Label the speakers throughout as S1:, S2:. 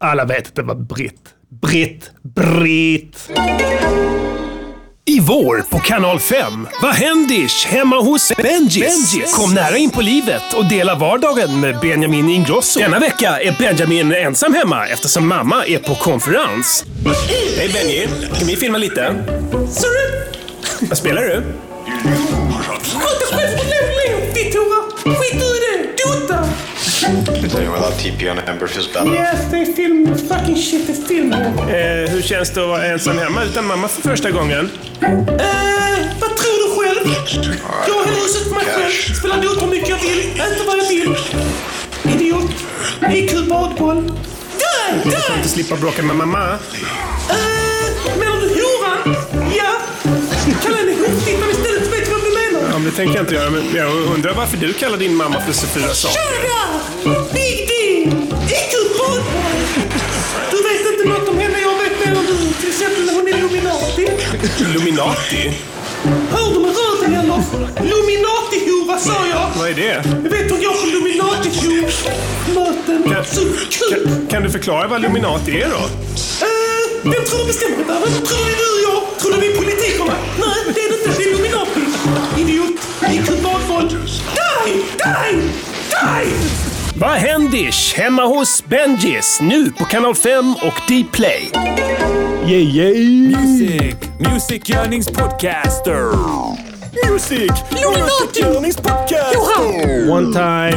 S1: Alla vet att det var Britt. Britt. Britt.
S2: I vår på Kanal 5. Vad händish? Hemma hos Benjis.
S1: Benjis.
S2: Kom nära in på livet och dela vardagen med Benjamin Ingrosso. Denna vecka är Benjamin ensam hemma eftersom mamma är på konferens. Hej Benji! Kan vi filma lite? Sorry. Vad spelar du?
S3: Does anyone love TP on Amberfish's battle?
S1: Yes, det är film. Fucking shit, det är film.
S2: Eh, hur känns det att vara ensam hemma utan mamma för första gången?
S1: Eh, vad tror du själv? Jag har huset för mig själv. Spelar inte hur mycket jag vill. Äter vad jag vill. Idiot. IQ badboll. Dö!
S2: Du får
S1: Dö!
S2: inte slippa bråka med mamma.
S1: Eh, menar du horan? Ja. Kalla henne hotfittan istället. Vet du vad vi menar?
S2: Ja, men det tänker jag inte göra. Men jag undrar varför du kallar din mamma för Sofia Sak.
S1: Kör där! Big D! IQ badboll. Du vet inte något om henne. Jag vet mer än du. Till exempel när hon är Illuminati.
S2: Illuminati?
S1: Hör du med röven eller? Luminati-hova sa jag!
S2: Vad är det?
S1: Jag vet hon går på Luminati-möten. Så kul!
S2: Kan, kan du förklara vad Illuminati är då?
S1: Eh, vem tror du bestämmer det där? Vem Tror du det är du och jag? Tror du vi är politikerna? Nej, det är det inte. Det är Luminati. Idiot. IQ badboll. Die! Die! Die!
S2: Vad händish? Hemma hos Benjis. Nu på Kanal 5 och Dplay.
S1: Yeah, yeah.
S4: Music, musikgörningspodcaster. Music, musikgörningspodcaster.
S1: One time.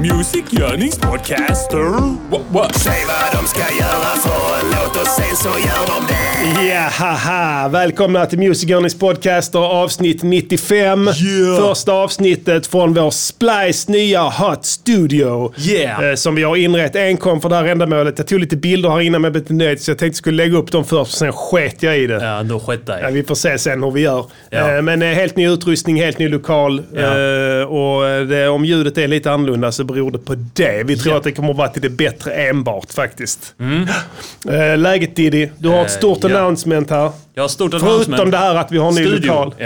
S4: Music, musikgörningspodcaster. Säg vad de ska göra för en låt och sen så gör de det.
S1: Ja, haha. Välkomna till Music Journeys podcaster avsnitt 95.
S4: Yeah.
S1: Första avsnittet från vår Splice nya Hot Studio.
S4: Yeah.
S1: Eh, Som vi har inrett enkom för det här ändamålet. Jag tog lite bilder här innan men jag blev inte nöjd så jag tänkte jag skulle lägga upp dem först sen sket jag i det.
S4: Ja, då skett
S1: Ja,
S4: dig.
S1: vi får se sen hur vi gör.
S4: Ja.
S1: Eh, Men eh, helt ny utrustning, helt ny lokal. Eh, Och eh, det, om ljudet är lite annorlunda så beror det på det. Vi tror att det kommer att vara till det bättre enbart faktiskt. Eh, Läget Diddy? Du har ett stort
S5: Mm. Eh, ja.
S1: announcement här.
S5: Jag har stort
S1: Förutom
S5: announcement.
S1: det här att vi har en ny
S5: Studion.
S1: lokal. Mm.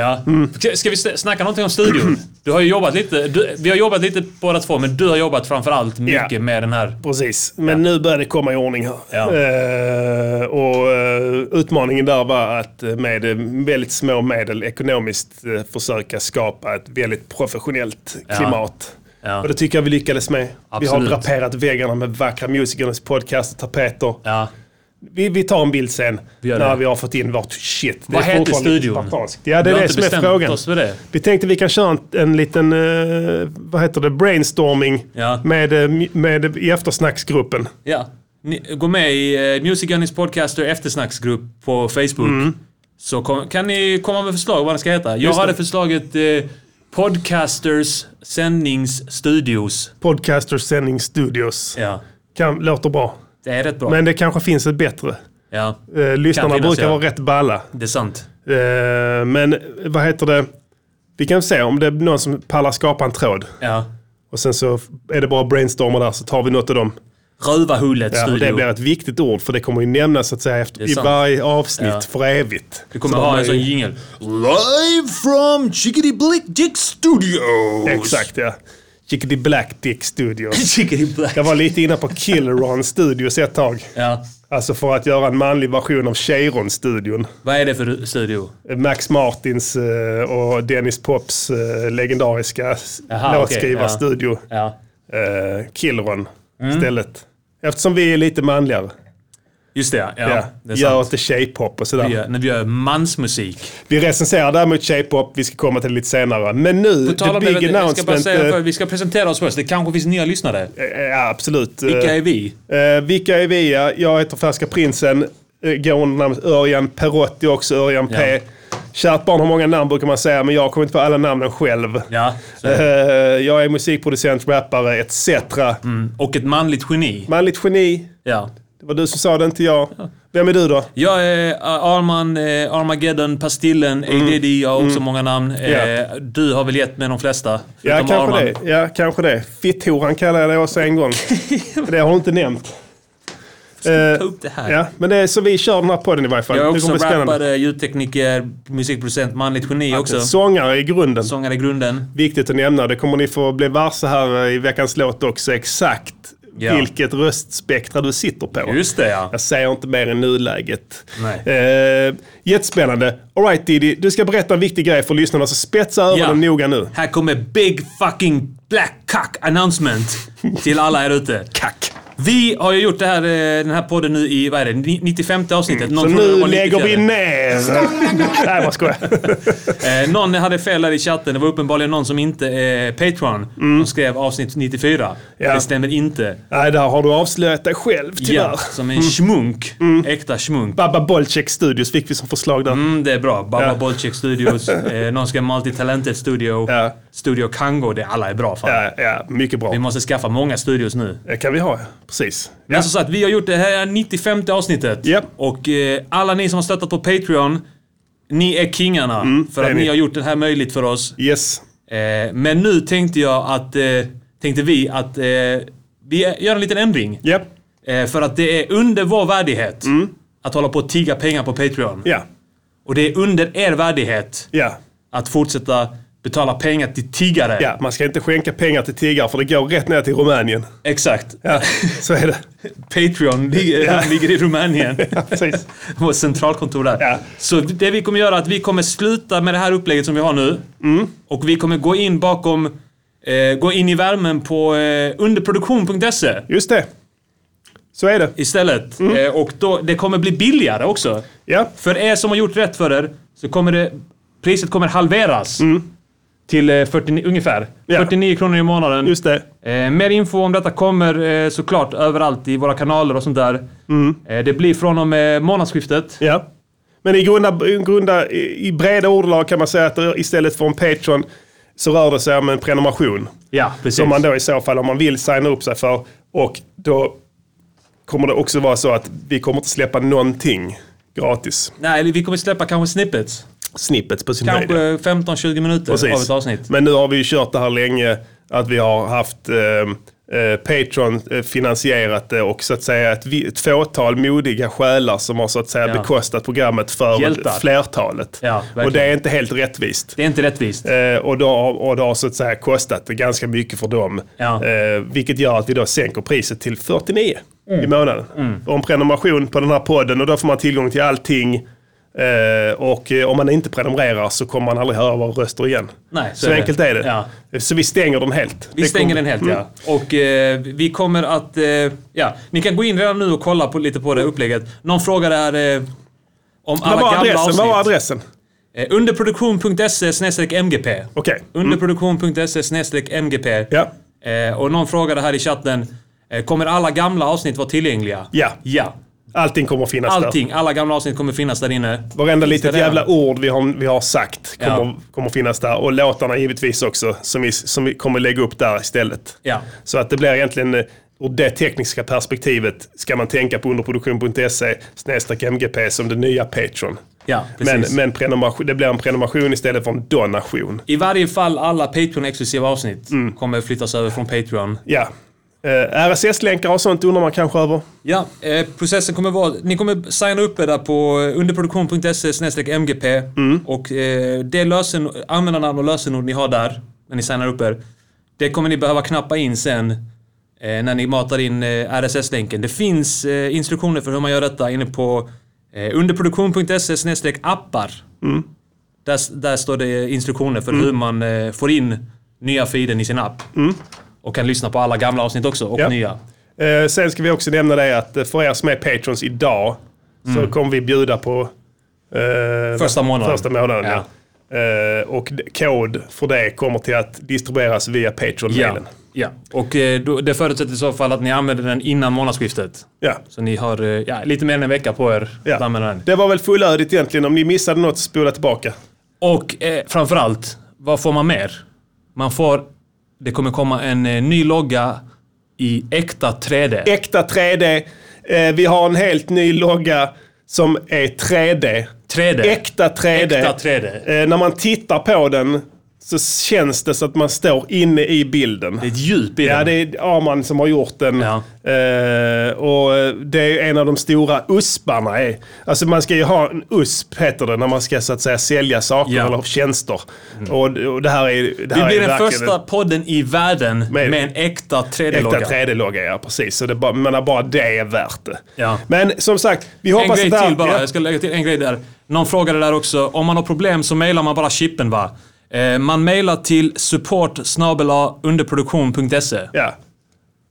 S5: Ja. Ska- Ska vi sn- snacka någonting om studion? Du har ju jobbat lite, du, vi har jobbat lite båda två, men du har jobbat framförallt mycket
S1: Ja.
S5: med den här.
S1: Precis, men nu börjar det komma i ordning här.
S5: Ja.
S1: Eh, och eh, utmaningen där var att eh, med eh, väldigt små medel ekonomiskt eh, försöka skapa ett väldigt professionellt
S5: Ja.
S1: klimat.
S5: Ja.
S1: Och det tycker jag vi lyckades med. Vi
S5: Absolut.
S1: har draperat väggarna med vackra musikernas podcast och tapeter.
S5: Ja.
S1: Vi, vi tar en bild sen
S5: Vi gör
S1: när
S5: det.
S1: vi har fått in vårt shit. Det
S5: Vad
S1: är
S5: heter
S1: fortfarande
S5: studion?
S1: spartanskt. Ja, det
S5: vi
S1: är
S5: har
S1: det
S5: inte
S1: som är
S5: bestämt
S1: frågan.
S5: oss för det.
S1: Vi tänkte vi kan köra en, en liten, eh, vad heter det, brainstorming
S5: Ja.
S1: med, eh, mi- med, i eftersnacksgruppen.
S5: Ja. Ni, gå med i eh, Music Earnings Podcaster eftersnacksgrupp på Facebook.
S1: Mm.
S5: Så kom, kan ni komma med förslag vad den ska heta. Jag hade förslaget eh, Podcasters sändningsstudios.
S1: Podcaster Sending Studios.
S5: Ja.
S1: Kan, låter bra.
S5: Det är rätt bra.
S1: Men det kanske finns ett bättre.
S5: ja,
S1: Eh, lyssnarna
S5: Kan finnas,
S1: brukar
S5: ja.
S1: vara rätt balla.
S5: det är sant.
S1: Eh, men vad heter det? Vi kan se om det är någon som pallar skapa en tråd.
S5: Ja.
S1: Och sen så är det bara brainstormar där så tar vi något av dem.
S5: Rövarhullet
S1: Ja, och
S5: studio.
S1: det blir ett viktigt ord för det kommer ju nämnas så att säga efter,
S5: är
S1: i
S5: sant.
S1: varje avsnitt
S5: Ja.
S1: för evigt.
S5: Vi kommer ha en sån jingel.
S4: Live from Chickadee Blick Dick Studios.
S1: Exakt ja. Chickadee Black Dick Studios.
S5: Chickadee Black.
S1: Jag var lite inne på Killeron Studios ett tag.
S5: Ja.
S1: Alltså för att göra en manlig version av Cheiron-studion.
S5: Vad är det för studio?
S1: Max Martins eh, och Dennis Pops eh, legendariska s-
S5: Jaha,
S1: låtskrivarstudio.
S5: Ja. Mm.
S1: eh, Killron istället. Eftersom vi är lite manligare.
S5: Just det, ja. ja,
S1: Ja,
S5: Det är
S1: gör
S5: sant.
S1: inte tjejpop och sådär.
S5: Vi gör, när vi gör mansmusik.
S1: Vi recenserar däremot tjejpop, vi ska komma till det lite senare. Men nu,
S5: På tal
S1: the
S5: om
S1: big
S5: det, vänta, jag ska bara
S1: announcement.
S5: säga,
S1: eh,
S5: för vi ska presentera oss först. Det kanske finns nya lyssnare.
S1: eh, ja, absolut.
S5: Vilka
S1: Eh,
S5: är vi?
S1: Eh, vilka är vi? Ja, Jag heter Färska Prinsen. Eh, Går under namnet Örjan Perotti också, Örjan P.
S5: Ja.
S1: Kärt barn har många namn brukar man säga, men jag kommer inte på alla namnen själv.
S5: Ja, så är
S1: Eh, jag är musikproducent, rappare etc.
S5: Och ett manligt geni.
S1: Manligt geni.
S5: Ja.
S1: Det var du som sa det, inte jag. Vem är du då?
S5: Jag är eh, Arman, eh, Armageddon, Pastillen, ADD. Jag har också många namn. Eh,
S1: Mm. Ja.
S5: Du har väl gett mig de flesta?
S1: Ja,
S5: förutom
S1: kanske
S5: Arman.
S1: det. Ja, kanske det. Fitthoran kallade jag dig också en gång. det har du inte nämnt. Eh,
S5: Ta upp det här.
S1: Ja, men det är så vi kör den här podden i varje fall.
S5: Jag
S1: Det
S5: är också
S1: kommer bli spännande.
S5: rappare, ljudtekniker, musikproducent, manligt geni också.
S1: Sångare i grunden.
S5: Sångare i grunden.
S1: eh, Viktigt att nämna, det kommer ni få bli varse här i veckans låt också exakt
S5: Ja.
S1: vilket röstspektra du sitter på.
S5: Just det ja.
S1: Jag säger inte mer än nuläget.
S5: Nej.
S1: Eh, jättespännande. Alright Diddy, du ska berätta en viktig grej för lyssnarna, så spetsa öronen
S5: Ja.
S1: noga nu.
S5: Här kommer Big Fucking Black Cock Announcement till alla här ute.
S1: Kack.
S5: Vi har ju gjort det här, eh, den här podden nu i, vad är det, ni- 95 avsnittet. Någon
S1: Mm. Så
S5: trodde det
S1: nu
S5: var
S1: lägger vi
S5: 94.
S1: ner. Nej, vad skojar.
S5: Eh, någon hade fel där i chatten. Det var uppenbarligen någon som inte är Patreon. Som skrev avsnitt 94.
S1: Mm. Ja.
S5: Det stämmer inte.
S1: Nej, där har du avslöjat dig själv tyvärr. Mm.
S5: Ja, som en schmunk. Äkta schmunk.
S1: Baba Bolcek Studios fick vi som förslag där.
S5: Mm, det är bra. Baba
S1: Ja.
S5: Bolcek Studios. Eh, någon skrev Multitalented Studio.
S1: Ja.
S5: Studio Kango. Det alla är bra fan.
S1: Ja, ja, mycket bra.
S5: Vi måste skaffa många studios nu.
S1: Det kan vi ha, precis.
S5: Men som sagt, vi har gjort det här 95 avsnittet.
S1: Japp.
S5: Och eh, alla ni som har stöttat på Patreon, ni är kingarna. för
S1: Mm, det
S5: att
S1: är
S5: ni
S1: ni.
S5: har gjort det här möjligt för oss.
S1: Yes.
S5: Eh, men nu tänkte jag att, eh, tänkte vi att eh, vi gör en liten ändring.
S1: Ja. Mm.
S5: Eh, för att det är under vår värdighet att hålla på och tigga pengar på Patreon.
S1: Ja.
S5: Och det är under er värdighet
S1: Ja.
S5: att fortsätta betala pengar till tiggare.
S1: Ja, man ska inte skänka pengar till tiggare för det går rätt ner till Rumänien.
S5: Exakt.
S1: Ja, så är det.
S5: Patreon ligger, ligger i Rumänien.
S1: Ja, precis.
S5: Vårt centralkontor där.
S1: Ja.
S5: Så det vi kommer göra är att vi kommer sluta med det här upplägget som vi har nu.
S1: Mm.
S5: Och vi kommer gå in bakom, eh, gå in i värmen på eh, underproduktion.se
S1: Just det. Så är det.
S5: istället. Eh, och då, det kommer bli billigare också.
S1: Mm. Ja,
S5: För er som har gjort rätt för er så kommer det, priset kommer halveras. Till eh, 49, ungefär.
S1: Mm. Ja.
S5: 49 kronor i månaden.
S1: just det.
S5: Eh, mer info om detta kommer eh, såklart överallt i våra kanaler och sånt där. Eh, det blir från och med månadsskiftet.
S1: Mm. Ja. Men i, grunda, i grunda, i i breda ordalag kan man säga att det- istället för en Patreon så rör det sig om en prenumeration.
S5: Ja, precis.
S1: Som man då i så fall, om man vill signa upp sig för. Och då kommer det också vara så att vi kommer inte släppa någonting gratis.
S5: Nej, eller vi kommer släppa kanske snippets.
S1: Snippets på sin
S5: Kanske
S1: höjd.
S5: 15-20 minuter
S1: Precis.
S5: av ett avsnitt.
S1: Men nu har vi ju kört det här länge, att vi har haft eh, eh, Patreon eh, finansierat det och så att säga ett, vi- ett fåtal modiga själar som har så att säga
S5: Ja.
S1: bekostat programmet för
S5: Hjältar.
S1: flertalet.
S5: Ja, verkligen.
S1: och det är inte helt rättvist.
S5: Det är inte rättvist.
S1: Eh, och, då, och det har så att säga kostat ganska mycket för dem.
S5: Ja.
S1: Eh, vilket gör att vi då sänker priset till 49
S5: Mm.
S1: i månaden. Och en prenumeration på den här podden och då får man tillgång till allting. Eh, och eh, om man inte prenumererar så kommer man aldrig höra våra röster igen.
S5: Nej, så
S1: så
S5: är det.
S1: enkelt är det.
S5: Ja.
S1: Så vi stänger den helt.
S5: Vi
S1: Det
S5: stänger
S1: kommer-
S5: den helt
S1: Mm.
S5: ja. Och eh, vi kommer att... Eh, ja, ni kan gå in redan nu och kolla på, lite på det upplägget. Någon frågade här eh, om alla
S1: Vad var
S5: gamla
S1: adressen? Vad var
S5: avsnitt.
S1: adressen?
S5: Eh, underproduktion.se snedstreck MGP.
S1: Okej. Mm.
S5: Underproduktion.se snedstreck MGP.
S1: Ja.
S5: Eh, och någon frågade här i chatten. Eh, kommer alla gamla avsnitt vara tillgängliga?
S1: Ja.
S5: Ja.
S1: Allting kommer att finnas där.
S5: Allting. Alla gamla avsnitt kommer finnas där inne.
S1: Varenda litet
S5: det är
S1: jävla ord vi har, vi har sagt kommer,
S5: Ja.
S1: kommer att finnas där. Och låtarna givetvis också, som vi, som vi kommer lägga upp där istället.
S5: Ja.
S1: Så att det blir egentligen, eh, ur det tekniska perspektivet, ska man tänka på underproduktion.se E snedstreck MGP som den nya Patreon.
S5: Ja,
S1: men
S5: precis.
S1: men prenumeration, det blir en prenumeration istället för en donation.
S5: I varje fall alla Patreon-exklusiva avsnitt
S1: Mm.
S5: kommer flyttas över från Patreon.
S1: Ja. Eh, RSS-länkar och sånt undrar man kanske över.
S5: Ja, eh, processen kommer vara... Ni kommer signa upp er där på eh, underproduktion.se snedstreck MGP. Och eh, det lösen, användarnamn och lösenord ni har där, när ni signar upp er, det kommer ni behöva knappa in sen eh, när ni matar in eh, RSS-länken. Det finns eh, instruktioner för hur man gör detta inne på eh, underproduktion.se snedstreck appar. Där, s- där står det instruktioner för hur man eh, får in nya feeden i sin app. Och kan lyssna på alla gamla avsnitt också, och
S1: Ja.
S5: nya.
S1: Eh, sen ska vi också nämna det att eh, för er som är patrons idag så kommer vi bjuda på eh,
S5: Mm. Första månaden.
S1: Första månaden ja. Eh, och d- kod för det kommer till att distribueras via
S5: Ja.
S1: Patreon-mailen.
S5: ja. Och eh, då, det förutsätter i så fall att ni använder den innan månadsskiftet.
S1: Ja.
S5: Så ni har eh, ja, lite mer än en vecka på er
S1: Ja.
S5: att använda den.
S1: Det var väl fullödigt egentligen. Om ni missade något, spola tillbaka.
S5: Och eh, framförallt, vad får man mer? Man får... Det kommer komma en eh, ny logga i äkta 3D.
S1: Äkta 3D. Eh, vi har en helt ny logga som är 3D.
S5: 3D.
S1: Äkta 3D.
S5: Äkta 3D.
S1: Eh, när man tittar på den så känns det så att man står inne i bilden.
S5: Det är ett djup i
S1: Ja,
S5: den.
S1: det är Arman som har gjort den.
S5: Ja.
S1: Eh, och eh, det är en av de stora usparna. Är. Alltså man ska ju ha en USP, heter det, när man ska så att säga sälja saker
S5: Ja.
S1: eller tjänster. Och, och det här är det
S5: Vi
S1: här
S5: blir
S1: är
S5: den
S1: verkligen
S5: första podden i världen med,
S1: Med-
S5: en äkta
S1: en äkta
S5: 3D-logga.
S1: 3D-logga, ja precis. Så det är bara, jag menar, bara det är värt det.
S5: Ja.
S1: Men som sagt, vi
S5: En
S1: hoppas
S5: grej
S1: att det här...
S5: till bara,
S1: Ja.
S5: jag ska lägga till en grej där. Någon frågade där också, om man har problem så mejlar man bara chippen va? Eh, man mejlar till support underproduktion.se.
S1: Ja.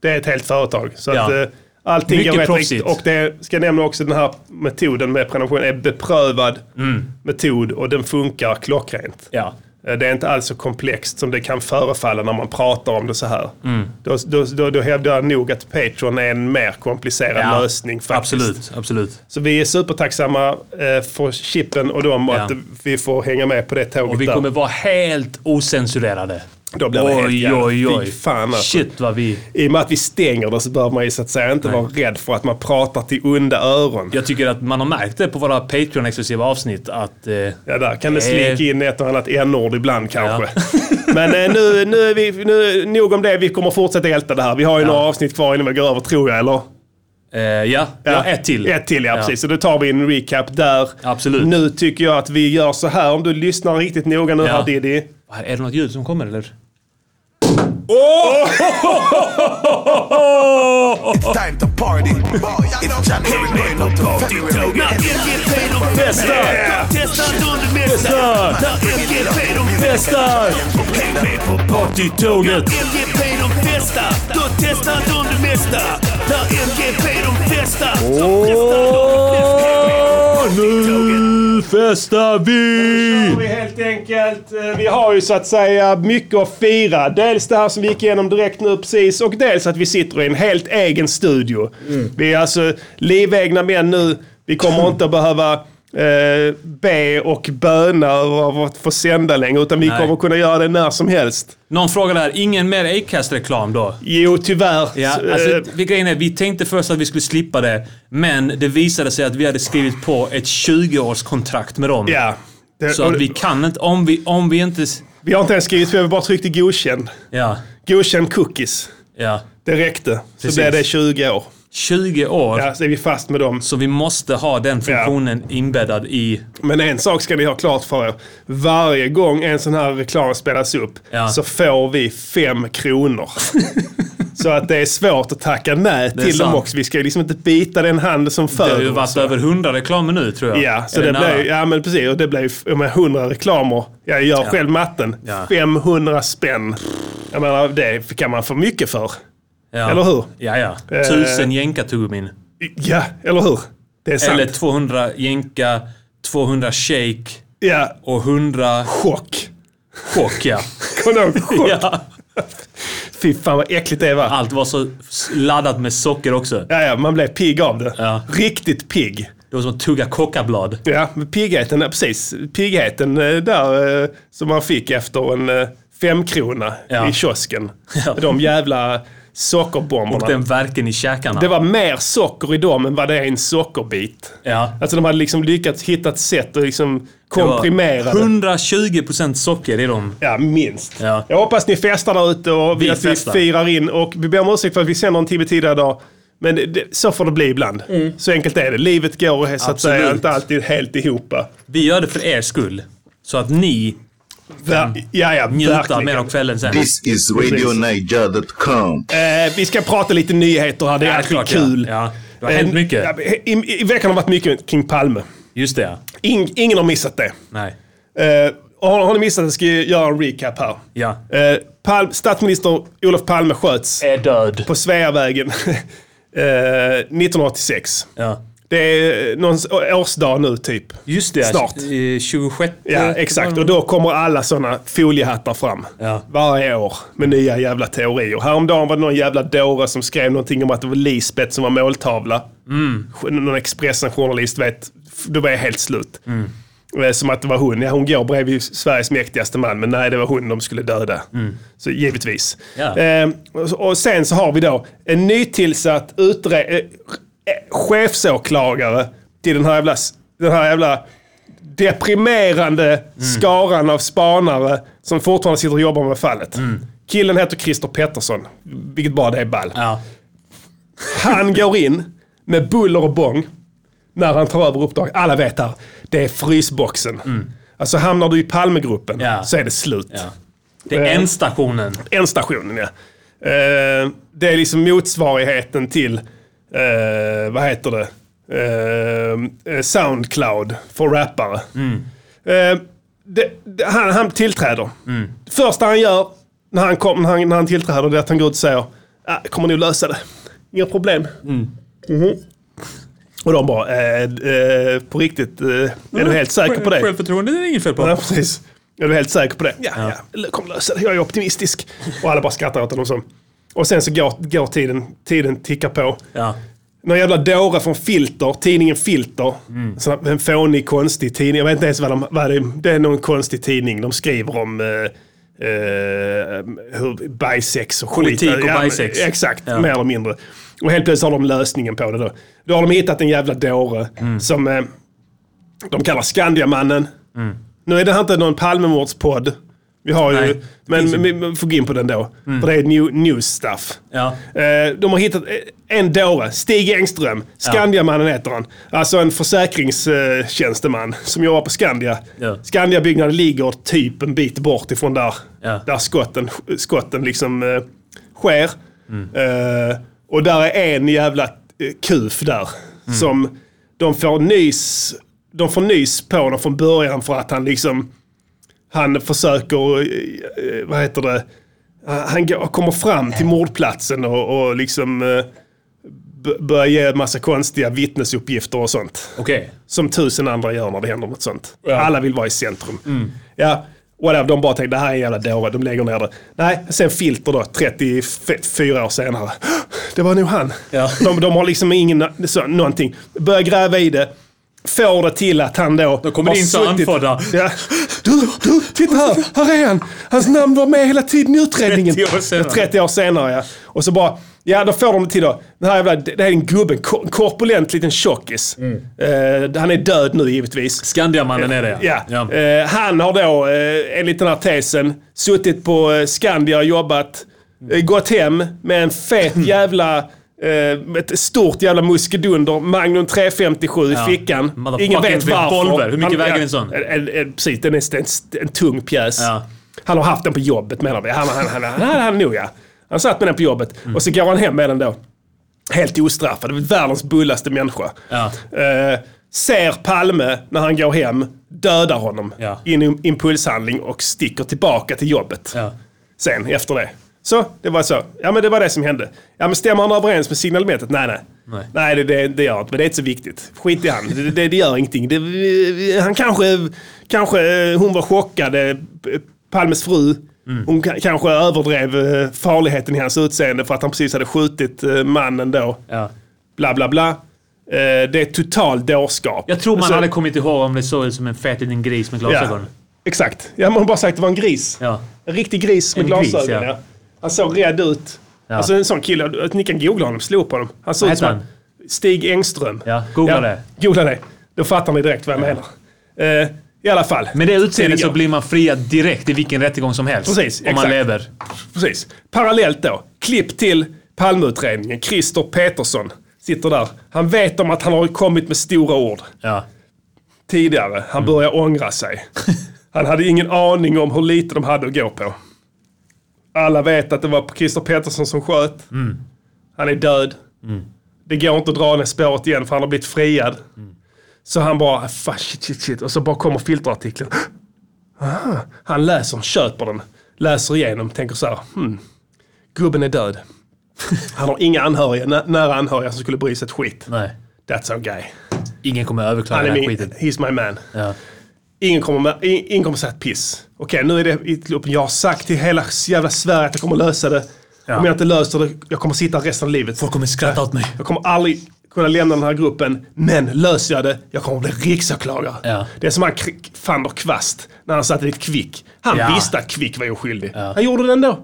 S1: Det är ett helt företag. Så
S5: Ja.
S1: att, eh, allting
S5: Mycket
S1: går rätt
S5: proffsigt.
S1: riktigt. Och det ska jag nämna också, den här metoden med prenumeration är beprövad
S5: Mm.
S1: metod och den funkar klockrent.
S5: Ja.
S1: Eh, Det är inte alls så komplext som det kan förefalla när man pratar om det så här. Då, då, då, då hävdar jag nog att Patreon är en mer komplicerad
S5: Ja.
S1: lösning faktiskt.
S5: Absolut, absolut.
S1: Så vi är supertacksamma eh, för chippen och dem och
S5: Ja.
S1: att vi får hänga med på det tåget
S5: Och vi
S1: där.
S5: kommer vara helt osensurerade.
S1: Då blir det helt jävla-
S5: oj, oj,
S1: fy fan, alltså.
S5: Shit vad vi...
S1: I och med att vi stänger det så behöver man ju så att säga inte vara rädd för att man pratar till onda öron.
S5: Jag tycker att man har märkt det på våra Patreon-exklusiva avsnitt att... Eh,
S1: Ja, där kan det
S5: Eh.
S1: slinka in ett och annat n-ord ibland kanske. Men eh, nu, nu är vi, nu, nog om det. Vi kommer fortsätta älta det här. Vi har ju några avsnitt kvar innan vi går över, tror jag, eller?
S5: eh, ja, ja, ett till.
S1: Ett till, ja, precis. Så då tar vi en recap där.
S5: Absolut.
S1: Nu tycker jag att vi gör så här. Om du lyssnar riktigt noga nu
S5: Ja.
S1: här, Diddy.
S5: Vad Är det något ljud som kommer eller?
S4: Time to party. It's time to remain up to February.
S5: Partytonet!
S6: MGP de flesta, då testar de det mesta. När MGP de flesta, så testar de det mesta.
S5: Nu festar vi!
S1: Vi helt enkelt, eh, vi har ju så att säga mycket att fira. Dels det här som vi gick igenom direkt nu precis och dels att vi sitter i en helt egen studio.
S5: Mm.
S1: Vi är alltså livegna män nu. Vi kommer inte att behöva eh, be och böna över att få sända längre utan vi
S5: Nej.
S1: kommer kunna göra det när som helst.
S5: Någon frågar där, ingen mer Acast-reklam då?
S1: Jo, tyvärr.
S5: Ja,
S1: Så,
S5: alltså,
S1: eh,
S5: vi- grejen är, vi tänkte först att vi skulle slippa det, men det visade sig att vi hade skrivit på ett 20-årskontrakt med dem.
S1: ja. Det,
S5: Så att vi kan inte, om vi, om vi inte... s-
S1: vi har inte ens skrivit, vi har bara tryckt i godkänd.
S5: Ja,
S1: Godkänd cookies.
S5: ja.
S1: Det räckte. Så
S5: Precis.
S1: blev det 20 år.
S5: 20 år,
S1: Ja, så är vi fast med dem.
S5: så vi måste ha den funktionen inbäddad i...
S1: Men en sak ska ni ha klart för er. Varje gång en sån här reklam spelas upp
S5: Ja.
S1: så får vi fem kronor. så att det är svårt att tacka nej
S5: är
S1: till dem
S5: sant.
S1: också. Vi ska ju liksom inte bita den hand som
S5: Det har ju
S1: föder
S5: varit
S1: oss.
S5: över 100 reklamer nu tror jag.
S1: Ja, så
S5: Är
S1: det
S5: nära?
S1: blir, ja, men precis. Och det blir med 100 reklamer. Jag gör själv matten.
S5: Ja.
S1: 500 spänn. Jag menar, det kan man få mycket för.
S5: Ja.
S1: Eller hur? Eh,
S5: Ja, ja. Tusen jänkartuggummin.
S1: Ja, eller hur? Det är sant.
S5: Eller 200 jänka, 200 shake
S1: Ja,
S5: och 100
S1: chock.
S5: chock, ja.
S1: Kommer du ihåg? chock?
S5: ja.
S1: Fy fan vad äckligt det var.
S5: Allt var så laddat med socker också.
S1: Ja, ja, man blev pigg av det.
S5: Ja.
S1: Riktigt pigg.
S5: Det var som att tugga kockablad.
S1: Ja, men piggheten, ja, precis. Piggheten eh, där eh, som man fick efter en eh, femkrona
S5: Ja.
S1: i kiosken.
S5: Ja.
S1: De jävla sockerbomberna.
S5: Och den verken i käkarna.
S1: Det var mer socker i dem än vad det är i en sockerbit.
S5: Ja.
S1: Alltså de hade liksom lyckats hitta ett sätt att liksom komprimera det.
S5: 120% socker i dem.
S1: Ja, minst.
S5: Ja.
S1: Jag hoppas ni festar där ute och
S5: Vi
S1: vi att vi
S5: festar.
S1: firar in. Och vi ber om ursäkt för att vi sänder en timme tidigare idag. Men det, det, så får det bli ibland. Så enkelt är det. Livet går så att säga
S5: Mm. Absolut.
S1: inte alltid helt ihop.
S5: Vi gör det för er skull. Så att ni
S1: Ver- ja, ja,
S5: njuter
S1: verkligen.
S5: mer av kvällen sen.
S7: This is RadioNiger.com.
S1: Eh, vi ska prata lite nyheter här. Det är
S5: Ja,
S1: alltid
S5: klart, ja.
S1: kul.
S5: Ja, det har hänt
S1: Eh,
S5: mycket.
S1: ja, I, I veckan har det varit mycket kring Palme.
S5: Just det, ja.
S1: In, ingen har missat det.
S5: Nej.
S1: Eh, har, har ni missat det ska jag göra en recap här.
S5: Ja.
S1: Eh, Pal- statsminister Olof Palme sköts
S5: Är död.
S1: på Sveavägen eh, 1986.
S5: Ja.
S1: Det är någon årsdag nu typ.
S5: Just det,
S1: Snart.
S5: eh, 26.
S1: Ja, exakt. Och då kommer alla sådana foliehattar fram.
S5: Ja.
S1: Varje år med nya jävla teorier. Häromdagen var det någon jävla dåre som skrev någonting om att det var Lisbeth som var måltavla. Mm. Någon Expressen-journalist vet. Då var jag helt slut.
S5: Mm.
S1: Eh, Som att det var hon. Ja, hon går bredvid Sveriges mäktigaste man, men nej, det var hon de skulle döda. Så givetvis.
S5: Mm. Ja.
S1: Eh, och- och sen så har vi då en nytillsatt utre- eh, eh, chefsåklagare till den här jävla, den här jävla deprimerande skaran av spanare som fortfarande sitter och jobbar med fallet.
S5: Mm.
S1: Killen heter Christer Pettersson, vilket bara det är ball.
S5: Ja.
S1: Han går in med buller och bång när han tar över uppdrag. Alla vet här, det är frysboxen. Alltså hamnar du i Palmegruppen
S5: Mm. Ja.
S1: så är det slut.
S5: Ja. Det är
S1: Eh.
S5: ändstationen.
S1: En stationen ja. Eh, det är liksom motsvarigheten till, eh, vad heter det, Eh, eh, Soundcloud för rappare. Eh, det, det, han, han tillträder. Det första han gör när han, kom, när han, när han tillträder det är att han går ut och säger ah, jag kommer nog lösa det. Inga problem. Mhm. Och de bara, eh, eh, på riktigt, eh, är
S5: Mm.
S1: du helt säker på det?
S5: Självförtroende är det inget fel på.
S1: Ja, precis. Är du helt säker på det? Ja, ja. ja. kommer lösa det. Jag är optimistisk. Och alla bara skrattar åt honom. Så. Och sen så går, går tiden. Tiden tickar på.
S5: Ja.
S1: Någon jävla dåre från Filter, tidningen Filter.
S5: Mm.
S1: Så en fånig, konstig tidning. Jag vet inte ens vad, de, vad det är. Det är någon konstig tidning. De skriver om eh, eh, hur bisex och skit.
S5: Politik och
S1: Ja, men-
S5: bisex.
S1: Exakt,
S5: Ja.
S1: mer eller mindre. Och helt plötsligt har de lösningen på det då. Då har de hittat en jävla dåre
S5: Mm.
S1: som eh, de kallar Skandiamannen. Nu är det här inte någon Palmemordspodd. Vi har ju,
S5: Mm. Nej,
S1: men vi- vi får gå in på den då. För det är new, new stuff.
S5: Mm. Ja.
S1: Eh, De har hittat eh, en dåre, Stig Engström. Skandiamannen heter han. Alltså en försäkringstjänsteman som jobbar på Skandia.
S5: Ja.
S1: Skandiabyggnaden ligger typ en bit bort ifrån där,
S5: Ja.
S1: där skotten, skotten liksom eh, sker. Eh, och där är en jävla eh, kuf där som de får, nys, de får nys på honom från början för att han liksom han försöker, eh, eh, vad heter det, han- han går- kommer fram till mordplatsen och, och liksom eh, b- börjar ge massa konstiga vittnesuppgifter och sånt.
S5: Okej.
S1: Som tusen andra gör när det händer något sånt. Alla vill vara i centrum.
S5: Mm.
S1: Ja, whatever, de bara tänkte det här är en jävla dåre, de lägger ner det. Nej, sen filter då, 34 år senare. Det var nog han.
S5: Ja.
S1: De, de har liksom ingen, så, någonting. Börjar gräva i det. Får det till att han då... Då
S5: kommer det in så andfådda.
S1: Ja. Du, du, titta här! Här är han! Hans namn var med hela tiden i utredningen.
S5: 30 år senare.
S1: 30 år senare, ja. Och så bara, ja då får de det till då. Den här jävla, det här är en gubbe, en ko- korpulent liten tjockis. Eh, han är död nu givetvis.
S5: Skandiamannen är det
S1: Ja.
S5: ja.
S1: Eh, han har då, eh, enligt den här tesen, suttit på eh, Skandia och jobbat. Eh, gått hem med en fet jävla, eh, ett stort jävla muskedunder, Magnum 357 i
S5: Ja.
S1: fickan.
S5: Motherfucking
S1: Ingen vet varför.
S5: revolver. Hur mycket
S1: Han-
S5: väger
S1: ja,
S5: en sån?
S1: En, en, en, precis, den är en, en tung pjäs.
S5: Ja.
S1: Han har haft den på jobbet menar vi. Han, han, han, han, han, han nog ja. Han satt med den på jobbet
S5: Mm.
S1: och så går han hem med den då. Helt ostraffad. Världens bullaste människa.
S5: Ja.
S1: Eh, ser Palme när han går hem, dödar honom
S5: Ja.
S1: i en impulshandling och sticker tillbaka till jobbet.
S5: Ja.
S1: Sen efter det. Så, det var så. Ja men det var det som hände. Ja men stämmer han överens med signalementet? Nej nej.
S5: Nej.
S1: nej det, det, det gör inte, men det är inte så viktigt. Skit i han. Det, det, det gör ingenting. Det, han kanske, kanske, eh, hon var chockad, eh, P- Palmes fru.
S5: Mm.
S1: Hon ka- kanske överdrev eh, farligheten i hans utseende för att han precis hade skjutit eh, mannen då.
S5: ja.
S1: Bla bla bla. Eh, Det är total dårskap.
S5: Jag tror man
S1: Så-
S5: hade kommit ihåg om det såg ut som en fet liten gris med
S1: Alltså- ja,
S5: glasögon.
S1: Exakt. Ja, man har bara sagt att det var en gris.
S5: Ja.
S1: En riktig gris med
S5: En gris,
S1: glasögon.
S5: ja.
S1: ja. Han såg rädd ut.
S5: Ja.
S1: Alltså en sån kille, att ni kan googla honom, slå på honom. Han såg
S5: Vad
S1: ut som
S5: heter
S1: han- Stig Engström.
S5: Ja, googla det.
S1: Googla det. Då fattar ni direkt vad jag menar. Eh, I alla fall.
S5: Med det utseendet
S1: Det är-
S5: så blir man friad direkt i vilken rättegång som helst.
S1: Precis,
S5: Om man
S1: exakt.
S5: lever.
S1: Precis. Parallellt då, klipp till Palmeutredningen. Christer Petersson sitter där. Han vet om att han har kommit med stora ord.
S5: Ja.
S1: tidigare. Han börjar ångra sig. Han hade ingen aning om hur lite de hade att gå på. Alla vet att det var Christer Pettersson som sköt. Han är död. Det går inte att dra ner spåret igen för han har blivit friad. Så han bara, fan shit, shit, shit. Och så bara kommer filterartikeln. Ah, han läser den, köper den. Läser igenom, tänker så här. Hmm, gubben är död. Han har inga anhöriga, nä- nära anhöriga som skulle bry sig ett skit.
S5: Nej.
S1: That's our guy.
S5: Ingen kommer överklaga
S1: Han
S5: den
S1: är
S5: här
S1: min,
S5: skiten.
S1: he's my man.
S5: Ja.
S1: Ingen kommer, med, ing- ingen kommer säga ett piss. Okej, nu är det i klubben. Jag har sagt till hela jävla Sverige att jag kommer lösa det. Om jag inte löser det, jag kommer sitta resten av livet.
S5: Folk kommer skratta åt mig.
S1: Jag kommer aldrig kunna lämna den här gruppen. Men löser jag det, jag kommer bli riksåklagare.
S5: Ja.
S1: Det är som han Kr- Fander Kvast, när han satt i ett Kvick. Han
S5: Ja.
S1: visste att Kvick var oskyldig. Han gjorde det ändå.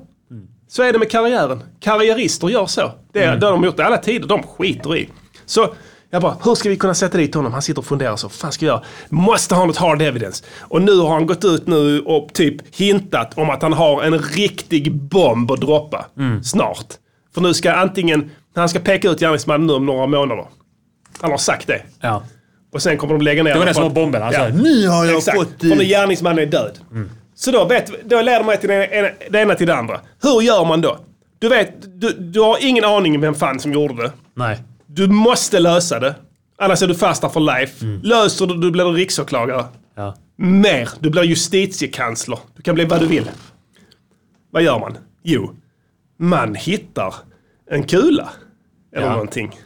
S1: Så
S5: Mm.
S1: är det med karriären. Karriärister gör så. Det, är, det har de gjort i alla tider. De skiter i. Så Jag bara, hur ska vi kunna sätta dit honom? Han sitter och funderar så, vad fan ska jag göra? Måste ha något hard evidence. Och nu har han gått ut nu och typ hintat om att han har en riktig bomb att droppa
S5: Mm.
S1: snart. För nu ska antingen, han ska peka ut gärningsmannen nu om några månader. Han har sagt det.
S5: Ja.
S1: Och sen kommer de lägga ner
S5: Det var det
S1: för
S5: som var
S1: att-
S5: bomben. Alltså,
S1: Ja.
S5: Nu har jag
S1: Exakt,
S5: fått... eh,
S1: för när gärningsmannen är död. Så då, vet, då leder man till det ena, det ena till det andra. Hur gör man då? Du vet, du, du har ingen aning om vem fan som gjorde det.
S5: Nej.
S1: Du måste lösa det. Annars är du fast där for life.
S5: Mm.
S1: Löser du du blir du riksåklagare.
S5: Ja.
S1: Mer, du blir justitiekansler. Du kan bli vad du vill. Vad gör man? Jo, man hittar en kula. Eller
S5: Ja.
S1: någonting.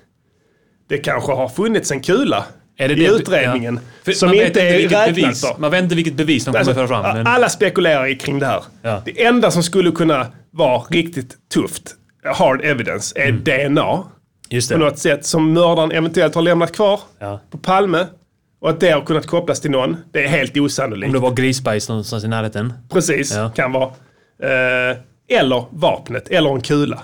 S1: Det kanske har funnits en kula i utredningen
S5: Ja. För
S1: som
S5: man vet
S1: inte är
S5: vilket
S1: räknat
S5: bevis,
S1: för.
S5: Man vet inte vilket bevis de kommer
S1: Alltså,
S5: föra fram. Men,
S1: Alla spekulerar ju kring det här.
S5: Ja.
S1: Det enda som skulle kunna vara riktigt tufft, hard evidence, är
S5: Mm.
S1: DNA.
S5: just
S1: På
S5: det.
S1: något sätt som mördaren eventuellt har lämnat kvar
S5: Ja.
S1: på Palme. Och att det har kunnat kopplas till någon. Det är helt
S5: Om
S1: osannolikt.
S5: det var grisbajs någonstans i närheten.
S1: Precis,
S5: Ja.
S1: kan vara. Eh, eller vapnet, eller en kula.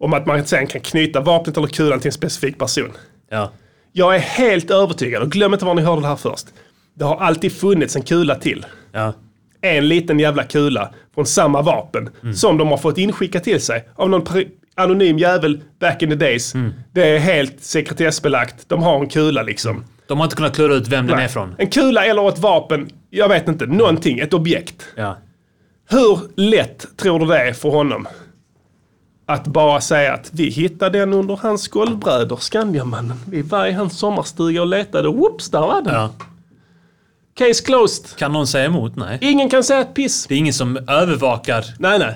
S1: Om att man sen kan knyta vapnet eller kulan till en specifik person.
S5: Ja.
S1: Jag är helt övertygad, och glöm inte var ni hörde det här först. Det har alltid funnits en kula till.
S5: Ja.
S1: en liten jävla kula från samma vapen som de har fått inskickat till sig av någon pri- anonym jävel back in the days. Det är helt sekretessbelagt. De har en kula liksom.
S5: De har inte kunnat klura ut vem den är från.
S1: En kula eller ett vapen, jag vet inte, någonting, ett objekt.
S5: Ja.
S1: Hur lätt tror du det är för honom? Att bara säga att vi hittade den under hans golvbrädor, Skandiamannen. Vi var i hans sommarstuga och letade. Whoops, där var den.
S5: Ja.
S1: Case closed.
S5: Kan någon säga emot? Nej.
S1: Ingen kan säga ett piss.
S5: Det är ingen som övervakar.
S1: Nej, nej.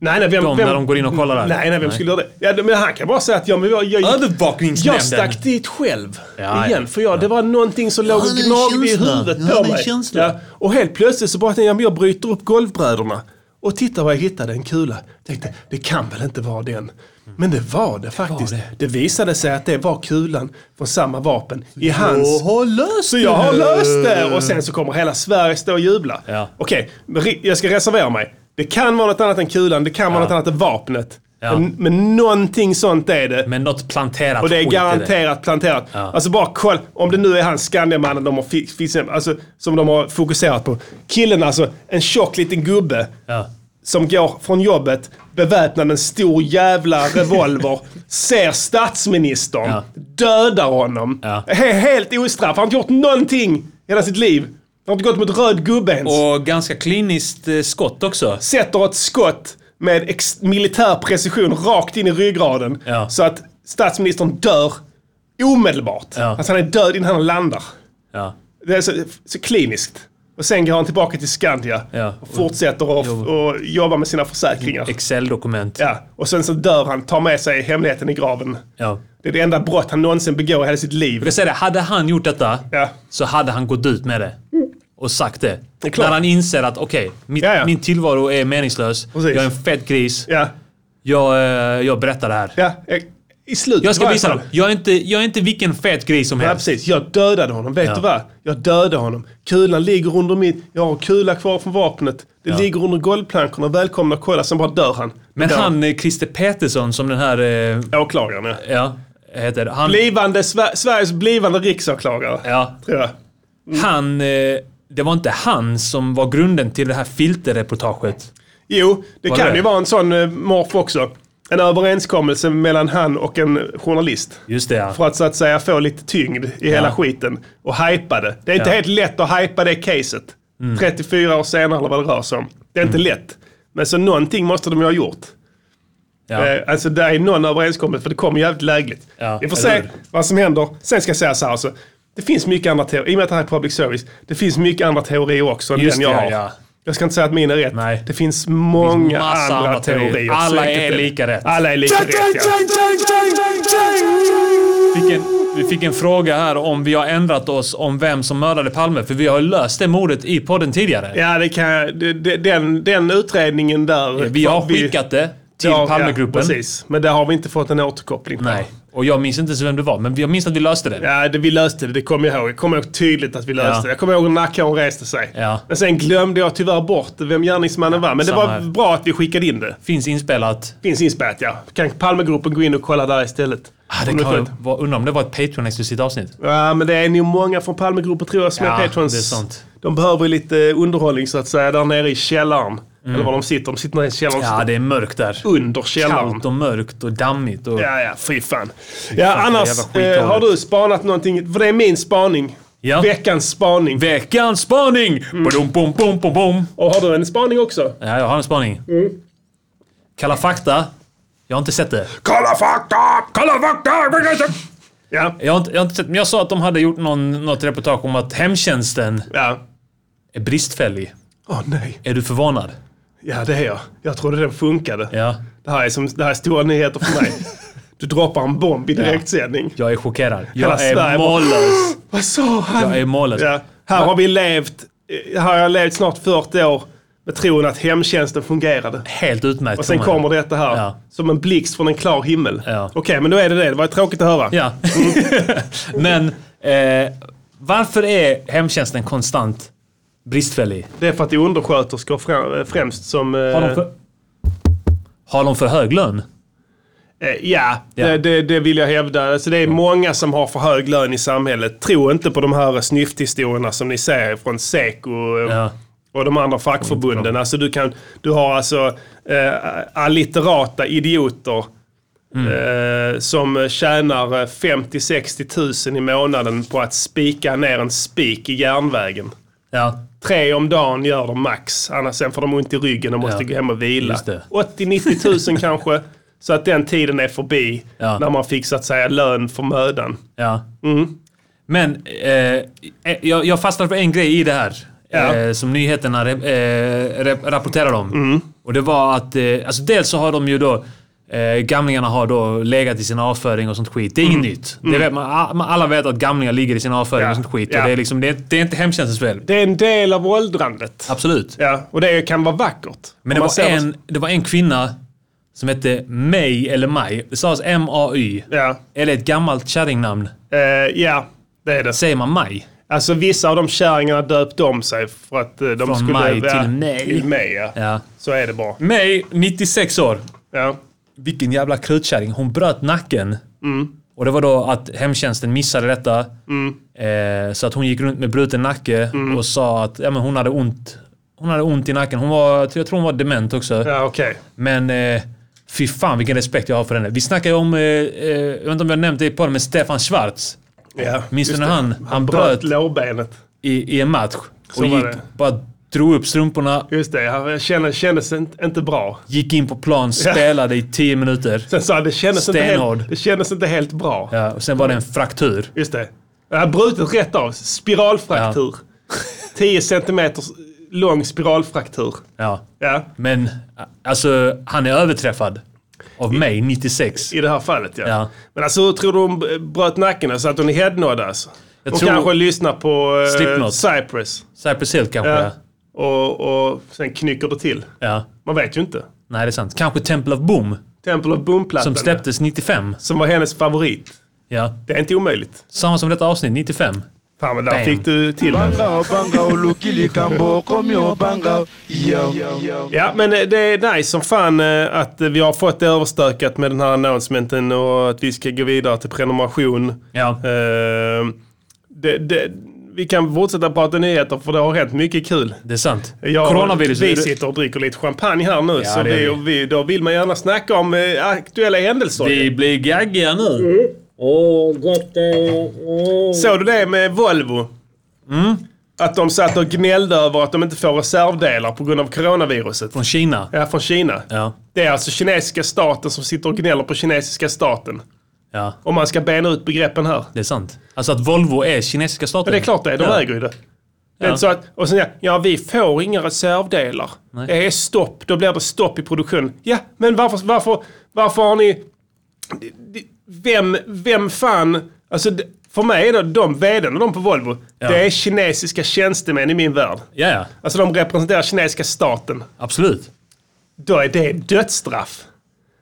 S1: Nej, nej, vem,
S5: Dem
S1: vem,
S5: när de går in och kollar där.
S1: Nej, nej, vem
S5: Nej.
S1: skulle göra det? Ja, men han kan bara säga att ja, men jag, jag,
S5: Övervakningsnämnden.
S1: jag stack dit själv.
S5: Ja,
S1: igen,
S5: ja.
S1: för jag, det var någonting som låg och
S5: hade en
S1: gnagde i
S5: känsla.
S1: huvudet
S5: Jag
S1: på
S5: hade en
S1: mig.
S5: känsla.
S1: och helt plötsligt så bara tänkte jag, ja, men jag bryter upp golvbrädorna. Och titta vad jag hittade, en kula. Tänkte, det kan väl inte vara den. Men det var det faktiskt. Det, visade sig att det var kulan från samma vapen i hans
S5: har löst
S1: så jag har löst det! Och sen så kommer hela Sverige stå och jubla.
S5: Ja.
S1: Okej, men ri- jag ska reservera mig. Det kan vara något annat än kulan, det kan vara något annat än vapnet.
S5: Ja.
S1: Men, men någonting sånt är det.
S5: Men något planterat
S1: och det är
S5: skit i
S1: garanterat planterat.
S5: Ja.
S1: Alltså bara kolla, om det nu är han Skandiamannen de har fi- fi- alltså, som de har fokuserat på. Killen alltså, en tjock liten gubbe
S5: Ja.
S1: som går från jobbet beväpnad med en stor jävla revolver, ser statsministern,
S5: Ja.
S1: dödar honom.
S5: Ja.
S1: He- Helt ostraff. Han har inte gjort någonting hela sitt liv. Han har inte gått mot röd gubbe ens.
S5: Och ganska kliniskt eh, skott också.
S1: Sätter ett skott med ex- militär precision rakt in i ryggraden.
S5: Ja.
S1: Så att statsministern dör omedelbart.
S5: Ja.
S1: Alltså han är död innan han landar.
S5: Ja.
S1: Det är så, så kliniskt. Och sen går han tillbaka till Skandia
S5: Ja.
S1: och fortsätter att och jobba med sina försäkringar.
S5: Excel-dokument.
S1: Ja, och sen så dör han, tar med sig hemligheten i graven.
S5: Ja.
S1: Det är det enda brott han någonsin begår i hela sitt
S5: Jag
S1: liv.
S5: vill säga det, hade han gjort detta
S1: Ja.
S5: så hade han gått ut med det. Och sagt det.
S1: är klart.
S5: När han inser att okej, mitt-
S1: Ja, ja.
S5: min tillvaro är meningslös.
S1: Precis.
S5: Jag är en fet gris.
S1: Ja,
S5: Jag, eh, jag berättar det här.
S1: ja. eh, I slutet.
S5: Jag ska
S1: var
S5: visa dem. Jag är, inte, jag är inte vilken fet gris som
S1: Ja,
S5: helst.
S1: precis. Jag dödade honom. Vet
S5: Ja.
S1: du vad? Jag dödade honom. Kulan ligger under min... Jag har en kula kvar från vapnet. Det ligger under golvplankorna. Välkomna och kolla. Sen bara dör han.
S5: Men
S1: Dör.
S5: han, eh, Christer Petersson, som den här... eh,
S1: Åklagaren, ja.
S5: Ja, heter han.
S1: Blivande, Sver- Sveriges blivande riksåklagare.
S5: Ja,
S1: Tror jag.
S5: han... eh, Det var inte han som var grunden till det här filterreportaget.
S1: Jo, det
S5: Var
S1: kan
S5: det?
S1: ju vara en sån eh, morf också. En överenskommelse mellan han och en journalist.
S5: Just det, ja.
S1: För att så att säga få lite tyngd i hela skiten och hypa det. Det är inte
S5: Ja. Mm.
S1: helt lätt att hypa det caset. 34 år senare eller vad det rör sig om. Det är inte lätt. Men så någonting måste de ju ha gjort.
S5: Ja.
S1: Eh, alltså där är någon överenskommelse för det kommer jävligt lägligt.
S5: Ja,
S1: Vi får
S5: eller
S1: se
S5: hur?
S1: vad som händer. Sen ska jag säga så här också. Det finns mycket andra teorier. I och med att det här är public service. Det finns mycket andra teorier också än
S5: Just
S1: den jag
S5: det,
S1: har.
S5: ja.
S1: Jag ska inte säga att min är rätt.
S5: Nej.
S1: Det finns många
S5: massa
S1: andra,
S5: andra teorier.
S1: teorier.
S5: Alla
S1: Så
S5: är
S1: enkelt det.
S5: lika rätt.
S1: Alla är lika rätt, ja.
S5: fick en, vi fick en fråga här om vi har ändrat oss om vem som mördade Palme. För vi har ju löst det mordet i podden tidigare.
S1: Ja, det kan, jag- det- det- den, den utredningen där...
S5: Vi har skickat det till
S1: Ja,
S5: Palmegruppen.
S1: Ja, precis, men där har vi inte fått en återkoppling. på.
S5: Nej. Och jag minns inte ens vem det var, men jag minns att vi löste det.
S1: Ja, det, vi löste det. Det kommer jag ihåg. Jag kommer ihåg tydligt att vi löste
S5: Ja.
S1: det. Jag kommer ihåg hur nackhåren reste sig.
S5: Ja.
S1: Men sen glömde jag tyvärr bort vem gärningsmannen var. Men det
S5: samma
S1: var
S5: här.
S1: bra att vi skickade in det.
S5: Finns inspelat.
S1: Finns inspelat, ja. Kan Palmegruppen gå in och kolla där istället?
S5: Ah, det
S1: Om ni får
S5: kan
S1: ett-
S5: vara, undrar om det var ett Patreon-exklusivt avsnitt.
S1: Ja, men det är nog många från Palmegruppen tror jag som
S5: Ja,
S1: är patrons.
S5: det är sant.
S1: De behöver ju lite underhållning så att säga där nere i källaren. Eller var de sitter. De sitter nere i källaren.
S5: Mm. Ja, det är mörkt där.
S1: Under källaren.
S5: Kallt och mörkt och dammigt. Och...
S1: Ja, ja, fy fan. Mm. Ja,
S5: fan,
S1: annars
S5: jävla skithålet.
S1: eh, har du spanat någonting? För det är min spaning.
S5: Ja.
S1: Veckans spaning.
S5: Veckans spaning!
S1: Mm.
S5: Badum, bom, bom, bom, bom.
S1: Och har du en spaning också?
S5: Ja, jag har en spaning.
S1: Mm.
S5: Kalla fakta. Jag har inte sett det.
S1: Kalla fakta! Kalla fakta! Ja,
S5: Jag har inte, jag har inte sett, men jag sa att de hade gjort någon, något reportage om att hemtjänsten
S1: ja.
S5: är bristfällig.
S1: Åh nej.
S5: Är du förvånad?
S1: Ja, det är jag. Jag trodde den funkade.
S5: Ja.
S1: Det, här är som, det här är stora nyheter för mig. Du droppar en bomb i direktsändning.
S5: Jag är chockerad.
S1: Hela
S5: Jag är
S1: Sverige bara-
S5: mållös.
S1: Vad sa han?
S5: Jag är mållös.
S1: Ja. Här har vi levt, eh, här har jag levt snart 40 år med tron att hemtjänsten fungerade.
S5: Helt utmärkt.
S1: Och sen
S5: tror man.
S1: kommer detta här,
S5: Ja.
S1: som en blixt från en klar himmel.
S5: Ja.
S1: Okej, men då är det det. Det var tråkigt att höra.
S5: Ja. men eh, varför är hemtjänsten konstant bristfällig?
S1: Det är för att det är undersköterskor frä- främst som... eh,
S5: Har de för, har de för hög lön?
S1: Eh, Ja,
S5: Ja.
S1: Det, det, det vill jag hävda. Alltså det är många som har för hög lön i samhället. Tro inte på de här snyfthistorierna som ni ser från Seko eh,
S5: Ja.
S1: och de andra fackförbunden. Alltså du, kan, du har alltså eh, allitterata idioter
S5: Mm.
S1: eh, som tjänar eh, 50-60 000 i månaden på att spika ner en spik i järnvägen.
S5: Ja.
S1: Tre om dagen gör de max, annars sen får de ont i ryggen och måste
S5: Ja,
S1: gå hem och vila.
S5: just det.
S1: 80-90 000 kanske. Så att den tiden är förbi
S5: Ja.
S1: när man fick så att säga lön för mödan.
S5: Ja.
S1: Mm.
S5: Men eh, jag, jag fastnade på en grej i det här.
S1: Ja.
S5: Eh, som nyheterna re, eh, rep- rapporterade om.
S1: Mm.
S5: Och det var att, eh, alltså dels så har de ju då Eh, gamlingarna har då legat i sin avföring och sånt skit. Det är inget nytt. Det vet man, a- man- alla vet att gamlingar ligger i sin avföring
S1: Mm. Ja.
S5: och sånt skit.
S1: Ja.
S5: Och det, är liksom, det, är, det är inte hemtjänstens fel.
S1: Det är en del av åldrandet.
S5: Absolut.
S1: Ja, och det kan vara vackert.
S5: Men
S1: Om
S5: det
S1: man
S5: var,
S1: ser
S5: en, det var en kvinna som hette May eller Maj. Det sades M-A-Y.
S1: Ja.
S5: Eller ett gammalt kärringnamn.
S1: Eh, ja, det är det.
S5: Säger man Maj?
S1: Alltså vissa av de kärringarna döpte om sig för att eh, de
S5: Från
S1: skulle...
S5: maj
S1: ja,
S5: till mej.
S1: Till mej, ja.
S5: Ja.
S1: Så är det bara.
S5: May, 96 år.
S1: Ja.
S5: Vilken jävla krutkärring. Hon bröt nacken.
S1: Mm.
S5: Och det var då att hemtjänsten missade detta. Eh, så att hon gick runt med bruten nacke
S1: Mm.
S5: och sa att ja, men hon hade ont. Hon hade ont i nacken. Hon var, jag tror hon var dement också.
S1: Ja, okej.
S5: Men eh, fy fan vilken respekt jag har för henne. Vi snackade ju om, eh, eh, jag vet inte om jag nämnt det på men Stefan Schwarz.
S1: Ja,
S5: Minns du
S1: just
S5: när
S1: det.
S5: han, han bröt
S1: Bröt lårbenet.
S5: i, i en match
S1: Så
S5: och
S1: var
S5: gick,
S1: det.
S5: bara drog upp strumporna,
S1: Just det, jag kände, kändes inte, inte bra.
S5: gick in på plan, spelade i 10 minuter.
S1: Sen sa han, det kändes, inte
S5: Stenhård.
S1: helt, det kändes inte helt bra.
S5: Ja, och sen var det en fraktur.
S1: Just det. Jag har brutit rätt av. Spiralfraktur. 10 centimeter lång spiralfraktur.
S5: Ja.
S1: Ja,
S5: Men a- alltså, han är överträffad av mig, 96.
S1: i det här fallet ja.
S5: Ja.
S1: Men alltså hur tror du hon b- bröt nacken? Alltså att hon är headnod alltså?
S5: Jag
S1: hon
S5: tror-
S1: kanske lyssnar på eh,
S5: Slipknot.
S1: Cypress.
S5: Cypress Hill kanske.
S1: Ja.
S5: Ja.
S1: Och, och sen knycker det till.
S5: ja.
S1: Man vet ju inte.
S5: Nej, det är sant. Kanske Temple of Boom,
S1: Temple of Boom-plattan.
S5: som släpptes 95.
S1: som var hennes favorit.
S5: Ja.
S1: Det är inte omöjligt.
S5: Samma som detta avsnitt, 95.
S1: Fan men där
S5: Damn.
S1: fick du till det. Ja, men eh, det är nice som fan eh, att eh, vi har fått det överstökat med den här announcementen och att vi ska gå vidare till prenumeration.
S5: Ja.
S1: Eh, det, det, vi kan fortsätta prata nyheter för det har hänt mycket kul.
S5: Det är sant.
S1: Jag-
S5: Coronavirus.
S1: Vi sitter och dricker lite champagne här nu, så
S5: det gör
S1: vi,
S5: vi.
S1: och vi, då vill man gärna snacka om eh, aktuella händelser.
S5: Vi blir gaggiga nu.
S1: Såg du det med Volvo?
S5: Mm.
S1: Att de satt och gnällde över att de inte får reservdelar på grund av coronaviruset.
S5: Från Kina.
S1: Ja, från Kina.
S5: Ja.
S1: Det är alltså kinesiska staten som sitter och gnäller på kinesiska staten.
S5: Ja,
S1: Om man ska bena ut begreppen här.
S5: det är sant. Alltså att Volvo är kinesiska staten.
S1: Men det är klart det är, de
S5: Ja.
S1: äger ju det. Det är inte så att, och sen ja, ja, vi får inga reservdelar. Det är stopp, då blir det stopp i produktion. Ja, men varför, varför, varför har ni... Vem, vem fan... Alltså, d- för mig är det de vdn och de på Volvo, det är kinesiska tjänstemän i min värld.
S5: Ja, ja.
S1: Alltså de representerar kinesiska staten.
S5: Absolut.
S1: Då är det dödsstraff.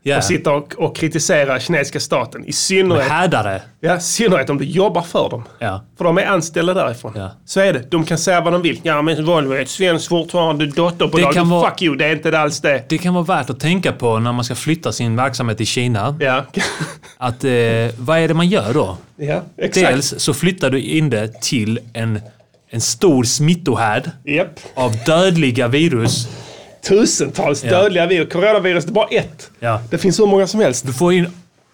S5: Ja.
S1: och sitta och, och kritisera kinesiska staten. I synnerhet,
S5: Härdare.
S1: ja, i synnerhet om du jobbar för dem.
S5: Ja.
S1: För de är anställda därifrån.
S5: Ja.
S1: Så är det. De kan säga vad de vill. Ja, men Volvo är ett svenskt fortfarande dotterbolag.
S5: Det kan vara-
S1: Fuck you, det är inte alls det.
S5: Det kan vara värt att tänka på när man ska flytta sin verksamhet till Kina.
S1: Ja,
S5: Att, eh, vad är det man gör då?
S1: ja exakt.
S5: Dels så flyttar du in det till en, en stor smittohärd
S1: Japp.
S5: av dödliga virus.
S1: Tusentals dödliga virus. Coronavirus, det är bara ett.
S5: Ja.
S1: Det finns hur många som helst.
S5: Du får in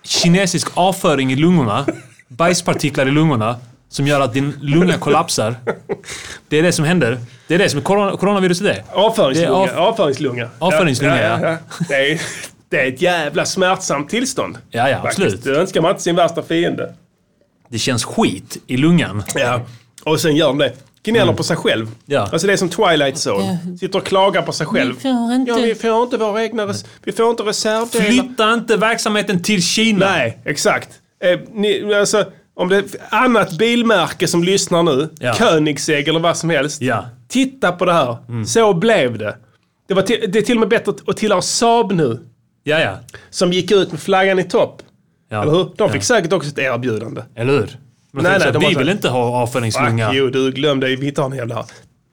S5: kinesisk avföring i lungorna, bajspartiklar i lungorna, som gör att din lunga kollapsar. Det är det som händer. Det är det som corona, coronaviruset är.
S1: Avföringslunga.
S5: Det är av-
S1: avföringslunga.
S5: Avföringslunga,
S1: Det, är, det är ett jävla smärtsamt tillstånd.
S5: Ja, ja,
S1: Faktiskt.
S5: absolut.
S1: Det önskar man inte sin värsta fiende.
S5: Det känns skit i lungan.
S1: Ja. Och sen gör de det. Gnäller på sig själv.
S5: Mm. Ja.
S1: Alltså det är som Twilight Zone. Sitter och klagar på sig själv. Vi får inte, ja, vi får inte våra egna res- Vi får inte reservdelar.
S5: Flytta inte verksamheten till Kina!
S1: Nej, exakt. Eh, ni, alltså, om det är annat bilmärke som lyssnar nu,
S5: Ja.
S1: Koenigsegg eller vad som helst.
S5: Ja. Mm.
S1: Titta på det här. Så blev det. Det, var till, det är till och med bättre att- att tillhöra Saab nu,
S5: Ja, ja.
S1: som gick ut med flaggan i topp.
S5: ja.
S1: Eller hur? De fick
S5: ja.
S1: säkert också ett erbjudande.
S5: Eller hur? Men
S1: Nej,
S5: nej,
S1: nej, de har
S5: vi
S1: sagt-
S5: vill inte ha avföringslunga.
S1: Fuck you, du glömde ju. Vi tar en jävla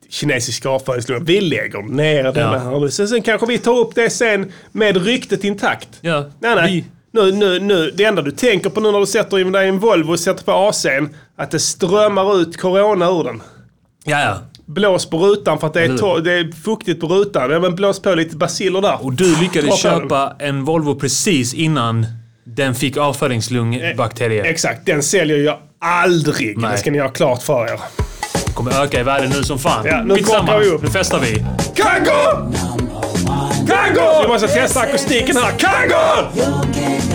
S1: kinesisk avföringslunga. Vi lägger ner den
S5: Ja.
S1: här nu. Sen, sen kanske vi tar upp det sen med ryktet intakt.
S5: Ja,
S1: Nej, nej.
S5: vi-
S1: Nu, nu, nu. Det enda du tänker på nu när du sätter in dig i en Volvo och sätter på AC'n, att det strömmar ut corona ur den.
S5: Ja, ja.
S1: Blås på rutan för att det är,
S5: Eller
S1: to- det är fuktigt på rutan. Ja, men blås på lite basiller där.
S5: Och du lyckades
S1: Dra på den.
S5: köpa en Volvo precis innan den fick avföringslungbakterier.
S1: Exakt, den säljer jag aldrig.
S5: Nej.
S1: Det ska ni ha klart för er.
S5: Kommer öka i värde nu som fan.
S1: eh. Ja, nu
S5: Skitsamma,
S1: kopplar vi upp.
S5: nu festar vi.
S1: Kango! Kango! Vi måste testa akustiken här. Kango!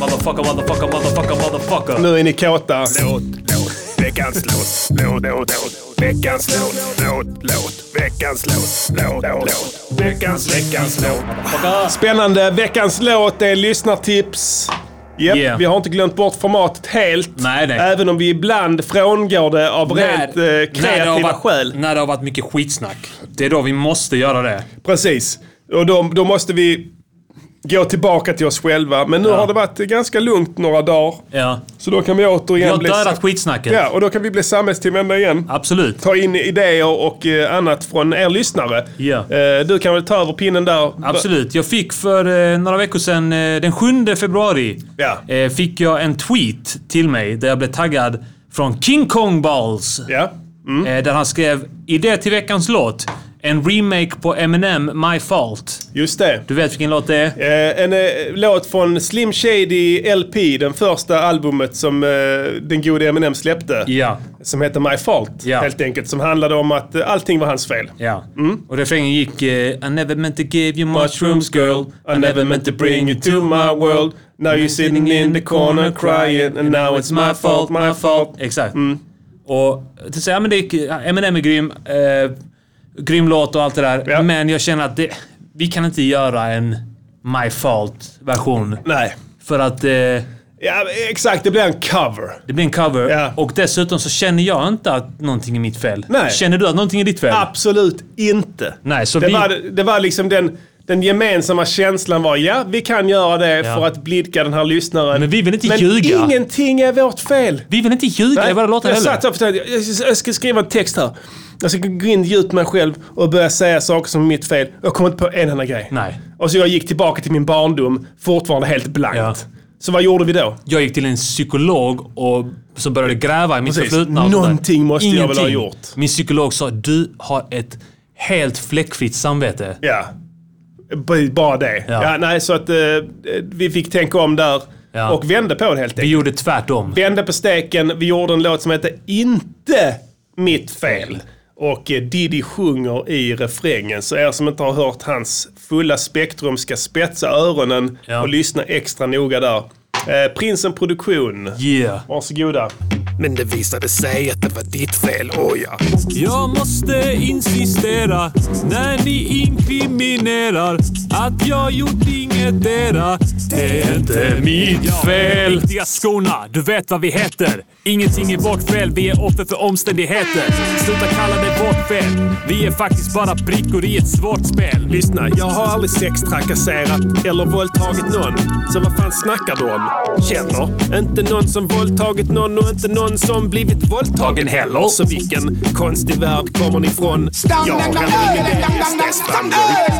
S5: Motherfucker, motherfucker, motherfucker, motherfucker.
S1: Nu är ni kåta.
S6: Låt, låt, veckans låt, låt, låt, låt, veckans låt, låt, låt, veckans låt, låt, låt, veckans, veckans låt.
S1: Spännande. Veckans låt är lyssnartips. Yep.
S5: Yeah.
S1: Vi har inte glömt bort formatet helt.
S5: Nej, nej.
S1: Även om vi ibland frångår det av rent eh,
S5: när, det har
S1: kreativa
S5: varit,
S1: skäl.
S5: när det har varit mycket skitsnack. Det är då vi måste göra det.
S1: Precis. Och då, då måste vi gå tillbaka till oss själva. Men nu har det varit ganska lugnt några dagar.
S5: Ja.
S1: Så då kan vi
S5: Vi
S1: återigen
S5: har
S1: bli...
S5: dödat skitsnacket.
S1: Ja, och då kan vi bli samhällstillvända igen.
S5: Absolut.
S1: ta in idéer och eh, annat från er lyssnare.
S5: Ja.
S1: Eh, Du kan väl ta över pinnen där.
S5: Absolut. Jag fick för eh, några veckor sedan, eh, den 7 februari,
S1: Ja.
S5: eh, fick jag en tweet till mig där jag blev taggad från King Kong Balls.
S1: Ja.
S5: Eh, där han skrev “Idé till veckans låt. En remake på Eminem, My Fault”.
S1: Just det.
S5: Du vet vilken låt det är?
S1: Eh, En eh, låt från Slim Shady LP, den första albumet som eh, den gode Eminem släppte.
S5: Ja.
S1: Som heter My Fault,
S5: Ja.
S1: helt enkelt. Som handlade om att eh, allting var hans fel.
S5: Ja.
S1: Mm.
S5: Och refrängen gick eh, “I never meant to give you mushrooms girl.
S1: I never meant to bring you to my world. Now you're sitting in the corner crying and now it's my fault, my fault. Mm.
S5: Exakt. Och det säger, ja, men det är, Eminem är grym. Eh, grym låt och allt det där.
S1: Ja.
S5: Men jag känner att det, vi kan inte göra en My Fault-version.
S1: Nej.
S5: För att eh,
S1: Ja, exakt. Det blir en cover.
S5: det blir en cover.
S1: Ja.
S5: Och dessutom så känner jag inte att någonting är mitt fel.
S1: Nej.
S5: Känner du att någonting är ditt fel?
S1: Absolut inte.
S5: Nej, så
S1: det,
S5: vi-
S1: var, det var liksom den, den gemensamma känslan var ja, vi kan göra det för att blidka den här lyssnaren.
S5: Men vi vill inte
S1: Men
S5: ljuga.
S1: ingenting är vårt fel.
S5: Vi vill inte ljuga i våra låtar
S1: jag
S5: heller.
S1: satt här för jag, jag ska skriva en text här. Jag ska gå in djupt med mig själv och börja säga saker som är mitt fel. Jag kom inte på en enda grej.
S5: Nej.
S1: Och så jag gick tillbaka till min barndom, fortfarande helt blankt.
S5: Ja.
S1: Så vad gjorde vi då?
S5: Jag gick till en psykolog och, som började gräva i mitt
S1: Precis.
S5: förflutna. och sånt där.
S1: Någonting måste jag väl ha gjort.
S5: Min psykolog sa du har ett helt fläckfritt samvete.
S1: Ja. B- Bara det. Ja.
S5: Ja.
S1: nej, så att eh, vi fick tänka om där
S5: Ja.
S1: och vände på det helt enkelt.
S5: Vi gjorde tvärtom.
S1: vände på steken. Vi gjorde en låt som heter Inte mitt fel. Och eh, Diddy sjunger i refrängen. Så er som inte har hört hans fulla spektrum ska spetsa öronen
S5: Ja.
S1: och lyssna extra noga där. Eh, Prinsen Produktion.
S5: Yeah.
S1: Varsågoda.
S6: Men det visade sig att det var ditt fel, oh ja.
S5: Jag måste insistera när ni inkriminerar att jag gjort inget era. Det är inte mitt fel. Viktiga skorna, du vet vad vi heter. Ingenting är vårt fel, vi är offer för omständigheter. Sluta kalla det vårt fel. Vi är faktiskt bara brickor i ett svårt spel.
S1: Lyssna, jag har aldrig sextrakasserat eller våldtagit någon. Så vad fan snackar du om? Känner inte någon som våldtagit någon och inte någon som blivit våldtagen heller. Så vilken konstig värld kommer ni ifrån? Jag har ingen del i SDs framgång.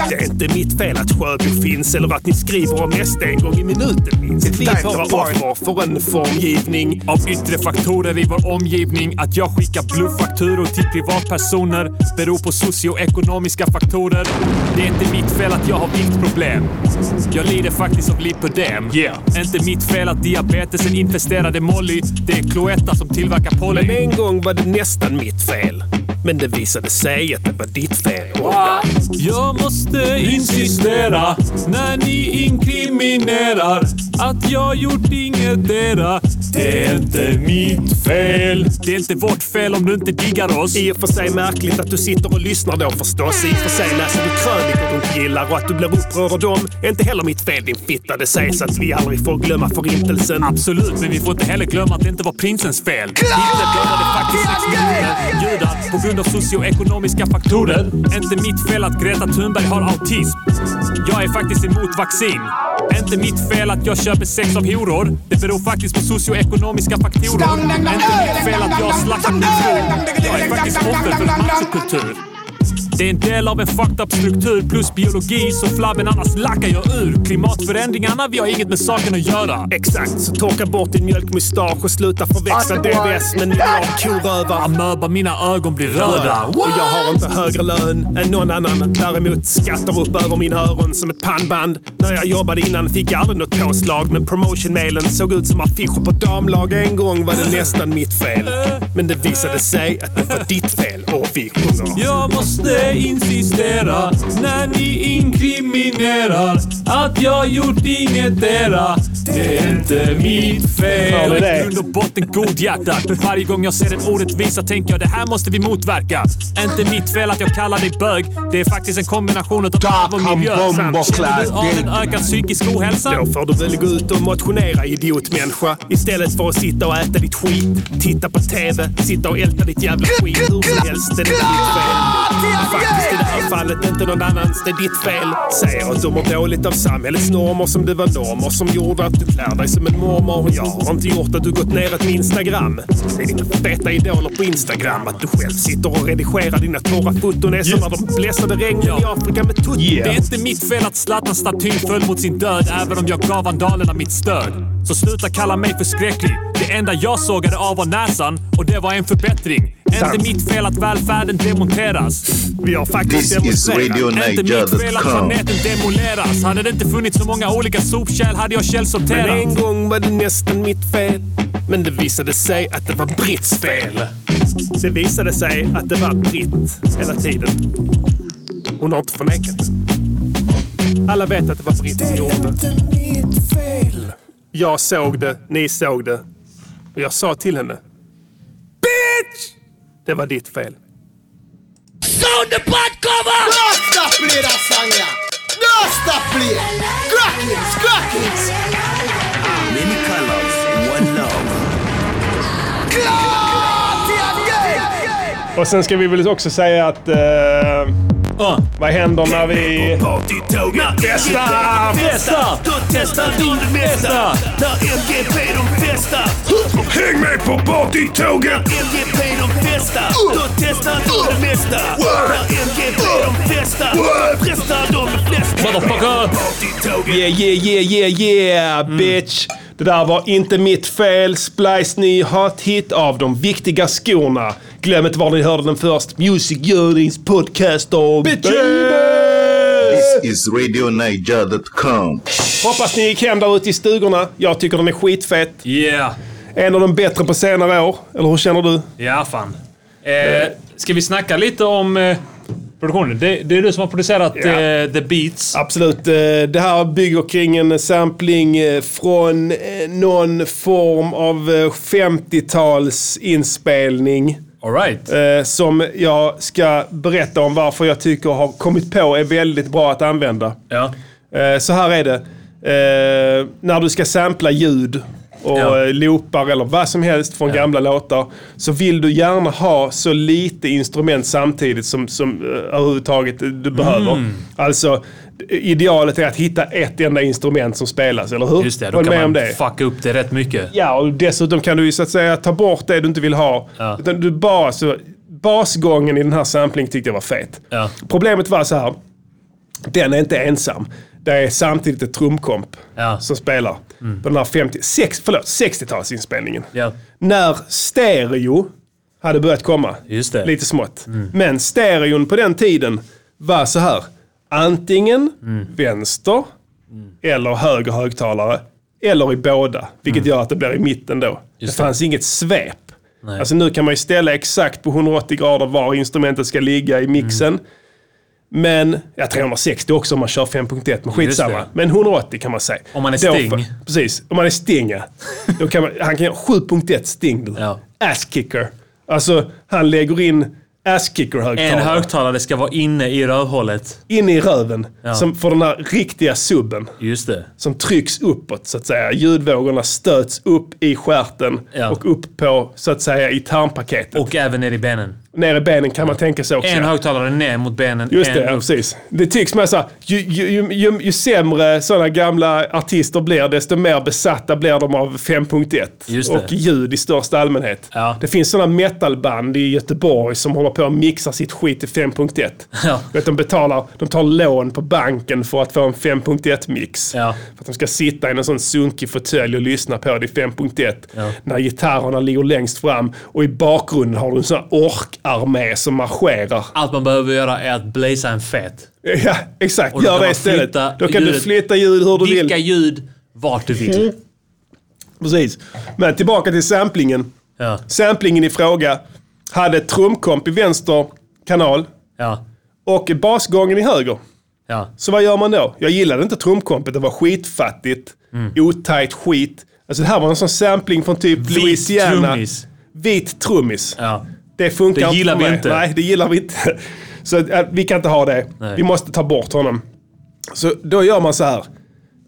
S1: Det är inte mitt fel att Sjöbo finns eller att ni skriver om SD en gång i minuten minst. Vi kan vara offer för en formgivning.
S5: Av yttre faktorer i vår omgivning. Att jag skickar bluffakturor till privatpersoner beror på socioekonomiska faktorer. Det är inte mitt fel att jag har viktproblem. Jag lider faktiskt av lipödem.
S8: Yeah.
S5: Inte mitt fel att diabetesen infesterade Molly. Det är Cloetta som tillverkar poly.
S1: Men en gång var det nästan mitt fel. Men det visade sig att det var ditt fel.
S5: Jag måste insistera när ni inkriminerar att jag gjort inget era. Det är inte mitt fel. Det är inte vårt fel om du inte diggar oss.
S1: I och för sig märkligt att du sitter och lyssnar då förstås. I och för sig läser du krönikor du inte gillar och att du blir upprörd av dem är inte heller mitt fel din fitta. Det sägs att vi aldrig får glömma förintelsen.
S5: Absolut, men vi får inte heller glömma att det inte var prinsens fel. Hitler dödade faktiskt 6 miljoner judar på grund av socioekonomiska faktorer. Inte mitt fel att Greta Thunberg har autism. Jag är faktiskt emot vaccin. Inte mitt fel att jag köper sex av horor. Det beror faktiskt på socioekonomiska faktorer. Inte mitt fel att jag slaktar min fru. Jag är faktiskt offer för en machokultur. Det är en del av en fucked up struktur plus biologi så flabben annars lackar jag ur. Klimatförändringarna, vi har inget med saken att göra.
S1: Exakt, så torka bort din mjölkmustasch och sluta förväxla DBS med nivån korövar.
S5: Amöba, mina ögon blir röda.
S1: Och jag har inte högre lön än någon annan. Däremot skattar upp över mina öron som ett pannband. När jag jobbade innan fick jag aldrig något påslag. Men promotionmailen såg ut som affischer på damlag. En gång var det nästan mitt fel. Men det visade sig att det var ditt fel. Och vi sjunger.
S5: Jag måste insistera när ni inkriminerar att jag gjort inget era. Det är inte mitt fel.
S9: Hör ni
S5: Jag
S9: det?
S5: är i grund och botten godhjärtat. Varje gång jag ser en orättvisa tänker jag det här måste vi motverka. Inte mitt fel att jag kallar dig bög. Det är faktiskt en kombination av arv och miljö. Känner du av en ökad psykisk ohälsa?
S1: Då får du väl gå ut och motionera idiotmänniska. Istället för att sitta och äta ditt skit, titta på TV, sitta och älta ditt jävla skit hur som helst. Det är inte ditt fel. Faktiskt i det här fallet inte någon annans. Det är ditt fel. Säger att du mår dåligt av samhällets normer som det var normer som gjorde att du klär dig som en mormor. Jag har inte gjort att du gått ner ett Instagram. Det är dina feta idoler på Instagram. Att du själv sitter och redigerar dina torra foton är som när de bläsade regnen i Afrika med tutten.
S5: Det är inte mitt fel att Zlatans staty föll mot sin död även om jag gav vandalerna mitt stöd. Så sluta kalla mig förskräcklig. Det enda jag sågade av var näsan och det var en förbättring. Inte mitt fel att välfärden demonteras.
S1: Vi har faktiskt
S10: This is
S1: demonstrerat.
S10: Radio
S5: Inte mitt fel att
S10: Niger.com.
S5: planeten demoleras. Hade det inte funnits så många olika sopkärl hade jag
S1: Men en
S5: källsorterat.
S1: gång var det nästan mitt fel. Men det visade sig att det var Britts fel. Det visade sig att det var Britt hela tiden. Hon har inte förnekat det. Alla vet att det var Britt som gjorde det. Jag såg det, ni såg det. Och jag sa till henne. Bitch! Det var ditt fel.
S11: Ah, Many colors, one love.
S9: Och sen ska vi väl också säga att... eh, Vad händer när vi...
S12: Partytåget
S9: Testa!
S5: Testa!
S12: Då testar du det mesta När MGP de festar Häng med på partytåget MGP de festar Då testar du det mesta När MGP de festar Frestar de flesta
S5: Motherfucker!
S12: Partytåget
S9: Yeah, yeah, yeah, yeah, yeah, bitch! Det där var inte mitt fel. Splice ny hot hit av de viktiga skorna. Glöm inte var ni hörde den först. Music Journeys podcast om...
S10: This is RadioNiger.com.
S9: Hoppas ni gick hem där ute i stugorna. Jag tycker den är skitfett.
S8: Yeah.
S9: En av de bättre på senare år. Eller hur känner du?
S8: Ja, fan. Eh, ska vi snacka lite om eh, produktionen? Det, det är du som har producerat eh, The Beats.
S9: Absolut. eh, Det här bygger kring en sampling eh, från eh, någon form av eh, 50-tals inspelning.
S8: All right.
S9: eh, Som jag ska berätta om varför jag tycker har kommit på är väldigt bra att använda.
S8: Ja.
S9: Eh, Så här är det. Eh, När du ska sampla ljud
S1: och
S5: Ja.
S1: eh, loopar eller vad som helst från gamla låtar. Så vill du gärna ha så lite instrument samtidigt som, som eh, överhuvudtaget du behöver.
S5: Mm.
S1: Alltså, idealet är att hitta ett enda instrument som spelas, eller hur?
S5: Just det, då
S1: Håll
S5: kan
S1: med om
S5: man
S1: det.
S5: fucka upp det rätt mycket.
S1: Ja, och dessutom kan du ju så att säga ta bort det du inte vill ha.
S5: Ja.
S1: Utan du bara, så, basgången i den här samplingen tyckte jag var fet.
S5: Ja.
S1: Problemet var så här. Den är inte ensam. Det är samtidigt ett trumkomp
S5: Ja. Mm.
S1: som spelar på den här 50, sex, förlåt, 60-talsinspelningen.
S5: Ja.
S1: När stereo hade börjat komma.
S5: Just det. Mm.
S1: Lite smått. Men stereon på den tiden var så här. Antingen
S5: Mm.
S1: vänster eller höger högtalare. Eller i båda. Vilket
S5: Mm.
S1: gör att det blir i mitten då. det fanns inget svep. Alltså nu kan man ju ställa exakt på 180 grader var instrumentet ska ligga i mixen.
S5: Mm.
S1: Men, ja 360 också om man kör 5.1, men skitsamma.
S5: det.
S1: Men 180 kan man säga.
S5: Om man är
S1: Då
S5: Sting.
S1: får- precis, om man är Sting ja. Då kan man, han kan göra 7.1 Sting. du.
S5: Ja.
S1: Ass-kicker. Alltså, han lägger in
S5: En
S1: ass-kicker-högtalare
S5: högtalare ska vara inne i rövhålet.
S1: in i röven.
S5: Ja.
S1: Som för den här riktiga subben.
S5: Just det.
S1: Som trycks uppåt så att säga. Ljudvågorna stöts upp i stjärten
S5: Ja.
S1: och upp på så att säga i tarmpaketet.
S5: Och även ner i benen.
S1: Ner i benen kan man tänka sig också.
S5: En högtalare ner mot benen.
S1: Just
S5: en
S1: det, ja,
S5: upp.
S1: precis. Det tycks mig såhär, ju, ju, ju, ju, ju sämre sådana gamla artister blir, desto mer besatta blir de av 5.1.
S5: Just det.
S1: Och ljud i största allmänhet.
S5: Ja.
S1: Det finns sådana metalband i Göteborg som håller på att mixa sitt skit till 5.1.
S5: Ja.
S1: Du Vet, de, betalar, de tar lån på banken för att få en 5.1-mix.
S5: Ja.
S1: För att de ska sitta i en sån sunkig fåtölj och lyssna på det i 5.1.
S5: Ja.
S1: När gitarrerna ligger längst fram och i bakgrunden har du en sån här orkarmé som marscherar.
S5: Allt man behöver göra är att blaza en fet.
S1: Ja, exakt.
S5: Och då
S1: Gör
S5: kan
S1: det
S5: man
S1: istället.
S5: flytta
S1: Då kan du
S5: ljudet.
S1: flytta ljud hur du
S5: Vilka
S1: vill. Mm.
S5: ljud vart du vill.
S1: Precis. Men tillbaka till samplingen.
S5: Ja.
S1: Samplingen i fråga hade ett trumkomp i vänster kanal
S5: Ja.
S1: och basgången i höger.
S5: Ja.
S1: Så vad gör man då? Jag gillade inte trumkompet. Det var skitfattigt.
S5: Mm.
S1: Otajt skit. Alltså det här var en sån sampling från typ Louisiana.
S5: trummis.
S1: Vit trummis.
S5: Ja.
S1: Det funkar
S5: Det
S1: inte
S5: gillar
S1: för
S5: vi
S1: mig.
S5: inte.
S1: Nej, det gillar vi inte. Så att, äh, vi kan inte ha det.
S5: Nej.
S1: Vi måste ta bort honom. Så då gör man så här.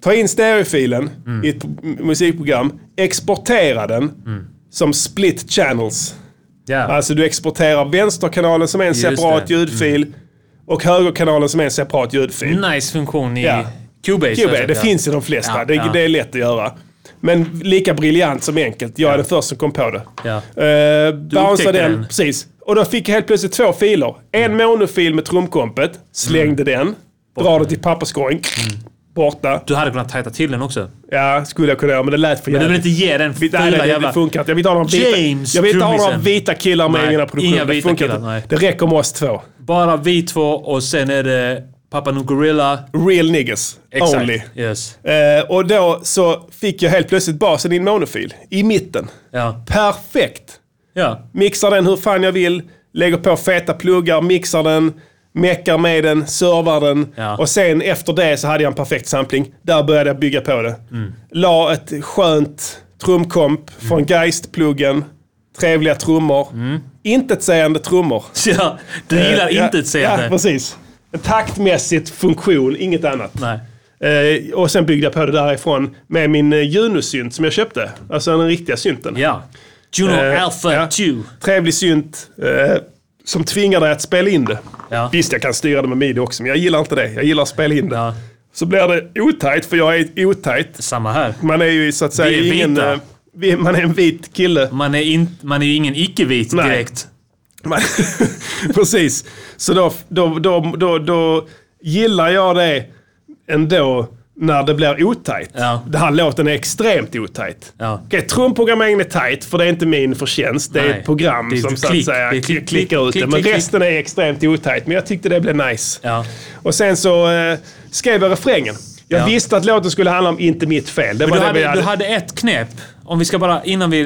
S1: Ta in stereofilen
S5: Mm.
S1: i ett m- musikprogram. Exportera den
S5: Mm.
S1: som split channels.
S5: Ja.
S1: Alltså du exporterar vänsterkanalen som är en separat
S5: det. Mm.
S1: ljudfil och högerkanalen som är en separat ljudfil.
S5: Nice funktion i
S1: Ja.
S5: Cubase. alltså.
S1: Cubase, det
S5: ja.
S1: finns i de flesta.
S5: Ja,
S1: det,
S5: ja.
S1: det är lätt att göra. Men lika briljant som enkelt. Jag är den första som kom på det.
S5: Ja.
S1: Eh, bouncade
S5: upptäckte
S1: den.
S5: den. Mm.
S1: Precis. Och då fick jag helt plötsligt två filer. En monofil med trumkompet, slängde den, drar det till papperskorgen,
S5: Mm.
S1: borta.
S5: Du hade kunnat tajta till den också.
S1: Ja, skulle jag kunna göra, men det lät för
S5: Men du
S1: jävligt.
S5: vill inte ge den
S1: Vi- Nej,
S5: fula
S1: nej, det, det
S5: jävla...
S1: funkar inte. Jag vill inte ha några vita,
S5: James,
S1: jag vill inte ha några
S5: trummisen.
S1: vita killar med i
S5: Nej,
S1: mina produktioner.
S5: inga
S1: det
S5: vita
S1: funkar
S5: killar,
S1: inte.
S5: nej.
S1: Det räcker med oss två.
S5: Bara vi två och sen är det Papa No Gorilla.
S1: Real niggas.
S5: Exakt.
S1: Only.
S5: Yes.
S1: Eh, och då så fick jag helt plötsligt basen i en monofil. I mitten.
S5: Ja.
S1: Perfekt!
S5: Ja.
S1: Mixar den hur fan jag vill, lägger på feta pluggar, mixar den, meckar med den, servar den.
S5: Ja.
S1: Och sen efter det så hade jag en perfekt sampling. Där började jag bygga på det.
S5: Mm.
S1: La ett skönt trumkomp från Geist-pluggen. Trevliga trummor. Intetsägande trummor.
S5: ja. Mm. Du gillar
S1: Eh, ja,
S5: inte ett seende.
S1: Ja, precis. Taktmässigt funktion, inget annat.
S5: Nej.
S1: Eh, och sen byggde jag på det därifrån med min eh, Juno-synt som jag köpte. Alltså den riktiga synten.
S5: Ja. Juno
S1: Eh,
S5: Alpha
S1: ja.
S5: 2.
S1: Trevlig synt eh, som tvingar dig att spela in det.
S5: Ja.
S1: Visst, jag kan styra det med midi också, men jag gillar inte det. Jag gillar att spela in det.
S5: Ja.
S1: Så blir det otajt, för jag är otajt.
S5: Samma här.
S1: Man är ju så att säga
S5: Vi är
S1: ingen...
S5: vita.
S1: eh, vi- Man är en vit kille.
S5: Man är, in, man är ju ingen icke-vit
S1: Nej.
S5: direkt.
S1: Man- Precis. Så då, då, då, då, då gillar jag det ändå när det blir otajt.
S5: Ja.
S1: Den här låten är extremt otajt.
S5: Ja.
S1: Okej, trumprogrammeringen är tajt, för det är inte min förtjänst. Det är
S5: Nej.
S1: ett program
S5: Det är
S1: som
S5: ett
S1: så att
S5: klick.
S1: säga
S5: Det är
S1: klick,
S5: klick,
S1: klickar
S5: klick,
S1: ut det.
S5: klick,
S1: Men
S5: klick,
S1: resten är extremt otajt. Men jag tyckte det blev nice.
S5: Ja.
S1: Och sen så eh, skrev jag refrängen. Jag
S5: Ja.
S1: visste att låten skulle handla om Inte mitt fel. Det var
S5: Men du,
S1: det vi
S5: hade, du hade ett knep. Om vi ska bara, innan vi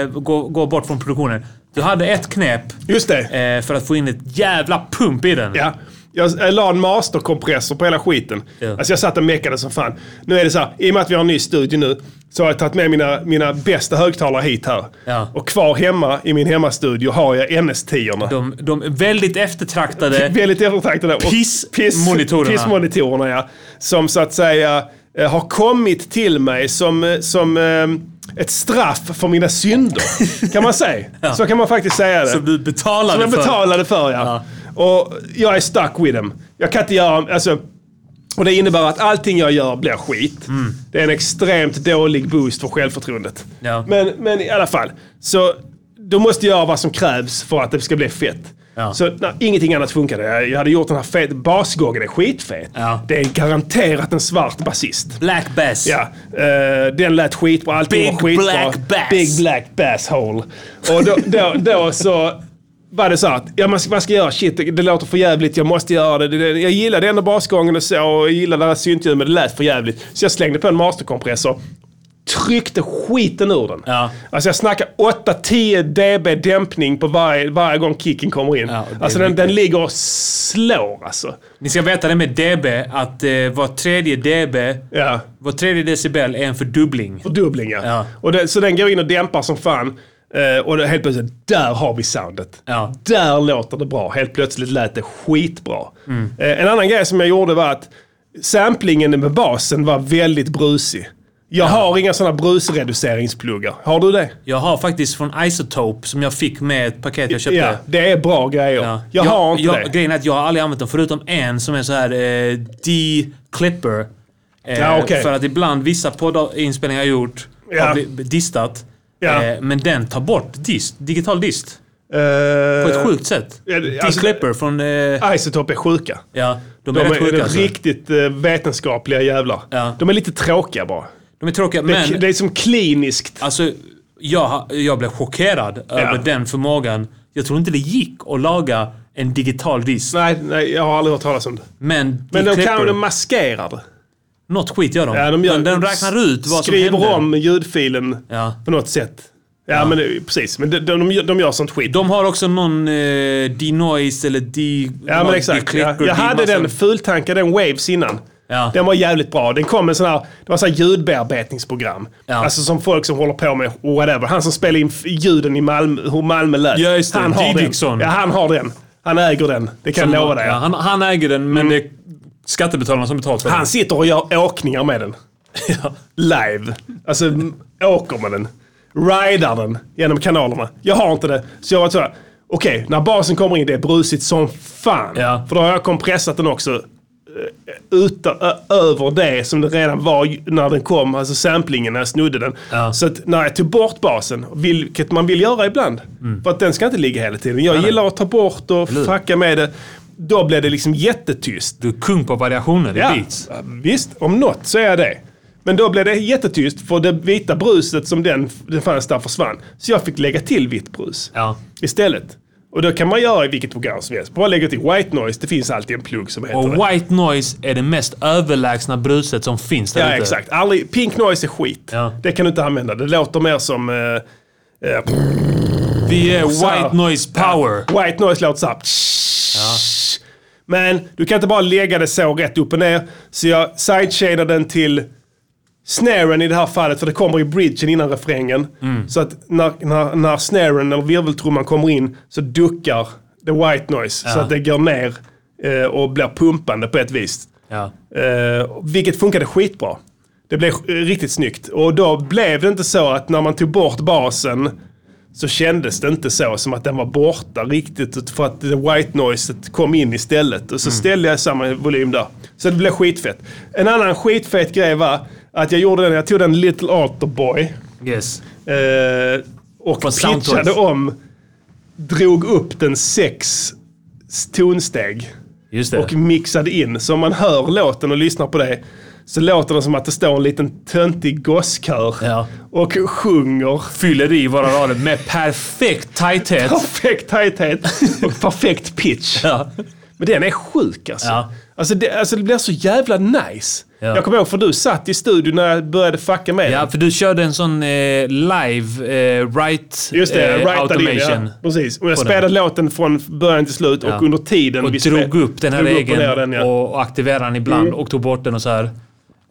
S5: eh, går, går bort från produktionen. Du hade ett knep
S1: Just det.
S5: eh, för att få in ett jävla pump i den.
S1: Ja. Jag jag la en masterkompressor på hela skiten.
S5: Ja.
S1: Alltså jag satt och meckade som fan. Nu är det så här, i och med att vi har en ny studio nu, så har jag tagit med mina, mina bästa högtalare hit här.
S5: Ja.
S1: Och kvar hemma i min hemmastudio har jag NS10-orna.
S5: De, de är väldigt eftertraktade.
S1: Väldigt eftertraktade. och
S5: Piss-
S1: piss-
S5: monitorerna.
S1: Pissmonitorerna, ja. Som så att säga eh, har kommit till mig som, eh, som eh, ett straff för mina synder. Kan man säga. Så kan man faktiskt säga det.
S5: Som du betalade
S1: Som jag
S5: för.
S1: betalade för, ja. Och jag är stuck with them. Jag kan inte göra... Alltså, och det innebär att allting jag gör blir skit.
S5: Mm.
S1: Det är en extremt dålig boost för självförtroendet.
S5: Ja.
S1: Men, men i alla fall. Så då måste jag göra vad som krävs för att det ska bli fett.
S5: Ja.
S1: Så nej, ingenting annat funkade. Jag- Jag hade gjort den här fet... Basgången är skitfet.
S5: Ja.
S1: Det är garanterat en svart basist.
S5: Black Bass.
S1: Ja, eh, den lät skitbra. Allting
S5: Big
S1: var skitbra.
S5: black bass.
S1: Big black bass hole. Och då, då, då så var det så att ja, man, ska, man ska göra shit, det, det låter för jävligt, jag måste göra det. det, det jag gillade ändå basgången och så, och jag gillade det här syntljud, men det lät för jävligt. Så jag slängde på en masterkompressor. Tryckte skiten ur den.
S5: Ja.
S1: Alltså jag snackar 8-10 dB dämpning på varje, varje gång kicken kommer in.
S5: Ja, och det är
S1: alltså den, den ligger och slår alltså.
S5: Ni ska veta det med DB, att eh, var tredje DB,
S1: Ja.
S5: var tredje decibel är en fördubbling.
S1: Fördubblingar.
S5: Ja.
S1: Och det, så den går in och dämpar som fan. Eh, och det, helt plötsligt, där har vi soundet.
S5: Ja.
S1: Där låter det bra. Helt plötsligt lät det skitbra.
S5: Mm.
S1: Eh, en annan grej som jag gjorde var att samplingen med basen var väldigt brusig. Jag har inga sådana brusreduceringspluggar. Har du det?
S5: Jag har faktiskt från Isotope, som jag fick med ett paket jag köpte.
S1: Ja, det är bra grejer.
S5: Ja.
S1: Jag, har inte
S5: jag,
S1: det.
S5: Grejen är att jag har aldrig använt dem, förutom en som är så här eh, D-clipper. Eh,
S1: Ja, okej.
S5: För att ibland vissa poddinspelningar jag gjort
S1: Ja.
S5: har blivit distat.
S1: Ja.
S5: Eh, men den tar bort dist, digital dist. På ett
S1: Eh,
S5: sjukt sätt.
S1: ja, det- alltså-
S5: D-clipper från... Eh,
S1: Isotope är sjuka.
S5: ja, de
S1: De
S5: är, rätt
S1: är,
S5: sjuka alltså.
S1: riktigt eh, vetenskapliga jävlar.
S5: Ja.
S1: De är lite tråkiga bara.
S5: De är tråkiga,
S1: Det
S5: men...
S1: är, det är som kliniskt.
S5: Alltså, jag, ha- jag blev chockerad över den förmågan. Jag tror inte det gick att laga en digital disk.
S1: Nej, nej, jag har aldrig hört talas om det.
S5: Men,
S1: Men de
S5: klipper-
S1: kan de maskerar det.
S5: Något skit gör de.
S1: Ja, de gör-
S5: men den räknar ut vad som
S1: skriver
S5: hände.
S1: om ljudfilen
S5: Ja.
S1: på något sätt. Ja, men det, precis. Men de, de, de, gör, de gör sånt skit.
S5: De har också någon eh, denoise eller de...
S1: ja, men exakt. Ja. Jag hade den fultankade, den Waves innan.
S5: Ja.
S1: Den var jävligt bra. Den kom en sån här, det var så här ljudbearbetningsprogram.
S5: Ja.
S1: Alltså som folk som håller på med whatever. Han som spelar in f- ljuden i Malmö, hur Malmö lät.
S5: Ja, just det.
S1: Han har
S5: Didriksson.
S1: den. Ja, han har den. Han äger den. Det kan jag Mm. lova dig.
S5: Ja, han, han äger den, men det är skattebetalarna som betalar för
S1: Han sitter och gör åkningar med den. Live. Alltså m- åker med den. Rider den genom kanalerna. Jag har inte det. Så jag var såhär, okej, när basen kommer in det är brusigt som fan.
S5: Ja.
S1: För då har jag kompressat den också. eh, Utan, ö- över det som det redan var ju- när den kom, alltså samplingen, när jag snodde den.
S5: Ja.
S1: Så att när jag tog bort basen, vilket man vill göra ibland,
S5: Mm.
S1: för att den ska inte ligga hela tiden. Jag gillar att ta bort och fucka med det. Då blev det liksom jättetyst.
S5: den. Du är kung på variationer i
S1: Ja,
S5: beats.
S1: visst. Om något så är jag det. Men då blev det jättetyst för det vita bruset som den, den fanns där försvann. Så jag fick lägga till vitt brus
S5: Ja.
S1: istället. Och då kan man göra i vilket program som helst. Bara lägga till white noise. Det finns alltid en plugg som heter
S5: Och
S1: det.
S5: white noise är det mest överlägsna bruset som finns där
S1: Ja,
S5: ute.
S1: exakt. Aldrig, pink noise är skit.
S5: Ja.
S1: Det kan du inte använda. Det låter mer som... eh, eh,
S5: Vi är
S1: Så här.
S5: white noise power.
S1: white noise låter såhär... Men du kan inte bara lägga det så rätt upp och ner. Så jag sideshadar den till snaren i det här fallet, för det kommer i bridgen innan refrängen. Så att när, när, när snaren eller virveltrumman kommer in så duckar the white noise. Så att det går ner eh, och blir pumpande på ett vis.
S5: Ja.
S1: Eh, vilket funkade skitbra. Det blev eh, riktigt snyggt. Och då blev det inte så att när man tog bort basen så kändes det inte så som att den var borta riktigt. ut- För att the white noise kom in istället. Och så
S5: Mm.
S1: ställde jag samma volym där. Så det blev skitfett. En annan skitfet grej var att jag gjorde den, jag tog den Little Alterboy.
S5: Yes.
S1: Eh, och
S5: Från Soundtoys.
S1: pitchade om. Drog upp den sex tonsteg
S5: Just det.
S1: och mixad in. Så om man hör låten och lyssnar på det så låter det som att det står en liten töntig gosskör
S5: Ja.
S1: och sjunger.
S5: fyller i våra rader med perfekt tajthet.
S1: Perfekt tajthet och perfekt pitch.
S5: Ja.
S1: Men den är sjuk alltså.
S5: Ja.
S1: Alltså, det, alltså det blir så jävla nice.
S5: Ja.
S1: Jag kommer ihåg för du satt i studion när jag började fucka med
S5: ja,
S1: den.
S5: för du körde en sån eh, live eh, right,
S1: Just det,
S5: eh,
S1: rightade in,
S5: automation.
S1: ja. Precis. Och jag
S5: på den.
S1: spelade låten från början till slut
S5: Ja.
S1: och under tiden
S5: Och
S1: vi
S5: drog
S1: spel-
S5: upp den här
S1: drog upp och
S5: regeln
S1: ner
S5: och,
S1: den, ja.
S5: och aktiverade den ibland och tog bort den och så här.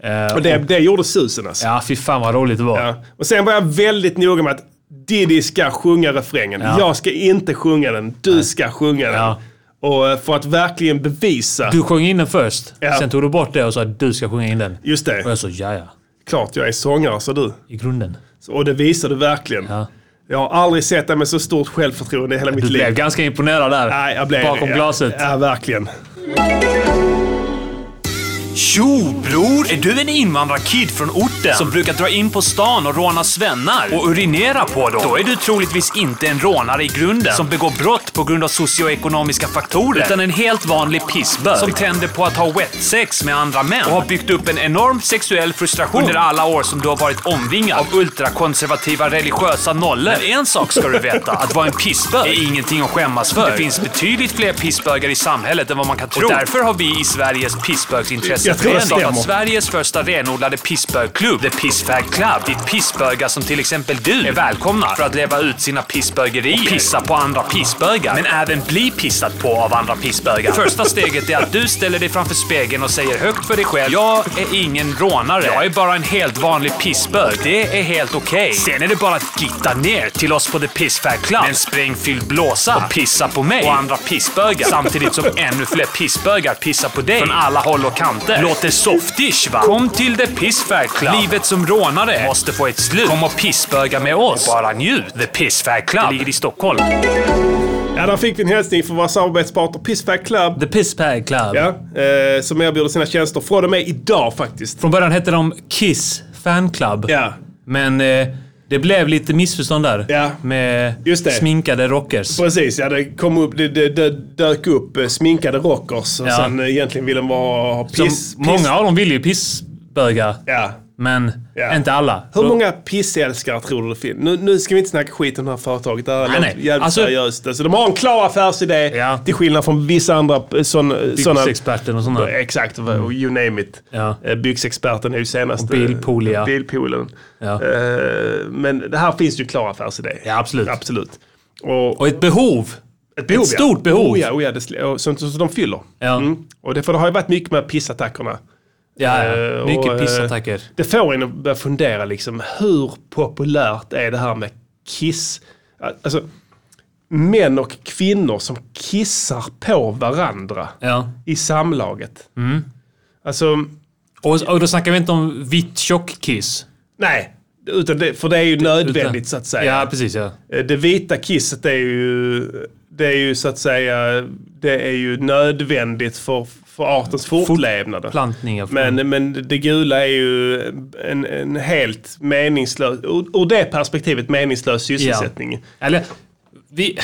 S5: Eh,
S1: Och det, det gjorde susen alltså.
S5: Ja, fy fan vad roligt det var.
S1: Ja. Och sen var jag väldigt noga med att Diddy ska sjunga refrängen.
S5: Ja.
S1: Jag ska inte sjunga den. Du ska sjunga den.
S5: Ja.
S1: Och eh, för att verkligen bevisa.
S5: Du sjöng in den först,
S1: Ja.
S5: sen tog du bort det och sa att du ska sjunga in den.
S1: Just
S5: Och jag
S1: det.
S5: sa ja, ja.
S1: klart jag är sångare, så du.
S5: I grunden.
S1: Så- Och det visar du verkligen.
S5: Ja.
S1: Jag har aldrig sett dig med så stort självförtroende i hela mitt
S5: Du blev
S1: liv.
S5: ganska imponerad där.
S1: Nej, jag blev
S5: Bakom
S1: ja,
S5: glaset.
S1: Ja, verkligen.
S2: Tjo bror! Är du en invandrarkid från orten som brukar dra in på stan och råna svennar och urinera på dem? Då är du troligtvis inte en rånare i grunden som begår brott på grund av socioekonomiska faktorer. Utan en helt vanlig pissbög som tänder på att ha wet sex med andra män och har byggt upp en enorm sexuell frustration under alla år som du har varit omringad av ultrakonservativa religiösa nollor. Men en sak ska du veta. Att vara en pissbög är ingenting att skämmas för. Det finns betydligt fler pissbögar i samhället än vad man kan tro. Och därför har vi i Sveriges
S1: Jag tror det
S2: pissbögsintresseförening
S1: stämmer.
S2: startat Sveriges första renodlade pissbögklubb, The Pissfag Club, dit pissbögar som till exempel du är välkomna för att leva ut sina pissbögerier och pissa på andra pissbögar, men även bli pissad på av andra pissbögar. Första steget är att du ställer dig framför spegeln och säger högt för dig själv “Jag är ingen rånare, jag är bara en helt vanlig pissbög. Det är helt okej.” Sen är det bara att gitta ner till oss på The Pissfag Club med en sprängfylld blåsa och pissa på mig och andra pissbögar samtidigt som ännu fler pissbögar pissar på dig från alla håll och kanter. Låter softish va? Kom till The Pissfag Club. Livet som rånare måste få ett slut. Kom och pissböga med oss. Bara njut. The Pissfag Club. Det ligger i Stockholm.
S1: Ja, där fick vi en hälsning från våra samarbetspartner Pissfack Club.
S5: The Piss Pag Club.
S1: Ja, eh, som erbjuder sina tjänster från och med idag faktiskt.
S5: Från början hette de Kiss Fan Club.
S1: Ja,
S5: Men eh, det blev lite missförstånd där.
S1: Ja.
S5: Med
S1: Just det.
S5: sminkade rockers.
S1: precis. Ja, det, kom upp, det, det, det dök upp eh, sminkade rockers och
S5: Ja.
S1: sen eh, egentligen ville de bara ha
S5: Som
S1: piss. piss.
S5: Många av dem vill ju pissbögar.
S1: Ja.
S5: Men
S1: Ja.
S5: inte alla.
S1: Hur
S5: Då-
S1: många pissälskare tror du det finns? Nu, nu ska vi inte snacka skit om det här företaget. Det här
S5: Nej,
S1: låter
S5: nej.
S1: jävligt
S5: Alltså-
S1: seriöst. Alltså, de har en klar affärsidé
S5: Ja.
S1: till skillnad från vissa andra eh, sån, såna...
S5: Byxexperten och sådana.
S1: Exakt, och you name it.
S5: Ja.
S1: Eh, Byxexperten är ju senaste...
S5: Och bilpoolia.
S1: eh, Bilpoolen.
S5: Ja.
S1: Eh, Men det här finns ju klar affärsidé.
S5: Ja, absolut.
S1: Absolut. Och,
S5: Och ett behov.
S1: ett behov,
S5: ett stort behov.
S1: Oh, ja, oh, ja, det, sl- och sånt som de fyller. Mm.
S5: Ja.
S1: Och det, för det har ju varit mycket med pissattackerna.
S5: Ja,
S1: Eh,
S5: ja.
S1: och,
S5: Mycket
S1: eh,
S5: pissattacker.
S1: Det får en att börja fundera liksom, hur populärt är det här med kiss? Alltså, män och kvinnor som kissar på varandra
S5: Ja. Mm.
S1: i samlaget. Alltså,
S5: Och, och då snackar vi inte om vitt tjockkiss.
S1: nej. Utan det, för det är ju nödvändigt så att säga.
S5: Ja, precis. Ja.
S1: Eh, Det vita kisset är ju, det är ju så att säga, det är ju nödvändigt för, för artens fortlevnad.
S5: Plantningar.
S1: Men, men det gula är ju en, en helt meningslös, ur ur det perspektivet meningslös sysselsättning.
S5: Eller, vi,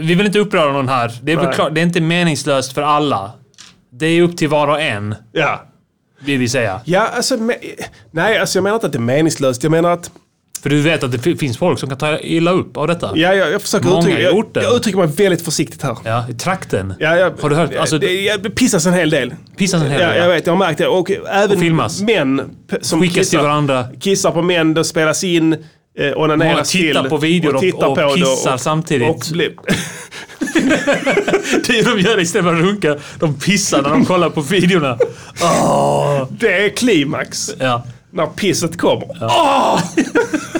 S5: vi vill inte uppröra någon här. Det är, väl
S1: Nej.
S5: klart, det är inte meningslöst för alla. Det är upp till var och en,
S1: Ja.
S5: vill vi säga.
S1: Ja, alltså, me- nej, alltså jag menar inte att det är meningslöst. Jag menar att,
S5: För du vet att det fi- finns folk som kan ta illa upp av detta.
S1: ja, jag, jag försöker
S5: Många
S1: uttrycka,
S5: har
S1: jag,
S5: gjort det.
S1: jag uttrycker mig väldigt försiktigt här.
S5: Ja, i trakten.
S1: Ja, jag,
S5: Har du hört? Alltså,
S1: det, jag, det pissas en hel del.
S5: Pissas en hel
S1: Ja,
S5: del, ja.
S1: jag vet, jag har märkt det. Och eh, även
S5: Och filmas.
S1: män p- som
S5: Skickas till
S1: kissar,
S5: varandra.
S1: kissar på män, det spelas in, eh,
S5: Många
S1: onaneras till.
S5: tittar på videor och-
S1: tittar
S5: och
S1: på det
S5: kissar samtidigt.
S1: Och blir,
S5: det de gör istället för att runka, de pissar när de kollar på videorna.
S1: det är klimax.
S5: Ja.
S1: När pisset kommer. Åh!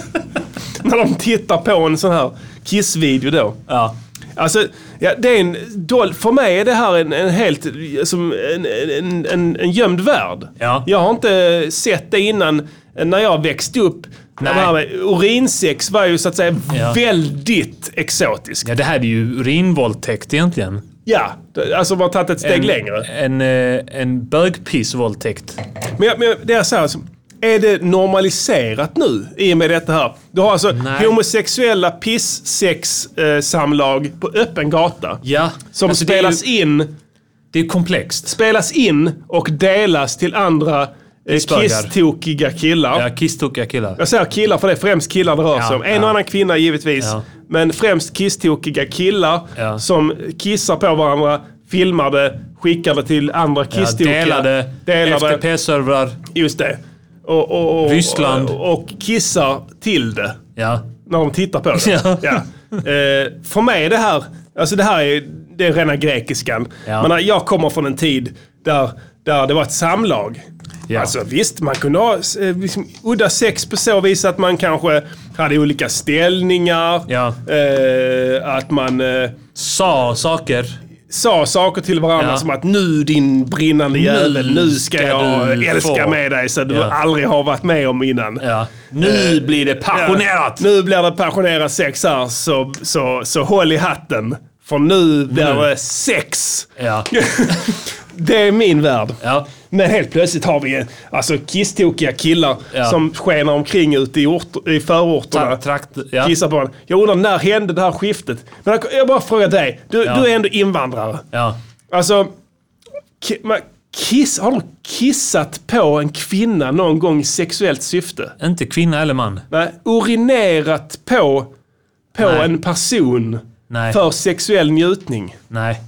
S1: när de tittar på en sån här kissvideo då.
S5: Ja.
S1: Alltså, ja, det är en, dol- för mig är det här en, en helt som en, en, en, en gömd värld.
S5: Ja.
S1: Jag har inte sett det innan eh, när jag växte upp.
S5: Nej.
S1: Det här med urinsex var ju så att säga
S5: Ja.
S1: väldigt exotiskt.
S5: ja, det här är ju urinvåldtäkt egentligen.
S1: Ja, det- alltså man har tagit ett steg längre.
S5: En, en, eh, en bögpissvåldtäkt.
S1: Men, jag- men jag- det är så här, alltså, är det normaliserat nu i och med detta här? Du har alltså
S5: Nej.
S1: homosexuella piss-sex-samlag på öppen gata.
S5: Ja.
S1: Som
S5: Alltså, det är
S1: spelas
S5: ju-
S1: in
S5: Det är komplext.
S1: spelas in och delas till andra eh,
S5: Pissbögar.
S1: kisstokiga killar.
S5: Ja, kisstokiga killar.
S1: Jag säger killar för det är främst killar det rör sig om. En
S5: ja.
S1: och annan kvinna givetvis.
S5: Ja.
S1: Men främst kisstokiga killar
S5: Ja.
S1: som kissar på varandra, filmar det, skickar det till andra
S5: Ja,
S1: kisstokiga.
S5: delade,
S1: delade
S5: FTP-servrar.
S1: Just det. Och, och, och,
S5: Ryssland.
S1: Och, och kissar till det
S5: Ja.
S1: när de tittar på det.
S5: Ja.
S1: Eh, för mig är det här, alltså det här är, det är rena grekiskan.
S5: Ja.
S1: Men jag kommer från en tid där, där det var ett samlag.
S5: Ja.
S1: Alltså visst, man kunde ha eh, liksom, udda sex på så vis att man kanske hade olika ställningar.
S5: Ja.
S1: Eh, att man eh,
S5: Sa saker.
S1: sa saker till varandra
S5: Ja.
S1: som att nu din brinnande jävel, nu ska
S5: ska
S1: jag
S5: du
S1: älska
S5: få."
S1: med dig så du
S5: Ja.
S1: aldrig har varit med om innan. Eh,
S5: Ja. Nu blir det passionerat!
S1: Ja, nu blir det passionerat sex här, så, så, så håll i hatten. För nu blir det sex.
S5: Mm. Ja.
S1: Det är min värld.
S5: Ja.
S1: Men helt plötsligt har vi eh, alltså, kisstokiga killar
S5: Ja.
S1: som skenar omkring ute i, ort, i förorterna.
S5: Tra- trakt, ja.
S1: Kissar på varandra. Jag undrar, när hände det här skiftet? Men jag- jag bara frågar dig. Du,
S5: Ja.
S1: du är ändå invandrare.
S5: ja.
S1: Alltså, ki- man, kiss, har du kissat på en kvinna någon gång i sexuellt syfte?
S5: Inte kvinna eller man.
S1: Nej, urinerat på, på
S5: Nej.
S1: en person
S5: Nej.
S1: för sexuell njutning?
S5: Nej.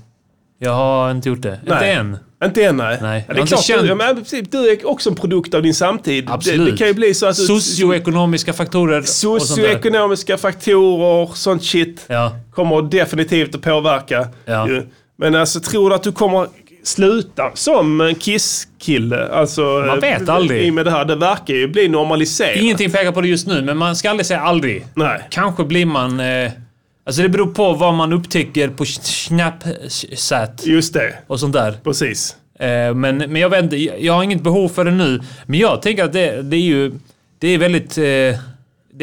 S5: Jag har inte gjort det. Inte
S1: Nej.
S5: än.
S1: Inte än nej.
S5: Nej,
S1: Ja,
S5: jag
S1: det
S5: har
S1: är
S5: inte
S1: klart,
S5: känt-
S1: du, ja, men, precis, du är också en produkt av din samtid.
S5: Absolut.
S1: Det, det kan ju bli så att... du-
S5: Socioekonomiska faktorer och sånt där.
S1: Socioekonomiska faktorer, sånt shit,
S5: Ja.
S1: kommer definitivt att påverka.
S5: Ja.
S1: ju. Men alltså, tror du att du kommer sluta som en kisskille? Alltså,
S5: Man vet
S1: eh,
S5: aldrig.
S1: I med det här, det verkar ju bli normaliserat.
S5: Ingenting pekar på det just nu, men man ska aldrig säga aldrig.
S1: Nej.
S5: Kanske blir man... Eh, alltså det beror på vad man upptäcker på Snapchat
S1: Just det,
S5: och sånt där.
S1: precis.
S5: Eh, men, men jag vet inte, jag har inget behov för det nu. Men jag tänker att det, det är ju... Det är väldigt... Eh, det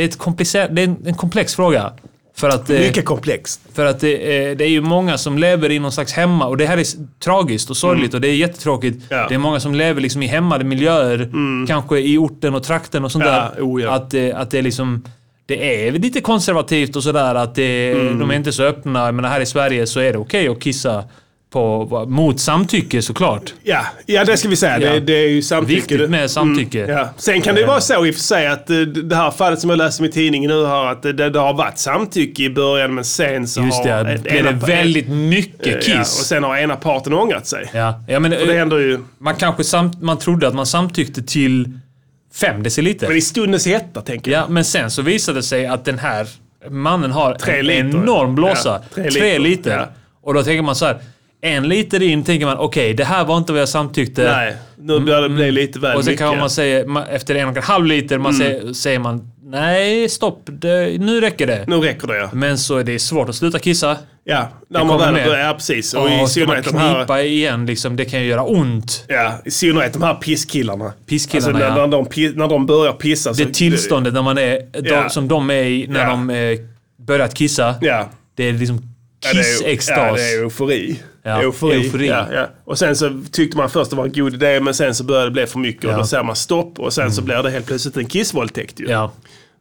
S5: är, ett komplicer- det är en, en komplex fråga. För att, eh,
S1: Mycket komplext.
S5: för att det, eh, det är ju många som lever i någon slags hemma och det här är s- tragiskt och sorgligt och det är jättetråkigt.
S1: Mm. Ja. Mm.
S5: Det är många som lever liksom i hämmade miljöer, kanske i orten och trakten och sånt
S1: Ja,
S5: där.
S1: oh ja.
S5: Att, eh, att det är liksom det är lite konservativt och sådär att det,
S1: Mm.
S5: de är inte så öppna. Men här i Sverige så är det okej att kissa på, mot samtycke såklart.
S1: Ja, ja det ska vi säga. Det,
S5: Ja.
S1: det är ju samtycke.
S5: Viktigt med samtycke.
S1: Ja. Sen kan det ju vara så i och för sig att eh, det här fallet som jag läser i tidningen nu har att eh, det, det har varit samtycke i början men sen så
S5: Just det,
S1: har...
S5: det
S1: en-
S5: blir det
S1: ena-
S5: väldigt mycket
S1: Ja, och
S5: kiss.
S1: sen har ena parten ångrat sig.
S5: Ja, ja, men,
S1: Det
S5: eh,
S1: händer ju.
S5: man kanske sam- man trodde att man samtyckte till fem deciliter.
S1: Men i stundens hetta tänker jag.
S5: Ja, men sen så visade det sig att den här mannen har en
S1: liter.
S5: enorm blåsa.
S1: Ja,
S5: tre
S1: tre
S5: liter.
S1: liter. Ja.
S5: Och då tänker man så här. En liter in tänker man, okej, det här var inte vad jag samtyckte.
S1: Nej, nu börjar det bli lite väl
S5: Mm, och sen
S1: mycket. Mm.
S5: kan man säga, ma- efter en och en halv liter, man säger, säger man nej, stopp, det, nu räcker det.
S1: Nu räcker det ja.
S5: Men så är det svårt att sluta kissa.
S1: Ja, när
S5: Mm. Det
S1: man
S5: kommer
S1: väl...
S5: med.
S1: Ja, precis. Och i
S5: Och ska man
S1: synnerhet de här...
S5: knipa igen, liksom, det kan ju göra ont.
S1: Ja, i synnerhet de här pisskillarna.
S5: Pisskillarna,
S1: alltså, när,
S5: ja.
S1: när, de, pi- när de börjar pissa.
S5: Det tillståndet när man är, de,
S1: Ja.
S5: som de är i när
S1: Ja.
S5: de eh, börjat kissa.
S1: Ja.
S5: Det är liksom
S1: Ja, det är-
S5: kiss-extas.
S1: Ja, det är eufori.
S5: Ja,
S1: Eufori.
S5: eufori.
S1: Ja, ja. Och sen så tyckte man först det var en god idé, men sen så började det bli för mycket
S5: Ja. Mm.
S1: och då säger man stopp och sen så blir det helt plötsligt en kissvåldtäkt ju.
S5: Ja.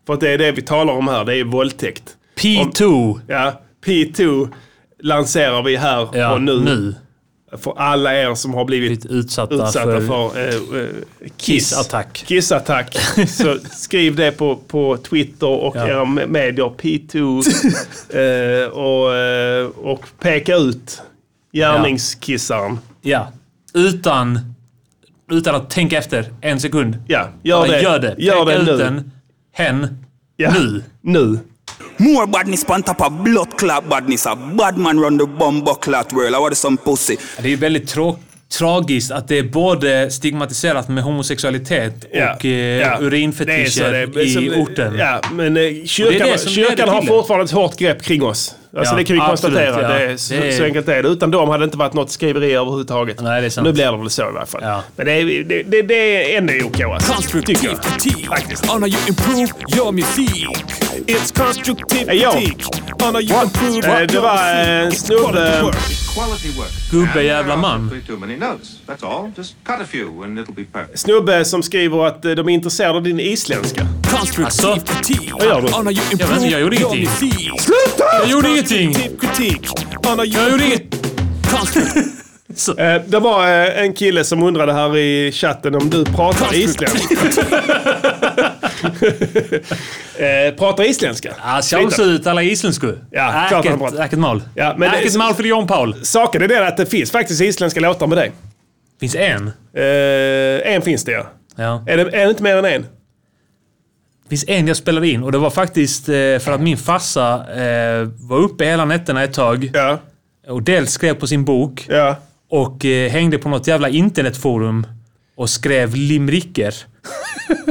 S1: För att det är det vi talar om här, det är våldtäkt.
S5: P2.
S1: Ja, P2 lanserar vi här
S5: Ja,
S1: och
S5: nu.
S1: nu, för alla er som har blivit
S5: Blivit utsatta,
S1: utsatta
S5: för...
S1: för eh, eh, kiss.
S5: Kissattack.
S1: Kissattack. Så skriv det på, på Twitter och
S5: Ja.
S1: era me- medier, P2. eh, och, eh, och peka ut gärningskissaren.
S5: Ja. Utan, utan att tänka efter en sekund.
S1: Ja, gör
S5: Bara
S1: det.
S5: Gör det.
S1: Gör det
S5: Peka ut
S1: nu.
S5: den. Hen.
S1: Ja.
S5: Nu.
S1: Nu.
S13: More badness on top of blood clot badness. A bad man run the bomb clot world. I want some pussy.
S5: Det är ju väldigt trå- tragiskt att det är både stigmatiserat med homosexualitet
S1: Ja.
S5: och eh,
S1: Ja.
S5: urinfetischer
S1: Det är så det är.
S5: i
S1: Som-
S5: orten.
S1: Ja, men eh, kyrkan,
S5: det som leder
S1: kyrkan
S5: till
S1: har
S5: det.
S1: fortfarande ett hårt grepp kring oss. Alltså
S5: Ja,
S1: det kan vi
S5: absolut,
S1: konstatera.
S5: ja.
S1: Det är, så,
S5: Det är-
S1: så enkelt är det. Utan dem hade det inte varit något skriveri överhuvudtaget.
S5: Nej, det är sant.
S1: Nu blir det väl så i alla fall.
S5: Ja.
S1: Men det är, det, det, det är ändå okej alltså. Tycker
S14: Konstruktiv
S1: jag.
S14: kritik. Anna, you improve your music. It's constructive
S1: Hey, yo.
S14: critique. Anna, you improve
S1: Eh, Det var eh, en snubbe...
S15: Quality work.
S5: Gubbe jävla man.
S15: Too many notes. That's all. Just cut a few and it'll be perfect.
S1: Snubbe som skriver att eh, de är intresserade av din isländska.
S14: Konstruktiv
S5: Alltså.
S14: kritik.
S1: Vad gör du?
S14: Anna, you
S5: Jag vet inte,
S14: improve
S5: alltså, jag gjorde
S14: your
S5: ingenting.
S14: music.
S5: Jag gjorde ingenting.
S14: Konstruktiv kritik. Anna, you
S5: Jag gjorde inget.
S1: Eh, Det var eh, en kille som undrade här i chatten om du pratar isländska. Eh, Pratar isländska?
S5: Ah, Sjálfsögd alla isländskor.
S1: Ja, klart han pratar.
S5: Äcket mal.
S1: Ja, men det-
S5: Äcket mal för John Paul.
S1: Saken är den att det finns faktiskt isländska låtar med dig.
S5: Finns en.
S1: Eh, en finns det ja.
S5: Ja.
S1: Är det, är det inte mer än en?
S5: finns en jag spelade in och det var faktiskt eh, för att min farsa eh, var uppe hela nätterna ett tag
S1: Ja.
S5: och dels skrev på sin bok
S1: Ja.
S5: och eh, hängde på något jävla internetforum och skrev limericker.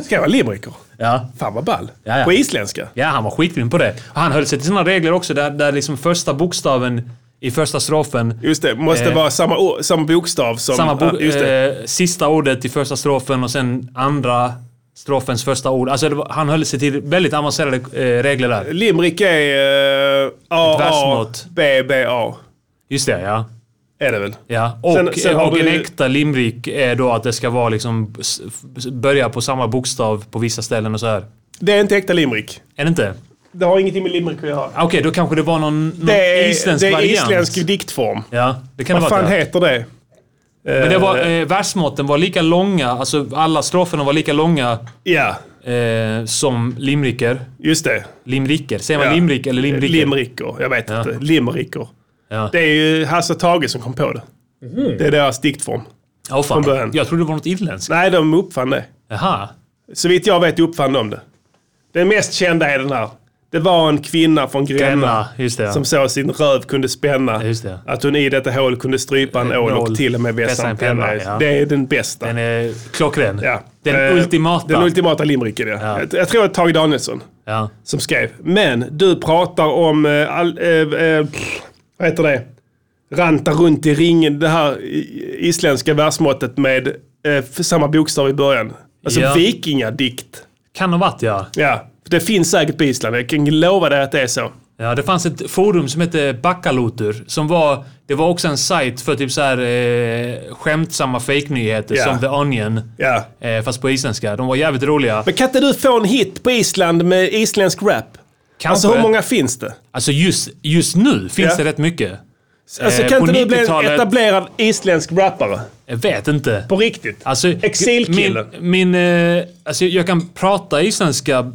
S1: Ska jag vara limericker?
S5: Ja.
S1: Fan vad ball.
S5: Ja, ja.
S1: På isländska?
S5: ja, han var skitgrym på det. Och han höll sig till sina regler också där, där liksom första bokstaven i första strofen.
S1: Just det, måste
S5: Eh,
S1: vara samma, o- samma bokstav som...
S5: Samma bo-
S1: ja, just det.
S5: eh, sista ordet i första strofen och sen andra strofens första ord. Alltså det var, han höll sig till väldigt avancerade eh, regler där.
S1: Limerick är eh, A, A,
S5: versmått.
S1: B, B, A.
S5: Just det, ja.
S1: Är det väl?
S5: ja. Och, eh,
S1: Sen- sen har
S5: och en
S1: du-
S5: äkta limrik är då att det ska vara liksom s- f- börja på samma bokstav på vissa ställen och så här.
S1: Det är inte äkta limerick.
S5: Är det inte? Ah,
S1: Det har ingenting med limerick att göra.
S5: Okej, då kanske det var någon, någon
S1: Det är,
S5: isländsk
S1: det är
S5: variant.
S1: isländsk diktform.
S5: Ja, det kan det
S1: Vad
S5: vara.
S1: fan
S5: ja.
S1: heter det?
S5: Men det var, eh, versmåtten var lika långa, alltså alla stroferna var lika långa
S1: Ja,
S5: eh, som limriker.
S1: just det.
S5: Limriker, säger man
S1: Ja. Eh,
S5: limrik eller limriker?
S1: Limericker. Jag vet
S5: Ja.
S1: inte. Limericker.
S5: Ja.
S1: Det är ju Hasse och Tage som kom på det. Det är deras diktform.
S5: Åh, fan.
S1: från början.
S5: Jag trodde det var något irländskt.
S1: Nej, de uppfann det.
S5: Jaha.
S1: Så vitt jag vet uppfann de det. Den mest kända är den här. Det var en kvinna från Gränna.
S5: Gränna, just det.
S1: Som så sin röv kunde spänna.
S5: Just det.
S1: Att hon i detta hål kunde strypa en ål och
S5: nål.
S1: till och med vässa en penna.
S5: ja.
S1: Det är den bästa.
S5: Den är klockren.
S1: ja.
S5: Den
S1: Eh,
S5: ultimata.
S1: Den ultimata limericken, ja.
S5: Ja.
S1: Jag, jag tror att Tage Danielsson
S5: ja.
S1: som skrev. Men du pratar om... eh, All, eh, eh, pff, vad heter det? Ranta runt i ringen. Det här i- isländska versmåttet med eh, för samma bokstav i början. Alltså
S5: Ja.
S1: vikingadikt.
S5: Kan ha varit, ja.
S1: Ja, det finns säkert på Island. Jag kan lova dig att det är så.
S5: ja. Det fanns ett forum som hette Bakkalotur. Som var, det var också en sajt för typ så här, eh, skämtsamma fejknyheter
S1: Ja.
S5: som The Onion.
S1: Ja.
S5: Eh, fast på isländska. De var jävligt roliga.
S1: Men kan inte du få en hit på Island med isländsk rap?
S5: Kanske.
S1: Alltså hur många finns det?
S5: Alltså just, just nu finns
S1: Ja.
S5: det rätt mycket.
S1: Alltså,
S5: Eh,
S1: kan
S5: på
S1: inte du bli en
S5: 90-talet
S1: etablerad isländsk rappare?
S5: Jag vet inte.
S1: På riktigt?
S5: Alltså,
S1: Exilkille.
S5: Min, min, eh, alltså, jag kan prata isländska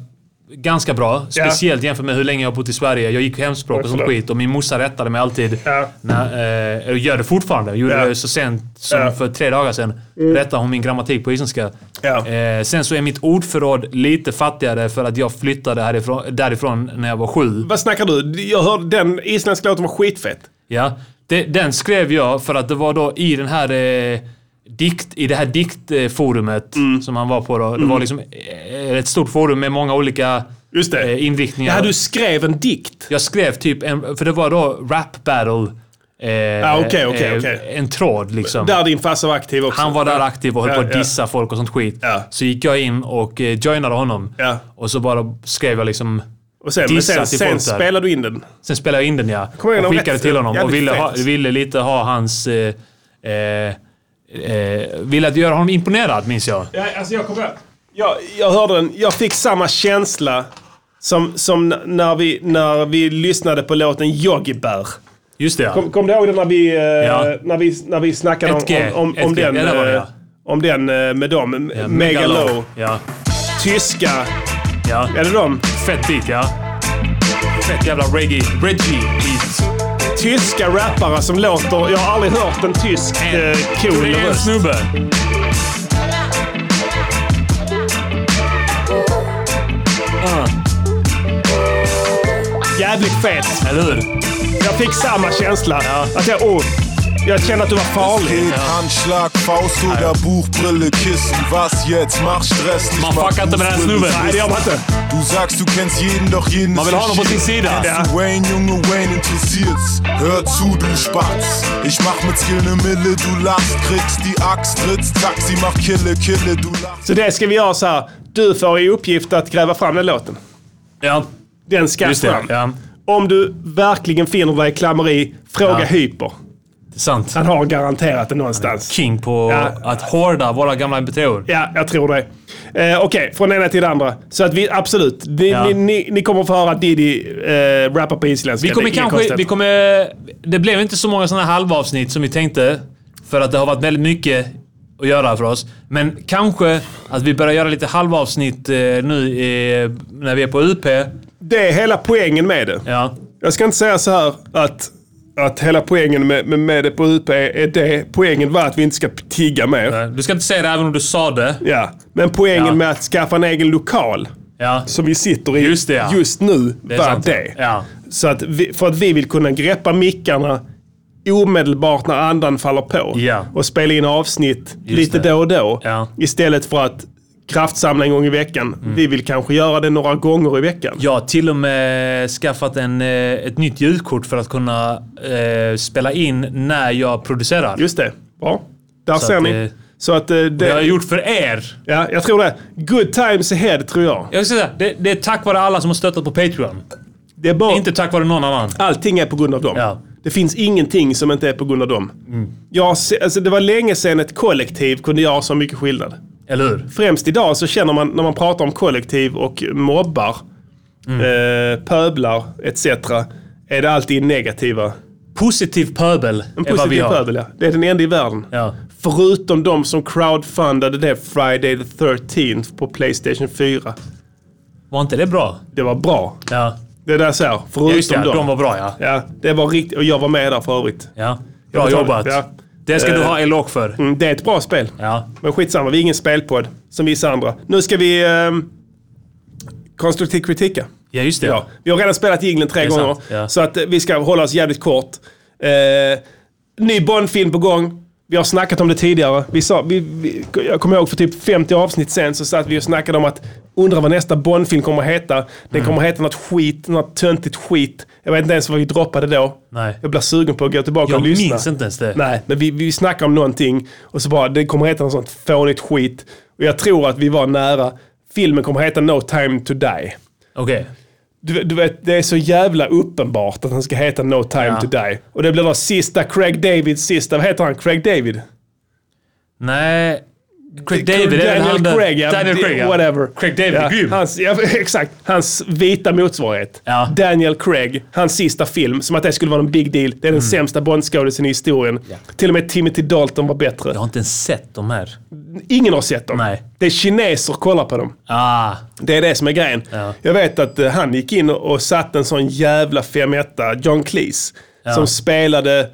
S5: ganska bra.
S1: Ja.
S5: Speciellt jämfört med hur länge jag har bott i Sverige. Jag gick hemspråk och sånt
S1: förlåt.
S5: skit och min morsa rättade mig alltid.
S1: Ja.
S5: När, eh, och gör det fortfarande. Jag gjorde
S1: Ja.
S5: det så sent som
S1: Ja.
S5: för tre dagar sedan. Rättade hon min grammatik på isländska.
S1: Ja.
S5: Eh, sen så är mitt ordförråd lite fattigare för att jag flyttade härifrån, därifrån när jag var sju.
S1: Vad snackar du? Jag hörde den isländska låten var skitfett.
S5: Ja, det, den skrev jag för att det var då i den här eh, dikt, i det här diktforumet
S1: Mm.
S5: som han var på då. Det var liksom eh, ett stort forum med många olika
S1: Just det.
S5: eh, inriktningar.
S1: Ja, du skrev en dikt.
S5: Jag skrev typ en, för det var då rap battle. Eh,
S1: Ah, okej, okej, okej.
S5: En tråd liksom.
S1: Där din farsa var aktiv också.
S5: Han var där aktiv och höll
S1: Ja,
S5: på att
S1: ja.
S5: dissa folk och sånt skit.
S1: Ja.
S5: Så gick jag in och eh, joinade honom.
S1: Ja.
S5: Och så bara skrev jag liksom...
S1: Och sen, men
S5: dissa
S1: sen,
S5: till
S1: sen
S5: folk där.
S1: spelade du in den.
S5: Sen spelade jag in den ja.
S1: Kommer jag
S5: och
S1: ihåg
S5: skickade
S1: rätt?
S5: till honom och
S1: Jävligt
S5: ville,
S1: fett.
S5: ha, ville lite ha hans... Eh, eh, eh, ville att göra honom imponerad minns jag.
S1: Ja, alltså jag kommer jag, jag hörde den. Jag fick samma känsla som, som n- när, vi, när vi lyssnade på låten Joggibär.
S5: Just det ja.
S1: Kom, kom du ihåg det när vi, eh,
S5: Ja.
S1: när vi, när vi snackade om,
S5: 1G,
S1: om, om, om
S5: 1G,
S1: den,
S5: ja, det var det,
S1: eh,
S5: ja.
S1: om den eh, med dem?
S5: Ja,
S1: Mega Low.
S5: Ja.
S1: Tyska.
S5: ja.
S1: Är det dem?
S5: Fett beat ja. Fett jävla reggae. Reggae beat.
S1: Tyska rappare som låter... Jag har aldrig hört en tysk eh, cool
S5: Det är en
S1: röst.
S5: snubbe.
S1: Jävligt fet.
S5: Eller hur?
S1: Jag fick samma känsla. Att jag, oh, jag kände att du var farlig.
S10: Handschlag, Faust oder Buchbrille, Kissen. Was jetzt? Mach Stress nicht.
S5: Man
S10: mach
S5: fuckert aber das
S10: Buchbrille,
S5: nur, wenn-
S10: Kissen.
S1: Nej, det gör man inte.
S10: Du sagst, du kennst jeden, doch jeden
S5: Man will auch noch was
S10: verschieden.
S5: sehen, Alter.
S10: Kennst du Wayne, Junge, Wayne interessiert's. Hör zu, du Spatz. Ich mach mit Skill ne Mille, du lachst, kriegst die Axt, trittst, Taxi, mach Kille, Kille, du lachst.
S1: Så det ska vi göra så här. Du får i uppgift att gräva fram den låten.
S5: Ja.
S1: Den ska
S5: Just det.
S1: fram.
S5: Ja.
S1: Om du verkligen finner dig i klammeri, fråga
S5: Ja.
S1: Hyper.
S5: Sant.
S1: Han har garanterat det någonstans.
S5: King på
S1: Ja.
S5: att hårda våra gamla mp
S1: Ja, jag tror det. Eh, Okej, från ena till det andra. Så att vi, absolut. Ni,
S5: Ja.
S1: ni, ni, ni kommer få höra Diddy eh, rappa på isländska.
S5: Vi kommer
S1: Det är inget
S5: kanske...
S1: konstigt.
S5: Vi kommer, det blev inte så många sådana halvavsnitt som vi tänkte. För att det har varit väldigt mycket att göra för oss. Men kanske att vi börjar göra lite halvavsnitt eh, nu eh, när vi är på UP.
S1: Det är hela poängen med det.
S5: Ja.
S1: Jag ska inte säga så här att, att hela poängen med, med, med det på UP är det. Poängen var att vi inte ska tigga mer.
S5: Du ska inte säga det även om du sa det.
S1: Ja, men poängen
S5: Ja.
S1: med att skaffa en egen lokal
S5: Ja.
S1: som vi sitter i
S5: Just det, ja.
S1: just nu
S5: är
S1: var
S5: sant.
S1: det.
S5: Ja.
S1: Så att vi, för att vi vill kunna greppa mickarna omedelbart när andan faller på
S5: Ja.
S1: och spela in avsnitt
S5: Just
S1: lite
S5: det.
S1: då och då.
S5: Ja. Mm.
S1: Istället för att kraftsamla en gång i veckan. Vi vill kanske göra det några gånger i veckan.
S5: Jag har till och med skaffat en, eh, ett nytt ljudkort för att kunna eh, spela in när jag producerar.
S1: Just det. Bra. Där
S5: Så
S1: ser
S5: att,
S1: ni.
S5: eh,
S1: Så att eh,
S5: Det har
S1: det...
S5: jag gjort för er.
S1: Ja, jag tror det. Good times ahead, tror jag.
S5: Jag ska säga, det, det är tack vare alla som har stöttat på Patreon.
S1: Det är bara...
S5: Inte tack vare någon annan.
S1: Allting är på grund av dem.
S5: Ja. Mm.
S1: Det finns ingenting som inte är på grund av dem. Jag, se- alltså, det var länge sedan ett kollektiv kunde göra så mycket skillnad.
S5: Eller hur?
S1: Främst idag så känner man när man pratar om kollektiv och mobbar,
S5: Mm.
S1: eh, pöblar etc. Är det alltid negativa.
S5: Positiv pöbel
S1: En
S5: är vad vi
S1: positiv
S5: har.
S1: pöbel ja. Det är den enda i världen.
S5: Ja.
S1: Förutom de som crowdfundade det Friday the 13th på Playstation 4.
S5: Var inte det bra?
S1: Det var bra.
S5: Ja.
S1: Det där så här, förutom
S5: Just det,
S1: dem.
S5: de var bra ja.
S1: Ja, det var riktigt, och jag var med där för övrigt.
S5: ja.
S1: Jag
S5: Bra
S1: betalade,
S5: jobbat.
S1: ja.
S5: Det ska du
S1: Eh,
S5: ha eloge för.
S1: Mm, det är ett bra spel.
S5: Ja.
S1: Men skitsamma, vi är ingen spelpodd som vissa andra. Nu ska vi ehm, konstruktiv kritika.
S5: Ja, just det.
S1: Ja. Vi har redan spelat jingeln tre
S5: är
S1: gånger,
S5: sant, ja.
S1: så att eh, vi ska hålla oss jävligt kort. Eh, ny Bond-film på gång. Vi har snackat om det tidigare. Vi sa, vi, vi, jag kommer ihåg för typ 50 avsnitt sen så satt vi och snackade om att undra vad nästa Bond-film kommer att heta. Den
S5: Mm.
S1: kommer att heta något skit, något töntigt skit. Jag vet inte ens vad vi droppade då.
S5: Nej.
S1: Jag blir sugen på att gå tillbaka
S5: Jag
S1: och lyssna.
S5: minns inte ens det.
S1: Nej, men vi, vi snackade om någonting och så bara, det kommer heta något sånt fånigt skit. Och jag tror att vi var nära. Filmen kommer heta No time to die.
S5: Okej.
S1: Du, du vet, det är så jävla uppenbart att den ska heta No time
S5: Ja.
S1: to die. Och det blir då sista Craig David, sista, vad heter han? Craig David?
S5: Nej. Craig David är väl han
S1: Daniel
S5: där-
S1: Craig, ja.
S5: Daniel Craig, ja.
S1: Whatever.
S5: Craig David
S1: ja.
S5: är grym.
S1: Hans, ja, exakt. Hans vita motsvarighet.
S5: Ja.
S1: Daniel Craig, hans sista film, som att det skulle vara en big deal.
S5: Mm.
S1: Det är den sämsta Bond-skådisen i historien. Till och med Timothy Dalton var bättre.
S5: Jag har inte ens sett de här.
S1: Ingen har sett dem.
S5: Nej.
S1: Det är kineser som kollar på dem.
S5: Ah.
S1: Det är det som är grejen.
S5: Ja.
S1: Jag vet att eh, han gick in och och satte en sån jävla femetta, John Cleese, som spelade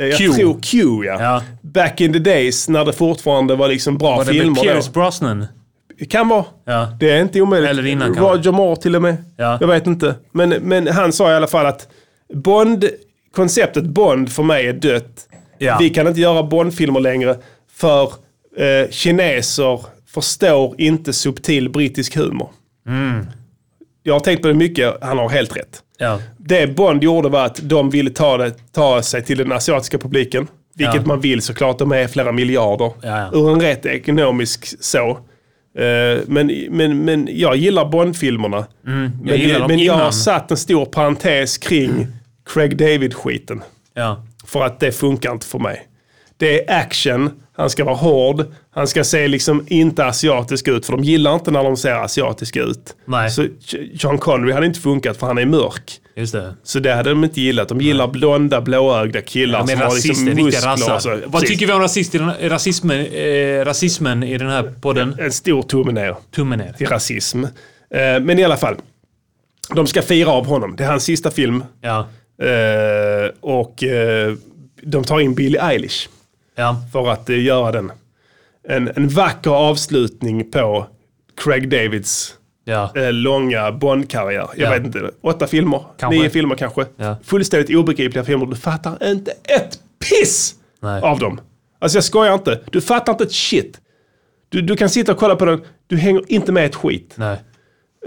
S1: eh, jag
S5: Q.
S1: tror Q, ja.
S5: Ja.
S1: Back in the days när det fortfarande var liksom bra
S5: Var det med
S1: filmer.
S5: Pierce Brosnan?
S1: Det kan vara.
S5: Ja.
S1: Det är inte omöjligt.
S5: Eller innan kanske.
S1: Roger Moore till och med.
S5: Ja.
S1: Jag vet inte. Men, men han sa i alla fall att Bond, konceptet Bond för mig är dött.
S5: Ja.
S1: Vi kan inte göra Bond-filmer längre för eh, kineser förstår inte subtil brittisk humor.
S5: Mm.
S1: Jag har tänkt på det mycket, han har helt rätt.
S5: Ja.
S1: Det Bond gjorde var att de ville ta, det, ta sig till den asiatiska publiken. Vilket
S5: Ja.
S1: man vill såklart, de är flera miljarder.
S5: Ja, ja.
S1: Ur en rätt ekonomisk så. Eh, Men, men, men jag gillar Bond-filmerna.
S5: Mm, jag
S1: men
S5: gillar dem
S1: men jag har
S5: innan.
S1: satt en stor parentes kring Craig David-skiten.
S5: Ja.
S1: För att det funkar inte för mig. Det är action, han ska vara hård, han ska se liksom inte asiatisk ut. För de gillar inte när de ser asiatiska ut.
S5: Nej.
S1: Så John Connery hade inte funkat för han är mörk.
S5: Just det.
S1: Så det hade de inte gillat. De gillar blonda, blåögda killar
S5: Men
S1: som har liksom
S5: rasister, riktiga
S1: muskler. och
S5: rassar.
S1: så.
S5: Vad
S1: Precis.
S5: tycker vi om rasist i den, rasismen, eh, rasismen i den här podden?
S1: En stor tumme ner
S5: Tummen ner.
S1: till rasism. Eh, Men i alla fall. De ska fira av honom. Det är hans sista film.
S5: Ja.
S1: Eh, Och eh, de tar in Billie Eilish
S5: Ja.
S1: för att eh, göra den. En, en vacker avslutning på Craig Davids
S5: Ja.
S1: eh, långa Bond-karriär. Jag
S5: Ja.
S1: vet inte, åtta filmer,
S5: Kanske.
S1: nio filmer kanske.
S5: Ja.
S1: Fullständigt obegripliga filmer. Du fattar inte ett piss
S5: Nej.
S1: av dem. Alltså jag skojar inte. Du fattar inte ett shit. Du, du kan sitta och kolla på den, du hänger inte med ett skit.
S5: Nej.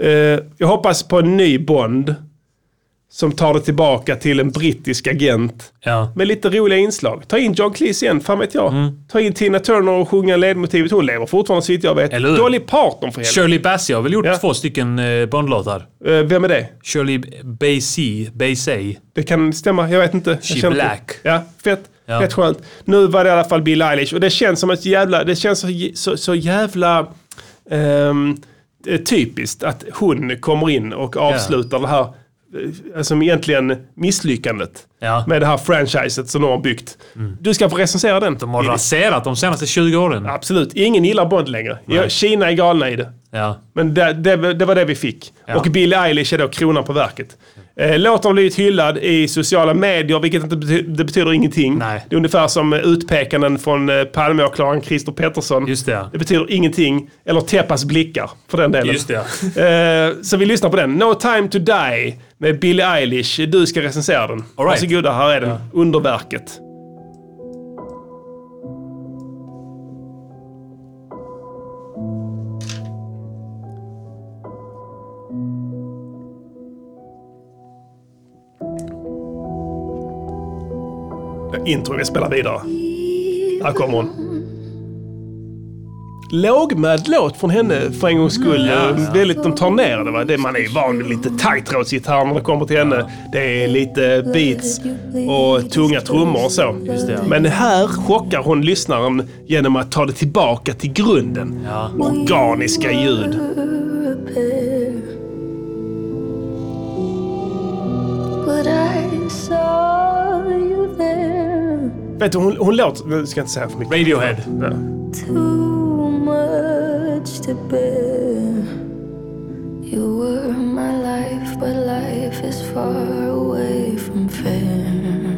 S1: Eh, jag hoppas på en ny Bond som tar det tillbaka till en brittisk agent.
S5: Ja. Mm.
S1: Med lite roliga inslag. Ta in John Cleese igen, fan vet jag. Ta in Tina Turner och sjunga ledmotivet. Hon lever fortfarande så vitt jag vet.
S5: Eller hur?
S1: Dolly Parton för helvete.
S5: Shirley Bassey har väl gjort
S1: Ja.
S5: två stycken eh, Bondlåtar?
S1: Eh, vem är det?
S5: Shirley Bassey, Bassey.
S1: Det kan stämma, jag vet inte.
S5: She
S1: jag känner inte-
S5: black.
S1: Ja, fett.
S5: Ja.
S1: Fett skönt. Nu var det i alla fall Bill Eilish och det känns som ett jävla, det känns så, j- så, så jävla ehm, eh, typiskt att hon kommer in och avslutar det här eh, som egentligen misslyckandet
S5: Ja. Mm.
S1: med det här franchiset som de har byggt. Du ska få recensera den.
S5: De har raserat de senaste 20 åren. Ja.
S1: Absolut, ingen gillar Bond längre. Ja, Kina är galna i det. Men det, det, det var det vi fick.
S5: Ja.
S1: Och Billie Eilish är då kronan på verket. Eh, låten har blivit hyllad i sociala medier, vilket inte bety det betyder ingenting.
S5: Nej.
S1: Det är ungefär som eh, utpekanden från eh, Palmeåklagaren Christer Pettersson.
S5: Just det.
S1: Det betyder ingenting. Eller Teppas blickar, för den delen.
S5: Just
S1: det. eh, så vi lyssnar på den. No time to die med Billie Eilish. Du ska recensera den.
S5: All right.
S1: Varsågoda, här är den. Underverket. intro. Vi spelar vidare. Här kommer hon. Lågmäld låt från henne för en gångs skull. Eh, Väldigt, de tar ner det. Va? det man är ju van vid lite taggtrådsgitarr när det kommer till henne. Det är lite beats och tunga trummor och så. Men här chockar hon lyssnaren genom att ta det tillbaka till grunden. Organiska ljud.
S11: But I saw you there
S1: Vet du, hon, hon låter... Nu ska jag inte säga för mycket. Radiohead. Ja.
S11: too much to bear. You were my life, but life is far away from fair.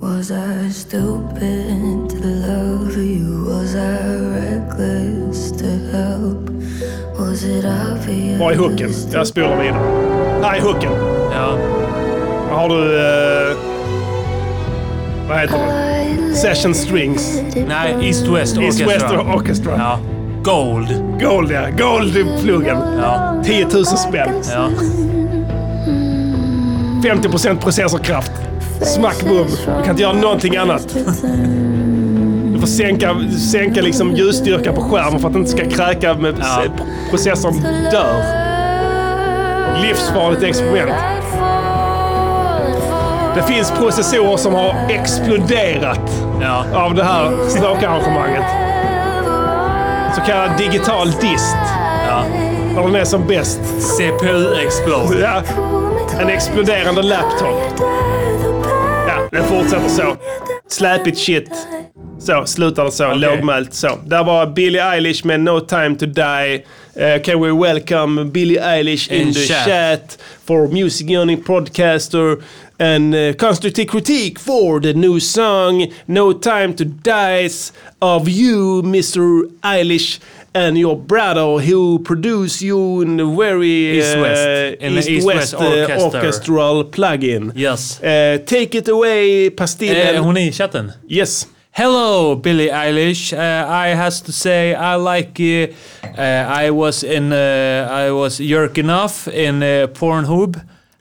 S11: Was I stupid to love you? Was I reckless to help? Was it obvious?
S1: Var är hooken? Jag spolar vidare. Här är hooken. Ja. Har du... eh, vad heter den? Session Strings.
S5: Nej, East West
S1: East
S5: Orchestra.
S1: West Orchestra.
S5: Ja. Gold.
S1: Gold, ja. Gold i pluggen.
S5: Ja.
S1: 10 000 spänn. 50% processorkraft. Smack bum. Du kan inte göra någonting annat. Du får sänka, sänka liksom ljusstyrkan på skärmen för att den inte ska kräka med processorn dör. Livsfarligt experiment. Det finns processorer som har exploderat av det här stråkarrangemanget. Så kallad digital dist. När den är som bäst. CPU-explosion. Ja. En exploderande laptop. Ja, det fortsätter så. Släpigt shit. Så, slutar det så. Lågmält så. Där var Billie Eilish med No Time To Die. Eh, can we welcome Billie Eilish in,
S5: In
S1: the
S5: chat.
S1: chat. for Music Yearning Podcaster and uh, constructive critique for the new song No Time To Dies of you, Mr. Eilish. And your brother who produce you in a very eh,
S5: East West. In the
S1: East,
S5: East
S1: West,
S5: West
S1: uh,
S5: Orchestra.
S1: orchestral plugin.
S5: Yes.
S1: Uh, take it away, Pastillen.
S5: Eh, hon är i chatten.
S1: Yes.
S5: Hello, Billie Eilish. Uh, I has to say I like. Uh, uh, I was in. Uh, I was jerking off in uh, Pornhub,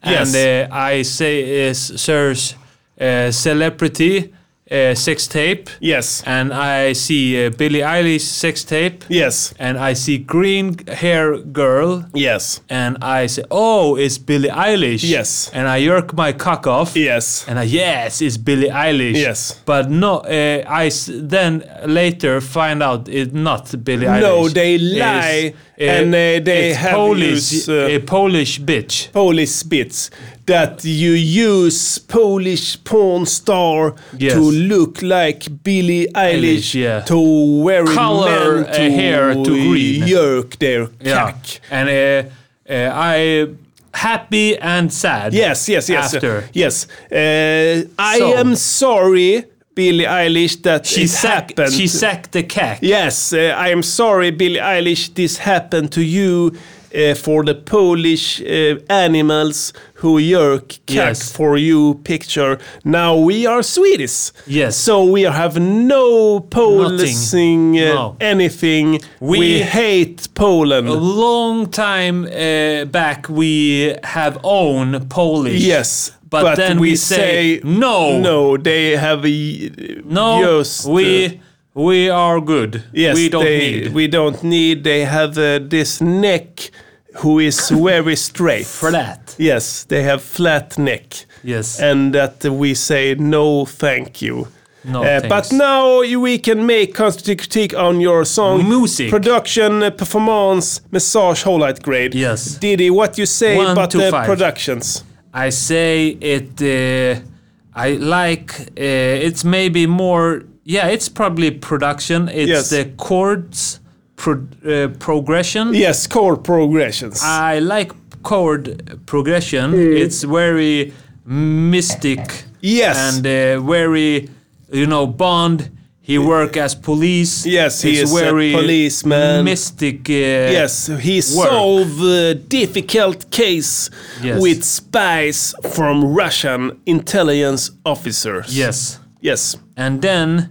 S1: Yes.
S5: and uh, I say is search uh, celebrity uh, sex tape.
S1: Yes.
S5: And I see uh, Billie Eilish sex tape.
S1: Yes.
S5: And I see green hair girl.
S1: Yes.
S5: And I say, oh, it's Billie Eilish. Yes. And I jerk my cock off.
S1: Yes.
S5: And I yes, it's Billie Eilish.
S1: Yes.
S5: But no, uh, I s- then later find out it's not Billie Eilish.
S1: No, they lie
S5: It's, uh,
S1: and uh, they
S5: it's
S1: have
S5: Polish.
S1: use, uh,
S5: a Polish bitch.
S1: Polish bits that you use Polish porn star
S5: Yes.
S1: to look like Billie Eilish,
S5: Eilish, yeah.
S1: to wear
S5: Color,
S1: men
S5: uh,
S1: to
S5: hair to green.
S1: jerk their
S5: Yeah.
S1: cock.
S5: And uh, uh, I happy and sad.
S1: Yes, yes, yes.
S5: After.
S1: Yes. Uh, I
S5: So-
S1: am sorry, Billie Eilish, that
S5: She
S1: it
S5: sacked-
S1: happened.
S5: she sacked the cack.
S1: Yes, uh, I am sorry, Billie Eilish, this happened to you uh, for the Polish uh, animals who jerk cack
S5: Yes.
S1: for you picture. Now we are Swedish.
S5: Yes.
S1: So we have no policing uh,
S5: No.
S1: anything. We, hate Poland.
S5: A long time uh, back, we have own Polish.
S1: Yes,
S5: but, then we, say, no,
S1: No, they have a,
S5: no.
S1: used,
S5: we
S1: uh,
S5: we are good.
S1: Yes,
S5: we don't
S1: they,
S5: need.
S1: We don't need. They have uh, this neck who is very straight.
S5: Flat.
S1: Yes, they have flat neck.
S5: Yes.
S1: And that we say no, thank you. Uh,
S5: No
S1: but
S5: thanks.
S1: now you- we can make constructive critique on your song,
S5: Music.
S1: production, uh, performance, massage, whole light grade.
S5: Yes.
S1: Diddy, what you say
S5: One,
S1: about
S5: two,
S1: the
S5: five.
S1: productions?
S5: I say it. Uh, I like. Uh, it's maybe more. Yeah, it's probably production. It's
S1: Yes.
S5: the chords pro- uh, progression.
S1: Yes, chord progressions.
S5: I like chord progression. It's very mystic.
S1: Mm. Yes.
S5: And uh, very, you know, Bond. He work as police.
S1: Yes, he
S5: It's
S1: is a
S5: very
S1: policeman.
S5: Mystic. Uh,
S1: Yes, he
S5: work.
S1: solved a difficult case
S5: Yes.
S1: with spies from Russian intelligence officers.
S5: Yes.
S1: Yes.
S5: And then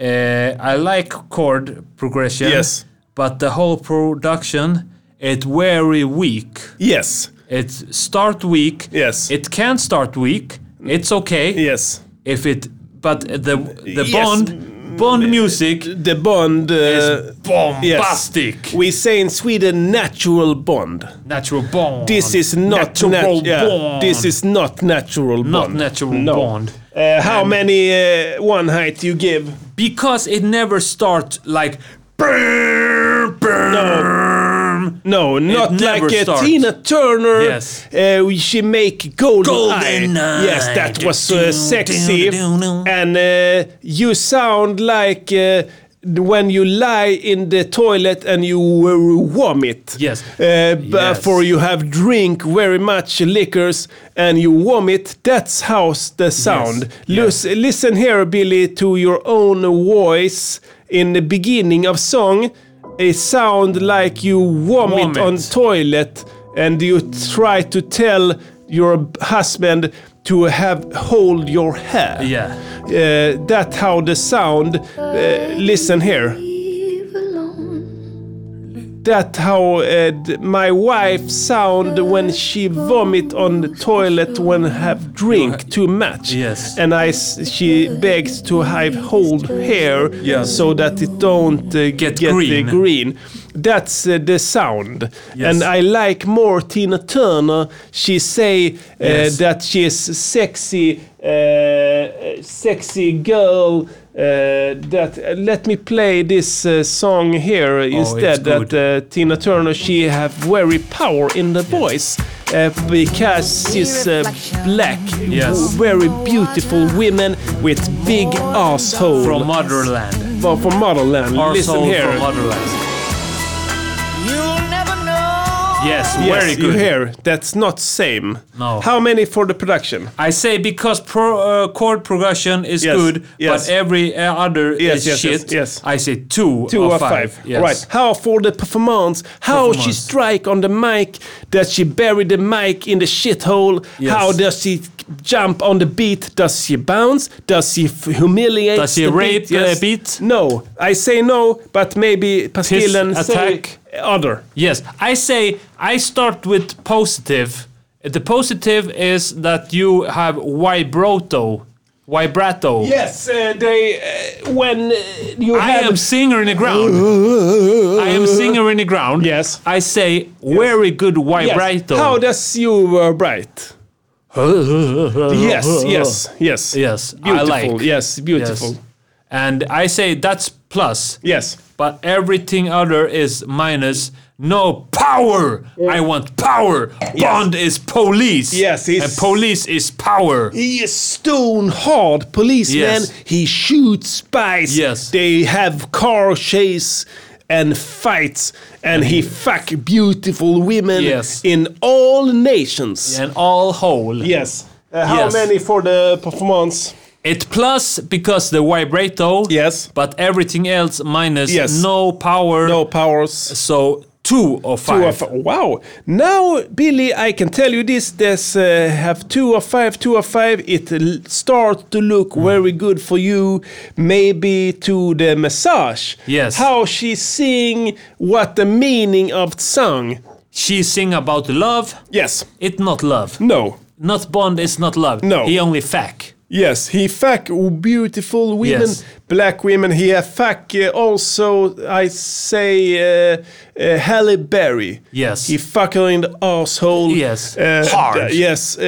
S5: uh, I like chord progression.
S1: Yes.
S5: But the whole production, it's very weak.
S1: Yes.
S5: It's start weak.
S1: Yes.
S5: It can start weak. It's okay.
S1: Yes.
S5: If it, but the the Bond Bond music.
S1: The Bond Mm, uh, is
S5: bombastic.
S1: We say in Sweden natural Bond.
S5: Natural Bond.
S1: This is not
S5: Natural
S1: nat- yeah,
S5: Bond.
S1: This is not natural Bond.
S5: Not natural
S1: No.
S5: Bond.
S1: Uh, how many uh, one height you give?
S5: Because it never starts like.
S1: No, not
S5: never
S1: like uh,
S5: starts.
S1: Tina Turner.
S5: Yes.
S1: Uh, she make Golden,
S5: Golden
S1: Eye.
S5: Eye.
S1: Yes, that was uh,
S5: Dun,
S1: sexy.
S5: dun,
S1: And uh, you sound like uh, when you lie in the toilet and you uh, vomit.
S5: Yes.
S1: Uh, b-
S5: Yes.
S1: For you have drink very much liquors and you vomit. That's how s- the sound. Lus- Listen here, Billy, to your own voice in the beginning of song. It sound like you vomit,
S5: Vomit.
S1: on toilet and you try to tell your b- husband to have hold your hair.
S5: Yeah.
S1: Uh, that how the sound. Uh, listen here. That how uh, d- my wife sound when she vomit on the toilet when have drink too much. Yes. And I s- she begs to have hold hair
S5: Yeah.
S1: so that it don't uh, get, the
S5: green.
S1: green. That's uh, the sound.
S5: Yes.
S1: And I like more Tina Turner. She say uh,
S5: Yes.
S1: that she is sexy, uh, sexy girl. Uh, that uh, let me play this uh, song here
S5: Oh,
S1: instead. That uh, Tina Turner she have very power in the voice uh, because she's uh, black,
S5: Yes.
S1: very beautiful women with big asshole
S5: From motherland.
S1: Well, from motherland. Listen
S5: Arsehole
S1: here.
S5: from motherland. Yes, very
S1: You
S5: good.
S1: hear? That's not same.
S5: No.
S1: How many for the production?
S5: I say because pro, uh, chord progression is
S1: Yes,
S5: good,
S1: yes.
S5: but every uh, other
S1: Yes,
S5: is
S1: yes, yes,
S5: shit.
S1: yes.
S5: I say two,
S1: Two
S5: or
S1: or five.
S5: five. Yes.
S1: Right. How for the performance? How she
S5: Performance.
S1: strike on the mic? Does she bury the mic in the shithole?
S5: Yes.
S1: How does she jump on the beat? Does she bounce? Does she f- humiliate?
S5: Does she
S1: the beat?
S5: rape the
S1: Yes.
S5: beat?
S1: No. I say no, but maybe Pastillen say
S5: attack.
S1: other.
S5: Yes, I say I start with positive. The positive is that you have vibrato, vibrato.
S1: Yes, uh, they uh, when uh, you
S5: I
S1: have
S5: am singer in the ground. I am singer in the ground.
S1: Yes.
S5: I say very good vibrato.
S1: Yes. How does you vibrate? yes, yes, yes.
S5: Yes, I
S1: Beautiful.
S5: like.
S1: Yes, beautiful.
S5: Yes. And I say that's plus.
S1: Yes.
S5: But everything other is minus. No power. I want power. Bond is police.
S1: Yes, he's-
S5: and police is power.
S1: He is stone hard policeman.
S5: Yes.
S1: He shoots spies.
S5: Yes.
S1: They have car chase and fights, and he fuck beautiful women
S5: Yes.
S1: in all nations.
S5: And all whole.
S1: Yes. Uh, how
S5: Yes.
S1: many for the performance?
S5: It plus because the vibrato.
S1: Yes.
S5: But everything else minus.
S1: Yes.
S5: No power.
S1: No powers.
S5: So two
S1: Two
S5: or five.
S1: of wow! Now, Billy, I can tell you this: there's uh, have two of five, two of five. It l- start to look
S5: Hmm.
S1: very good for you. Maybe to the massage.
S5: Yes.
S1: How she sing? What the meaning of song?
S5: She sing about love.
S1: Yes.
S5: It not love.
S1: No.
S5: Not Bond is not love.
S1: No.
S5: He only fuck.
S1: Yes, he fuck beautiful women,
S5: Yes.
S1: black women. He have fuck uh, also. I say uh, uh, Halle Berry.
S5: Yes.
S1: he fuck her in the asshole.
S5: Yes.
S1: uh,
S5: Hard.
S1: th- yes, uh,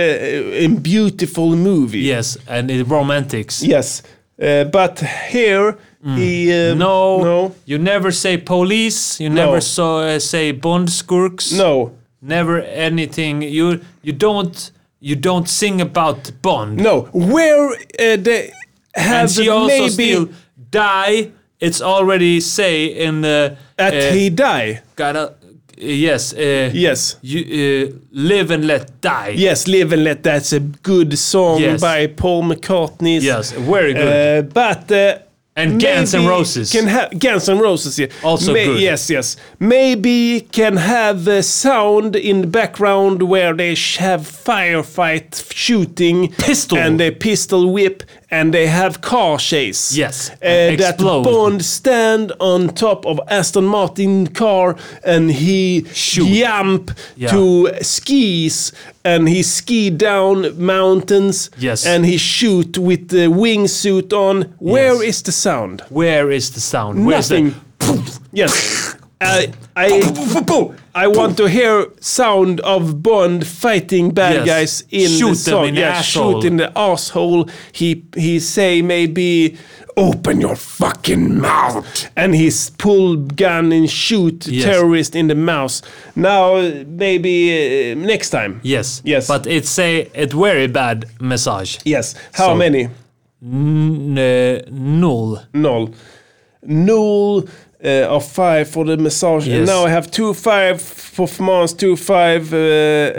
S1: in beautiful movie.
S5: Yes, and it romantics.
S1: Yes, uh, but here he uh,
S5: Mm. No,
S1: no,
S5: You never say police. You
S1: No.
S5: never so, uh, say Bond skurks.
S1: no,
S5: Never anything. You you don't you don't sing about Bond.
S1: no. Where uh, they
S5: and
S1: have
S5: she also
S1: maybe
S5: still die. It's already say in the
S1: at
S5: uh,
S1: he die?
S5: gotta yes uh,
S1: Yes.
S5: you uh, live and let die.
S1: Yes, Live and Let, that's a good song
S5: Yes.
S1: by Paul McCartney.
S5: Yes, very good.
S1: Uh, but uh,
S5: And Guns N'
S1: Maybe
S5: Roses.
S1: Can ha- Guns N' Roses, yeah.
S5: Also
S1: May-
S5: good.
S1: Yes, yes. Maybe can have a sound in the background where they sh- have firefight, shooting, pistol, and a pistol whip, and they have car chase. Yes, that
S5: Explode.
S1: Bond stand on top of Aston Martin car and he jump
S5: Yeah.
S1: to skis and he ski down mountains.
S5: Yes.
S1: and he shoot with the wingsuit on. Where is the sound?
S5: Where is the sound? Where is the-
S1: Nothing. yes. I, I, I want to hear sound of Bond fighting bad
S5: Yes.
S1: guys in
S5: Shoot
S1: the
S5: them
S1: song.
S5: in the
S1: yeah,
S5: asshole.
S1: shoot in the asshole. He he say maybe open your fucking mouth, and he s- pull gun and shoot
S5: Yes.
S1: terrorist in the mouth. Now uh, maybe uh, next time.
S5: Yes. Yes. But it's a, a very bad massage.
S1: Yes. How many?
S5: N- uh, null.
S1: Null. Null uh, of five for the massage. And
S5: Yes.
S1: now I have two five for performance, two five uh,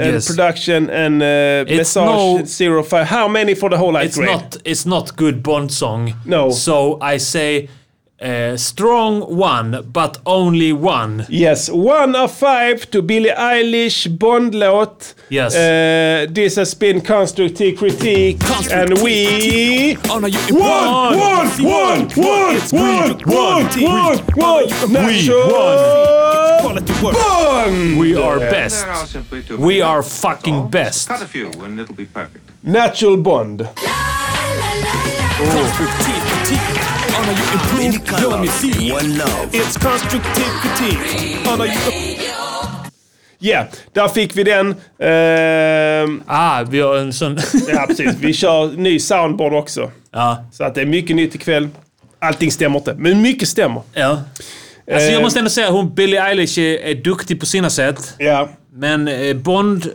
S1: and
S5: Yes.
S1: production and uh,
S5: It's
S1: massage
S5: no-
S1: zero five. How many for the whole
S5: It's
S1: upgrade?
S5: not. It's not good Bond song.
S1: No.
S5: So I say uh, strong one, but only one.
S1: Yes, one of five to Billie Eilish Bondlåt.
S5: Yes.
S1: Uh, this has been constructive critique, and we one,
S6: won.
S1: one, one, one, one, one, one, one.
S6: We
S1: won. Bond.
S5: We are
S1: Yeah.
S5: best.
S15: Now simply to
S5: We are fucking best.
S15: cut a few and it'll be perfect.
S1: Natural Bond.
S6: Constructive critique. Honor you improve your music. One love. It's constructive critique. Honor you.
S1: Ja, där fick vi den. Ehm,
S5: ah, vi har en sån...
S1: ja, precis. Vi kör ny soundboard också. Så att det är mycket nytt ikväll. Allting stämmer inte, men mycket stämmer.
S5: Ja. Alltså jag
S1: Eh,
S5: måste ändå säga att hon Billie Eilish är, är duktig på sina sätt.
S1: Ja.
S5: Men eh, Bond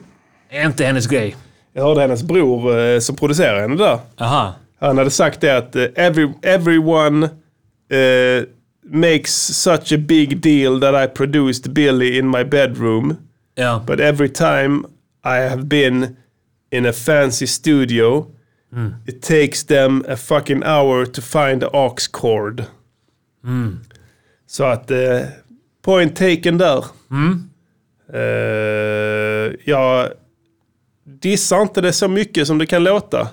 S5: är inte hennes grej.
S1: Jag hörde hennes bror eh, som producerar henne där.
S5: Aha.
S1: Han hade sagt det att eh, every, everyone eh, makes such a big deal that I produced Billy in my bedroom.
S5: Ja.
S1: But every time I have been in a fancy studio
S5: Mm.
S1: it takes them a fucking hour to find the aux cord.
S5: Mm.
S1: Så att eh, point taken där.
S5: Mm.
S1: Eh, jag dissar inte det så mycket som det kan låta.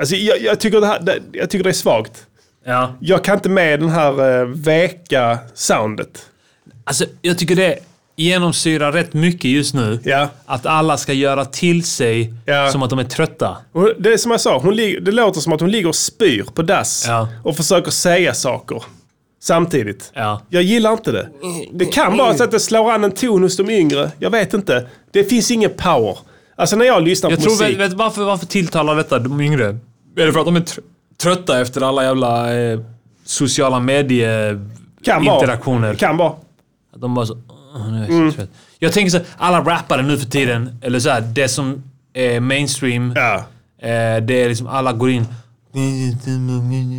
S1: Alltså, jag, jag, tycker det här, det, jag tycker det är svagt.
S5: Ja.
S1: Jag kan inte med den här eh, veka soundet.
S5: Alltså, jag tycker det genomsyrar rätt mycket just nu. Att alla ska göra till sig som att de är trötta.
S1: Och Det är som jag sa, hon ligger, det låter som att hon ligger och spyr på dass och försöker säga saker samtidigt. Jag gillar inte det. Det kan vara så att det slår an en ton hos de yngre. Jag vet inte. Det finns ingen power. Alltså när jag lyssnar
S5: Jag
S1: på
S5: tror,
S1: musik.
S5: vet, vet, varför, varför tilltalar detta de yngre? Är det för att de är tr- trötta efter alla jävla eh, sociala
S1: Kan vara.
S5: medie-interaktioner?
S1: Kan Mm. vara.
S5: Att de bara så... "Åh, nu är jag så trött." Jag tänker så här, alla rappare nu för tiden, eller så här, det som är mainstream, eh, det är liksom alla går in...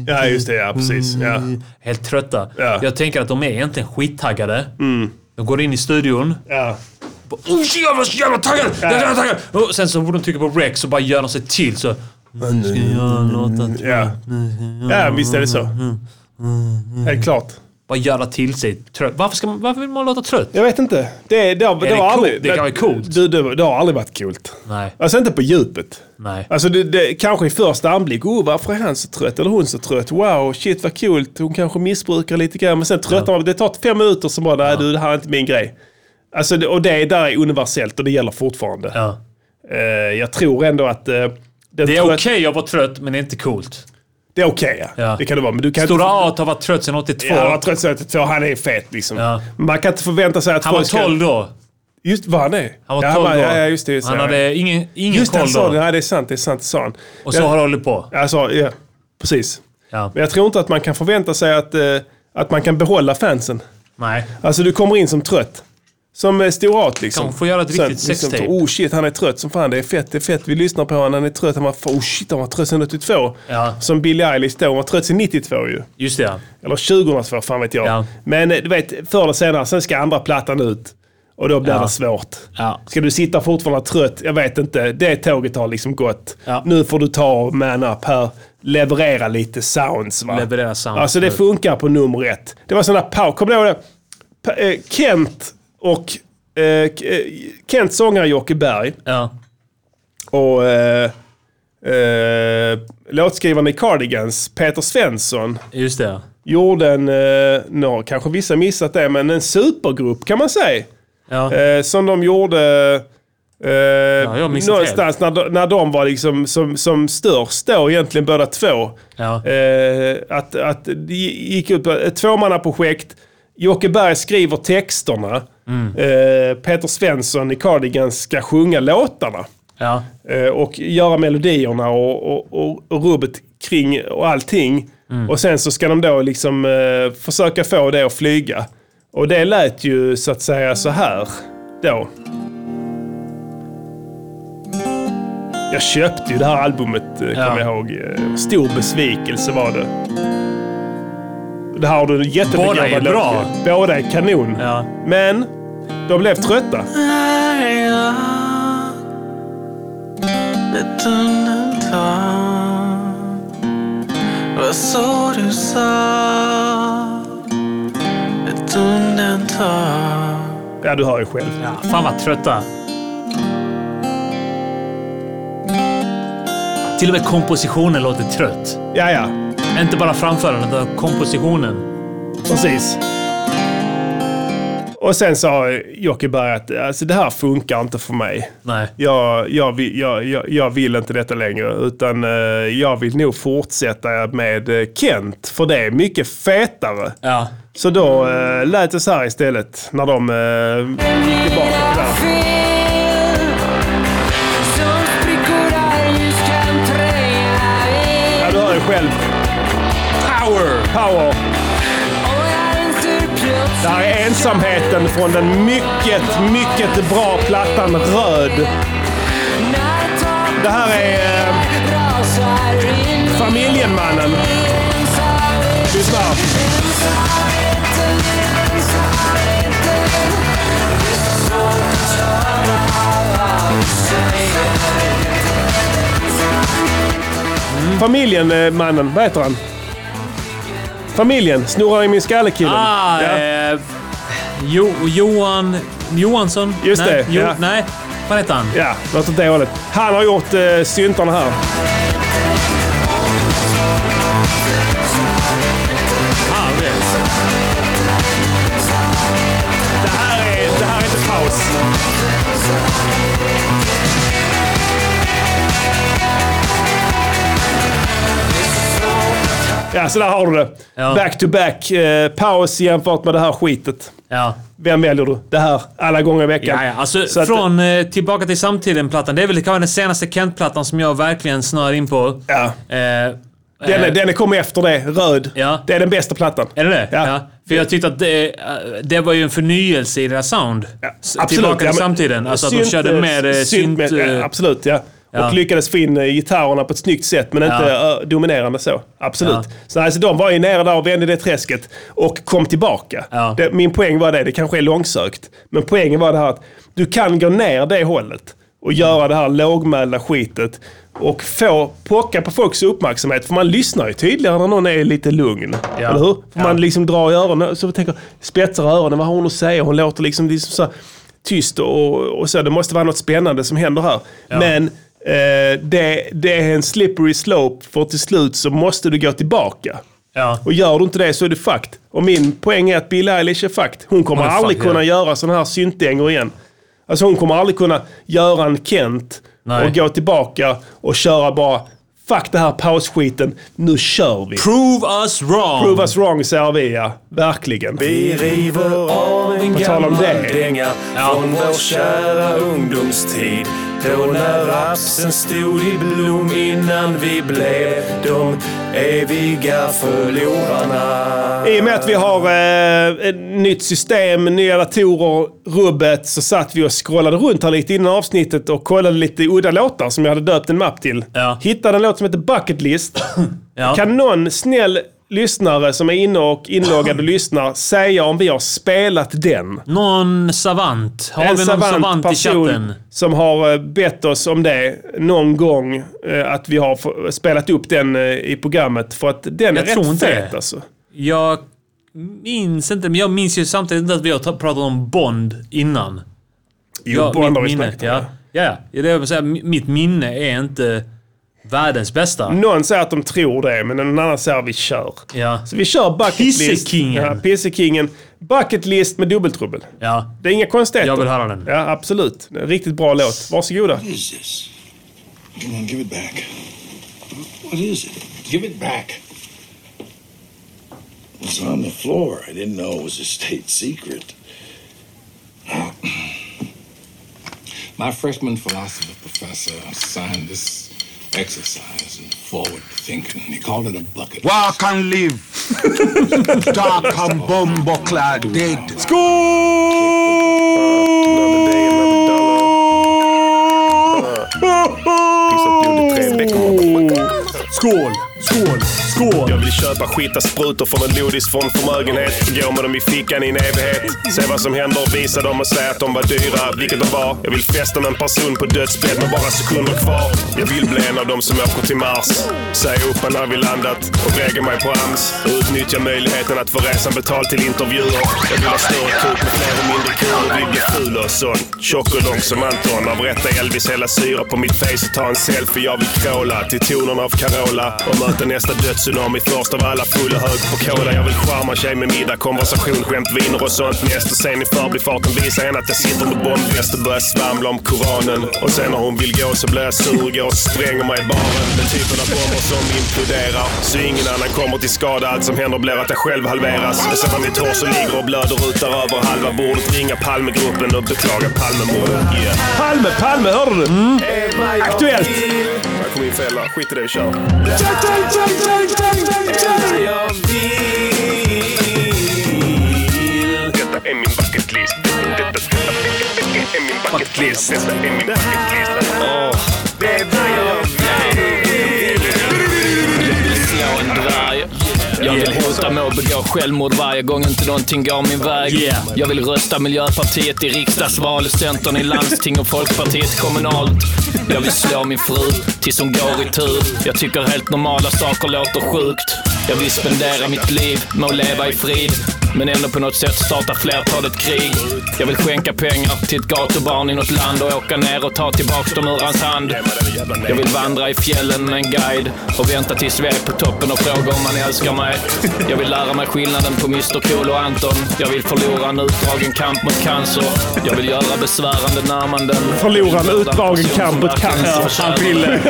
S1: Ja, just det. Ja, precis. Ja.
S5: Helt trötta. Jag tänker att de är egentligen skittaggade.
S1: Mm.
S5: De går in i studion.
S1: Ja.
S5: Bara, oh, shit, jag var så jävla taggad! Jag var så jävla taggad! Och sen så borde de trycka på rec så bara gör de sig till så... Nu ska jag låta...
S1: Ja. ja, visst är det så. Helt klart.
S5: Bara göra till sig trött. Varför, ska man, varför vill man låta trött?
S1: Jag vet inte. Det, det, har,
S5: det
S1: det, har
S5: coolt?
S1: aldrig,
S5: Det kan vara coolt.
S1: Du, du, det har aldrig varit coolt.
S5: Nej.
S1: Alltså inte på djupet.
S5: Nej.
S1: Alltså det, det, kanske i första anblick, oh varför är han så trött? Eller hon så trött? Wow, shit vad kul. Hon kanske missbrukar lite grann. Men sen tröttnar man. Det tar fem minuter som bara, nej du det här är inte min grej. Alltså, det, och det där är universellt och det gäller fortfarande. Eh, jag tror ändå att... eh, den
S5: Det är
S1: trött-
S5: okej att vara trött, men det är inte coolt.
S1: Det är okej ja. Det kan det vara. Men du kan
S5: Stora
S1: inte...
S5: A har varit trött sedan 82.
S1: Ja, han var trött sedan 82. Han är fet liksom.
S5: Ja.
S1: Man kan inte förvänta sig att
S5: Han var
S1: folk ska-
S5: 12 då.
S1: Just vad han är.
S5: Han var
S1: Ja,
S5: 12
S1: var-
S5: då.
S1: Ja, ja, just det. Just, det.
S5: Han hade ingen, ingen
S1: just det,
S5: koll
S1: han sa
S5: då.
S1: det. Ja, det är sant. Det är sant. Det sa han.
S5: Och så
S1: Jag-
S5: har det hållit på.
S1: Alltså, ja, precis.
S5: Ja.
S1: Men jag tror inte att man kan förvänta sig att, eh, att man kan behålla fansen.
S5: Nej.
S1: Alltså du kommer in som trött. Som eh, Storat liksom.
S5: Kanske får göra ett
S1: Sen,
S5: riktigt sextape.
S1: Liksom, oh shit, han är trött som fan. Det är fett, det är fett. Vi lyssnar på honom. Han är trött. Han var, oh shit, han var trött sedan 82.
S5: Ja.
S1: Som Billie Eilish då. Hon var trött sedan 92 ju.
S5: Just det ja.
S1: Eller 2002, fan vet jag. Men eh, du vet, förr eller senare, sen ska andra plattan ut. Och då blir
S5: Ja.
S1: det svårt.
S5: Ja.
S1: Ska du sitta fortfarande trött? Jag vet inte. Det tåget har liksom gått. Nu får du ta och man up här. leverera lite sounds. Va?
S5: Leverera sounds.
S1: Alltså det funkar på nummer ett. Det var sådana power... Kommer du ihåg det? Pa- eh, Kent och... eh, K- eh, Kent sångare Jocke Berg. Och eh, eh, låtskrivaren i Cardigans, Peter Svensson.
S5: Just det.
S1: Gjorde en, eh, nå, kanske vissa missat det, men en supergrupp kan man säga. Eh, som de gjorde eh,
S5: jag missat
S1: någonstans när de, när de var liksom som, som störst då egentligen båda två. Eh, att, att det gick ut på ett tvåmannaprojekt. Jocke Berg skriver texterna.
S5: Mm.
S1: Eh, Peter Svensson i Cardigans ska sjunga låtarna.
S5: Ja.
S1: Eh, och göra melodierna och, och, och, och rubbet kring och allting.
S5: Mm.
S1: Och sen så ska de då liksom eh, försöka få det att flyga. Och det lät ju så att säga så här då. Jag köpte ju det här albumet, eh, kommer jag ihåg. Eh, Stor besvikelse var det. Det här har du en jättebegåvad
S5: Båda är
S1: låt
S5: bra.
S1: ju. Båda är kanon. Men de blev trötta.
S4: Ett undantag Vad så du sa Ett undantag
S1: Ja, du hör ju själv.
S5: Ja, fan vad trötta. Till och med kompositionen låter trött.
S1: Ja, ja.
S5: Inte bara framförandet, utan kompositionen.
S1: Precis. Och sen sa Jocke Berg att alltså, det här funkar inte för mig.
S5: Nej.
S1: Jag, jag, vill- jag, jag, jag vill inte detta längre. Utan eh, jag vill nog fortsätta med eh, Kent. För det är mycket fetare.
S5: Ja.
S1: Så då eh, lät det så här istället. När de eh, gick tillbaka till det här. Ja, du hör ju själv. Power! Power. Där är ensamheten från den mycket, mycket bra plattan Röd. Det här är eh, Familjemannen. Lyssna. Familjen, eh, mannen. Vad heter han? Familjen. Snurrar i min skalle-killen.
S5: Ah,
S1: Ja.
S5: eh, jo, Johan Johansson?
S1: Just
S5: nej,
S1: det,
S5: Jo,
S1: ja.
S5: Nej, vad heter han?
S1: Ja, något åt det hållet. Han har gjort eh, syntarna här.
S5: Ah,
S1: Det här är, det här är inte paus. Ja, så där har du det. Back to back. Eh, paus jämfört med det här skitet. Vem väljer du? Det här, alla gånger i veckan.
S5: Ja, ja, alltså,
S1: Så att-
S5: från eh, Tillbaka till samtiden-plattan. Det är väl kanske den senaste Kent-plattan som jag verkligen snör in på.
S1: Ja.
S5: Eh,
S1: Den,
S5: eh,
S1: är- den kommer efter det, röd. Det är den bästa plattan.
S5: Är det det? Ja. För jag tyckte att det, eh, det var ju en förnyelse i deras sound. S- Tillbaka till
S1: ja, men-
S5: samtiden. Alltså att de
S1: synt,
S5: körde
S1: eh,
S5: mer eh, synt...
S1: med-
S5: eh,
S1: ja, absolut, ja.
S5: ja.
S1: Och lyckades få in eh, gitarrerna på ett snyggt sätt, men inte
S5: Ja.
S1: eh, dominerande så. Absolut.
S5: Ja.
S1: Så alltså, de var ju nere där och vände det träsket och kom tillbaka. Det, min poäng var det, det kanske är långsökt, men poängen var det här att du kan gå ner det hållet och göra det här lågmälda skitet och få pocka på folks uppmärksamhet. För man lyssnar ju tydligare när någon är lite lugn.
S5: Ja.
S1: Eller hur? För Man liksom drar i öronen, så tänker, spetsar öronen, vad har hon att säga? Hon låter liksom, liksom så här tyst och, och så. Det måste vara något spännande som händer här. Men eh, det, det är en slippery slope, för till slut så måste du gå tillbaka.
S5: Ja.
S1: Och gör du inte det så är du fucked. Och min poäng är att Billie Eilish är fucked. Hon kommer
S5: Hon är
S1: aldrig
S5: fucked,
S1: kunna
S5: ja.
S1: göra sådana här syntdängor igen. Alltså hon kommer aldrig kunna göra en Kent
S5: Nej.
S1: och gå tillbaka och köra bara Fuck det här pausskiten, nu kör vi.
S5: Prove us wrong!
S1: Prove us wrong säger vi ja, verkligen.
S6: Vi river av en
S1: På tal om
S6: gammal
S1: det.
S6: dänga från vår kära ungdomstid. Då när rapsen stod i blom innan vi blev de eviga förlorarna.
S1: I och med att vi har eh, ett nytt system, nya datorer, rubbet, så satt vi och scrollade runt här lite innan avsnittet och kollade lite udda låtar som jag hade döpt en mapp till. Hittade en låt som heter Bucket List. Kan någon snäll lyssnare som är inne och inloggade och lyssnar säga om vi har spelat den.
S5: Någon savant. Har vi någon savant i chatten?
S1: som har eh, bett oss om det någon gång. eh, Att vi har f- spelat upp den eh, i programmet. För att den
S5: Jag
S1: är
S5: tror
S1: rätt
S5: inte
S1: fet
S5: det.
S1: alltså.
S5: Jag minns inte, men jag minns ju samtidigt inte att vi har ta- pratat om Bond innan.
S1: Jo, Bond har vi snackat om,
S5: ja. Ja, ja. Det är det jag vill säga. M- Mitt minne är inte världens bästa.
S1: Någon säger att de tror det, men en annan säger att vi kör.
S5: Ja.
S1: Så vi kör bucket list.
S5: Pissekingen.
S1: Ja, Pissekingen. Bucket list med dubbeltrubbel.
S5: Ja.
S1: Det är inga konstigheter.
S5: Jag vill höra den.
S1: Ja, absolut. Det är en Riktigt bra låt. Varsågoda.
S16: Come on, give it back. What is it? Give it back. It's on the floor. I didn't know it was a state secret.
S17: My freshman philosophy professor assigned this exercise in forward thinking. He called it a bucket.
S10: Walk and live. Dark and bomber clad dead.
S1: Skål! Skål! Skål! Jag vill köpa skita sprutor från en lodis från förmögenhet. Gå med dem i fickan i en evighet. Se vad som händer och visa dem och säga att de var dyra, vilket de var. Jag vill festa med en person på dödsbädd med bara sekunder kvar. Jag vill bli en av dem som åker till Mars. Säga upp mig när vi landat och lägga mig på AMS. Och utnyttja möjligheten att få resan betald till intervjuer. Jag vill ha större kuk med fler och mindre kulor. Vill bli ful och sån. Tjock och lång som Anton. Avrätta Elvis hela syra på mitt face och ta en selfie. Jag vill kråla till tonerna av Carola. Och möta nästa dödstsunami först av alla fulla hög på cola. Jag vill charma tjej med middag, konversation, skämt, viner och sånt. Nästa scen i förbifarten visar henne att jag sitter med bombväst och börjar svamla om Koranen. Och sen när hon vill gå så blir jag sur, går och spränger mig i baren. Den typen av bomber som imploderar. Så ingen annan kommer till skada. Allt som händer blir att jag själv halveras. Och sedan mitt hår som ligger och blöder ut där över halva bordet. Ringa Palmegruppen och beklaga Palmemordet. Yeah. Palme, Palme, hörde du? Mm. Aktuellt! Jag kom in fel där. Skit i det, vi kör. Detta är min bucket list. Detta, detta, detta är min bucket list. Detta är min bucket list. Åh. Detta
S12: slå en dvärg. Jag vill hota med att begå självmord varje gång inte någonting går min väg.
S18: Yeah.
S12: Jag vill rösta Miljöpartiet i riksdagsval, Centern i landsting och Folkpartiet kommunalt. Jag vill slå min fru tills hon går i tur. Jag tycker helt normala saker låter sjukt. Jag vill spendera mitt liv med att leva i frid. Men ändå på något sätt starta flertalet krig. Jag vill skänka pengar till ett gatubarn i något land och åka ner och ta tillbaks dem ur hans hand. Jag vill vandra i fjällen med en guide och vänta tills vi är på toppen och fråga om han älskar mig. Jag vill lära mig skillnaden på Mr Cool och Anton. Jag vill förlora en utdragen kamp mot cancer. Jag vill göra besvärande närmanden.
S1: Förlora en
S12: Jag vill mörda
S1: utdragen
S12: person
S1: kamp
S12: som
S1: mot
S12: verkligen
S1: cancer.
S12: förtjänar
S1: Han ville.
S12: det.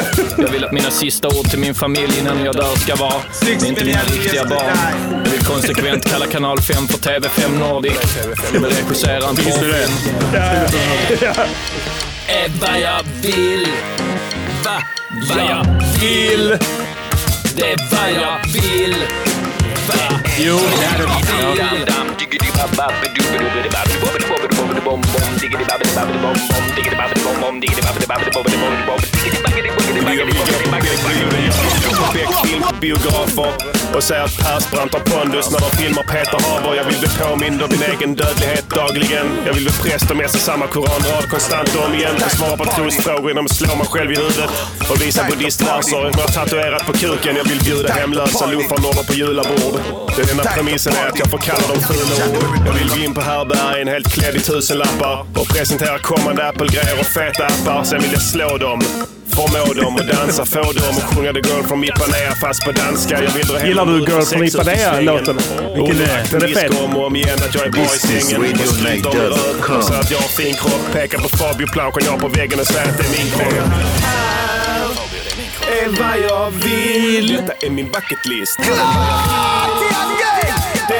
S12: Jag vill att mina sista ord till min familj innan jag dör ska vara. Det är inte mina riktiga barn. Jag vill konsekvent kalla kanal 5 för TV5 Nordic. Jag vill regissera en porrfilm. Är vad jag vill. Va? Vad jag vill. Det är vad jag vill. Va? Jo, det är vad jag vill.
S1: Beck film på biografer och säger att Persbrandt har pondus när de filmar Peter Haber. Jag vill bli påmind om min egen dödlighet dagligen. Jag vill bli präst och mässa samma koranrad konstant om igen. Och svara på trosfrågor genom att slå mig själv i huvudet. Och visa buddhistverser jag har tatuerat på kuken. Jag vill bjuda hemlösa luffarnormer på julabord. Den enda premissen är att jag förkallar dem fula ord. Jag vill gå in på härbärgen helt klädd i tusenlappar och presentera kommande Apple-grejer och feta appar. Sen vill jag slå dem. Förmå dem och dansa, få dem och sjunga The Girl from Ipanema fast på danska. Jag vill dra hem
S2: Gillar du
S1: dem ut
S2: Girl
S1: och
S2: from
S1: sex ut i
S2: Ipanema,
S1: sängen.
S2: låten? Vilken
S1: Och
S2: är det? Den är
S1: aktivister
S2: fet.
S1: om och om igen att jag är bra i
S7: This is
S1: sängen.
S7: Radio
S1: Och skryter om
S7: Night
S1: rök.
S7: dot com.
S1: Så att jag har fin kropp. Pekar på Fabio-planschen jag har på väggen och säger att det är min kropp. Är vad jag vill. Detta är min bucket list. Det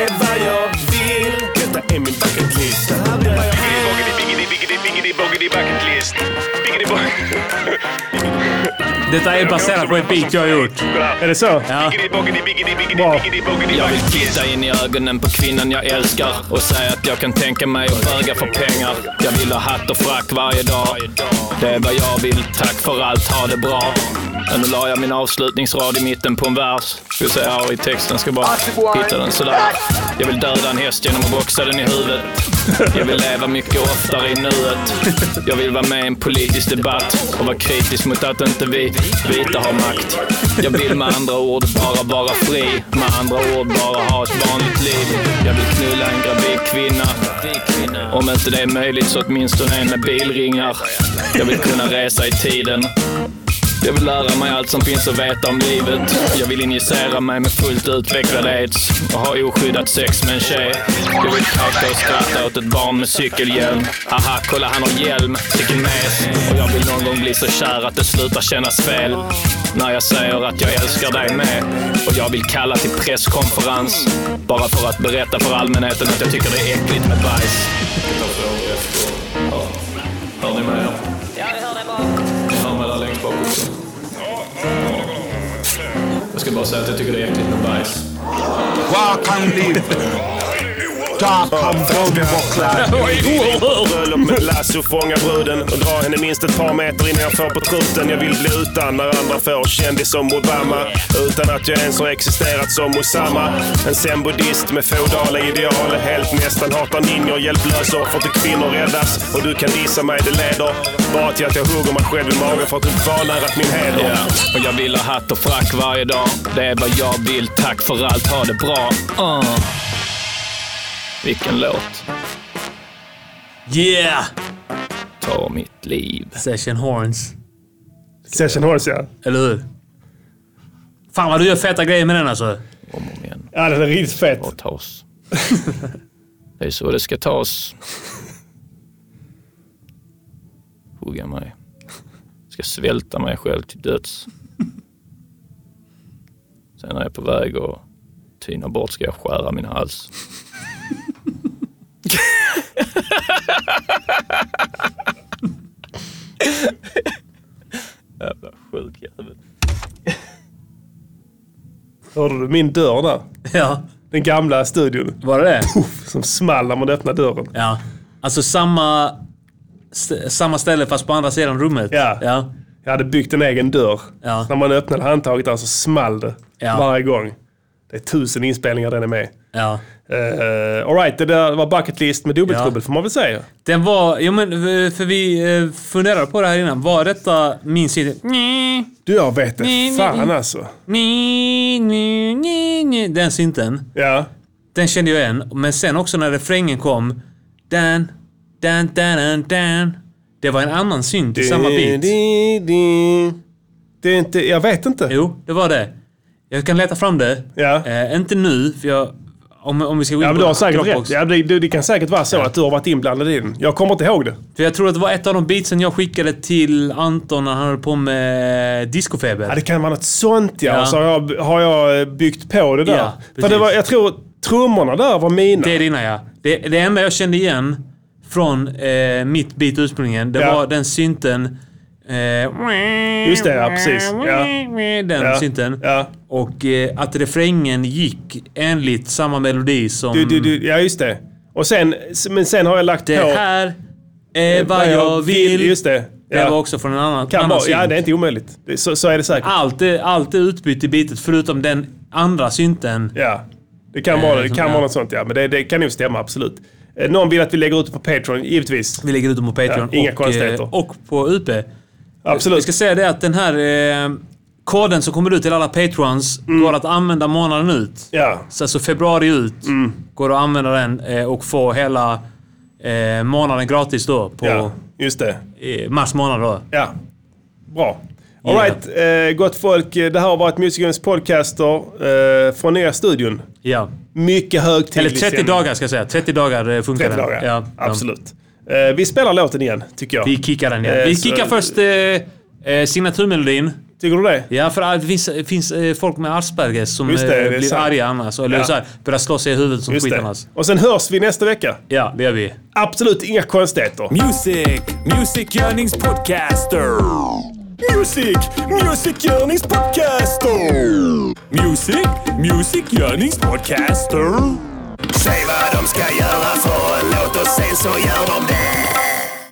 S1: är vad jag vill. Detta är min bucket list.
S5: Detta är baserat på ett beat jag har gjort.
S1: Är det så?
S5: Ja.
S1: Bra.
S12: Jag vill titta in i ögonen på kvinnan jag älskar och säga att jag kan tänka mig att böga för pengar. Jag vill ha hatt och frack varje dag. Det är vad jag vill. Tack för allt. Ha det bra. Ja, nu la jag min avslutningsrad i mitten på en vers. Ska se här i texten, ska bara hitta den sådär. Jag vill döda en häst genom att boxa den i huvudet. Jag vill leva mycket oftare i nuet. Jag vill vara med i en politisk debatt och vara kritisk mot att inte vi vita har makt. Jag vill med andra ord bara vara fri. Med andra ord bara ha ett vanligt liv. Jag vill knulla en gravid kvinna. Om inte det är möjligt så åtminstone en med bilringar. Jag vill kunna resa i tiden. Jag vill lära mig allt som finns att veta om livet. Jag vill injicera mig med fullt utvecklad aids och ha oskyddat sex med en tjej. Jag vill kaka och skratta åt ett barn med cykelhjälm. Haha, kolla han har hjälm, vilken mes. Och jag vill någon gång bli så kär att det slutar kännas fel. När jag säger att jag älskar dig med. Och jag vill kalla till presskonferens. Bara för att berätta för allmänheten att jag tycker det är äckligt med bajs. Hör ni mig? Ja, vi hör dig bak. Ni hör mig där längst bak också. Jag ska bara säga att jag tycker det är äckligt med bajs.
S10: Var kan liv?
S1: Där kom bruden bortklad. Bröllop med lasso, fånga bruden och dra henne minst ett par meter innan jag får på truten. Jag vill bli utan när andra får kändis som Obama. Utan att jag ens har existerat som Osama. En sen buddhist med feodala ideal. Helt nästan hatar ninjor, hjälplös offer till kvinnor räddas. Och du kan dissa mig, det leder bara till att jag hugger mig själv i magen för att du vanärat min heder.
S12: Och jag vill ha hatt och frack varje dag. Det är vad jag vill. Tack för allt. Ha det bra. Uh. Vilken låt.
S5: Yeah!
S12: Ta mitt liv.
S5: Session Horns.
S1: Session Horns, ja.
S5: Eller hur? Fan vad du gör feta grejer med den alltså.
S1: Ja, den är riktigt fet.
S12: Och tas. Det är så det ska tas. Hugga mig. Ska svälta mig själv till döds. Sen är jag på väg att tyna bort ska jag skära min hals. Jävla sjuk jävel.
S1: Hörde du min dörr där?
S5: Ja.
S1: Den gamla studion.
S5: Var det det?
S1: Puff, som small när man öppnade dörren.
S5: Ja. Alltså samma, st- samma ställe fast på andra sidan rummet.
S1: Ja. Jag hade byggt en egen dörr.
S5: Ja.
S1: När man öppnade handtaget där så small det
S5: Ja.
S1: varje gång. Det är tusen inspelningar den är med.
S5: Ja.
S1: Uh, Alright, det där var bucket list med dubbeltrubbel får man väl säga.
S5: Den var... Jo men eh, för vi eh, funderade på det här innan. Var detta min sida? Ni,
S1: Du, jag vet
S5: Ni,
S1: det.
S5: ni,
S1: Fan
S5: ni.
S1: alltså.
S5: ni, ni, ni, ni. Den synten.
S1: Ja.
S5: Den kände jag igen. Men sen också när refrängen kom. Dan, dan, dan, dan, dan. Det var en annan synt i samma beat.
S1: Det är inte... Jag vet inte.
S5: Jo, det var det. Jag kan leta fram det.
S1: Ja.
S5: Eh, inte nu, för jag... Om, om vi ska gå in
S1: Ja, men
S5: på
S1: du har säkert
S5: Eh, Dropbox.
S1: rätt. Ja, det, det, det kan säkert vara så att du har varit inblandad i den. Jag kommer inte ihåg det.
S5: För jag tror att det var ett av de beatsen jag skickade till Anton när han höll på med discofeber.
S1: Ja, det kan vara något sånt ja.
S5: Ja.
S1: Och så har jag, har jag eh, byggt på det där.
S5: Ja,
S1: För det
S5: precis.
S1: var, jag tror trummorna där var mina.
S5: Det är dina ja. Det, det enda jag kände igen från eh, mitt beat ursprungligen, det
S1: Ja.
S5: var den synten... Eh,
S1: Just det, ja precis. Ja.
S5: Den
S1: Ja.
S5: synten.
S1: Ja.
S5: Och eh, att refrängen gick enligt samma melodi som...
S1: Du, du, du, ja, just det. Och sen, men sen har jag lagt
S5: Det
S1: på...
S5: här är vad jag vill.
S1: Just det.
S5: Det var också från en annan,
S1: Kan
S5: annan Ah.
S1: vara,
S5: synt.
S1: ja, det är inte omöjligt. Det, så, så är det säkert.
S5: Allt är, allt är utbytt i bitet förutom den andra synten.
S1: Ja, det kan,
S5: Eh,
S1: vara, det
S5: som-
S1: kan
S5: ja.
S1: vara något sånt ja. Men det, det kan nog stämma, absolut. Eh, Någon vill att vi lägger ut det på Patreon, givetvis.
S5: Vi lägger ut dem på Patreon
S1: Ja, inga
S5: och,
S1: konstigheter.
S5: eh, och på UP.
S1: Absolut.
S5: Vi ska säga det att den här eh, koden som kommer ut till alla Patreons går att använda månaden ut.
S1: Mm. Ja. Mm.
S5: Så alltså februari ut går att använda den eh, och få hela eh, månaden gratis då. På
S1: Ja, just det.
S5: eh, mars månad då.
S1: Ja, bra. Alright, eh, gott folk. eh, Det här har varit Music Games Podcaster eh, från er studion.
S5: Ja.
S1: Mycket
S5: Eller
S1: högtidlig
S5: 30
S1: stämning.
S5: dagar ska jag säga. 30 dagar eh, funkar
S1: 30
S5: den.
S1: dagar,
S5: Ja, ja.
S1: absolut. Eh, vi spelar låten igen, tycker jag.
S5: Vi kickar den
S1: Eh,
S5: igen. Vi
S1: så-
S5: kickar först eh, eh, signaturmelodin.
S1: Tycker du det?
S5: Ja, för det finns, det finns eh, folk med Aspergers som
S1: Just det,
S5: eh,
S1: det är
S5: blir
S1: sant.
S5: arga annars. Eller
S1: Ja.
S5: så här, börjar slå sig i huvudet som
S1: Just
S5: skit
S1: det.
S5: annars.
S1: Och sen hörs vi nästa vecka.
S5: Ja, det gör vi.
S1: Absolut inga konstigheter.
S2: Music, Music Yearnings Podcaster. Music, Music Yearnings Podcaster. Music, Music Yearnings Podcaster.
S4: Säg vad de ska göra för en låt och sen så gör de det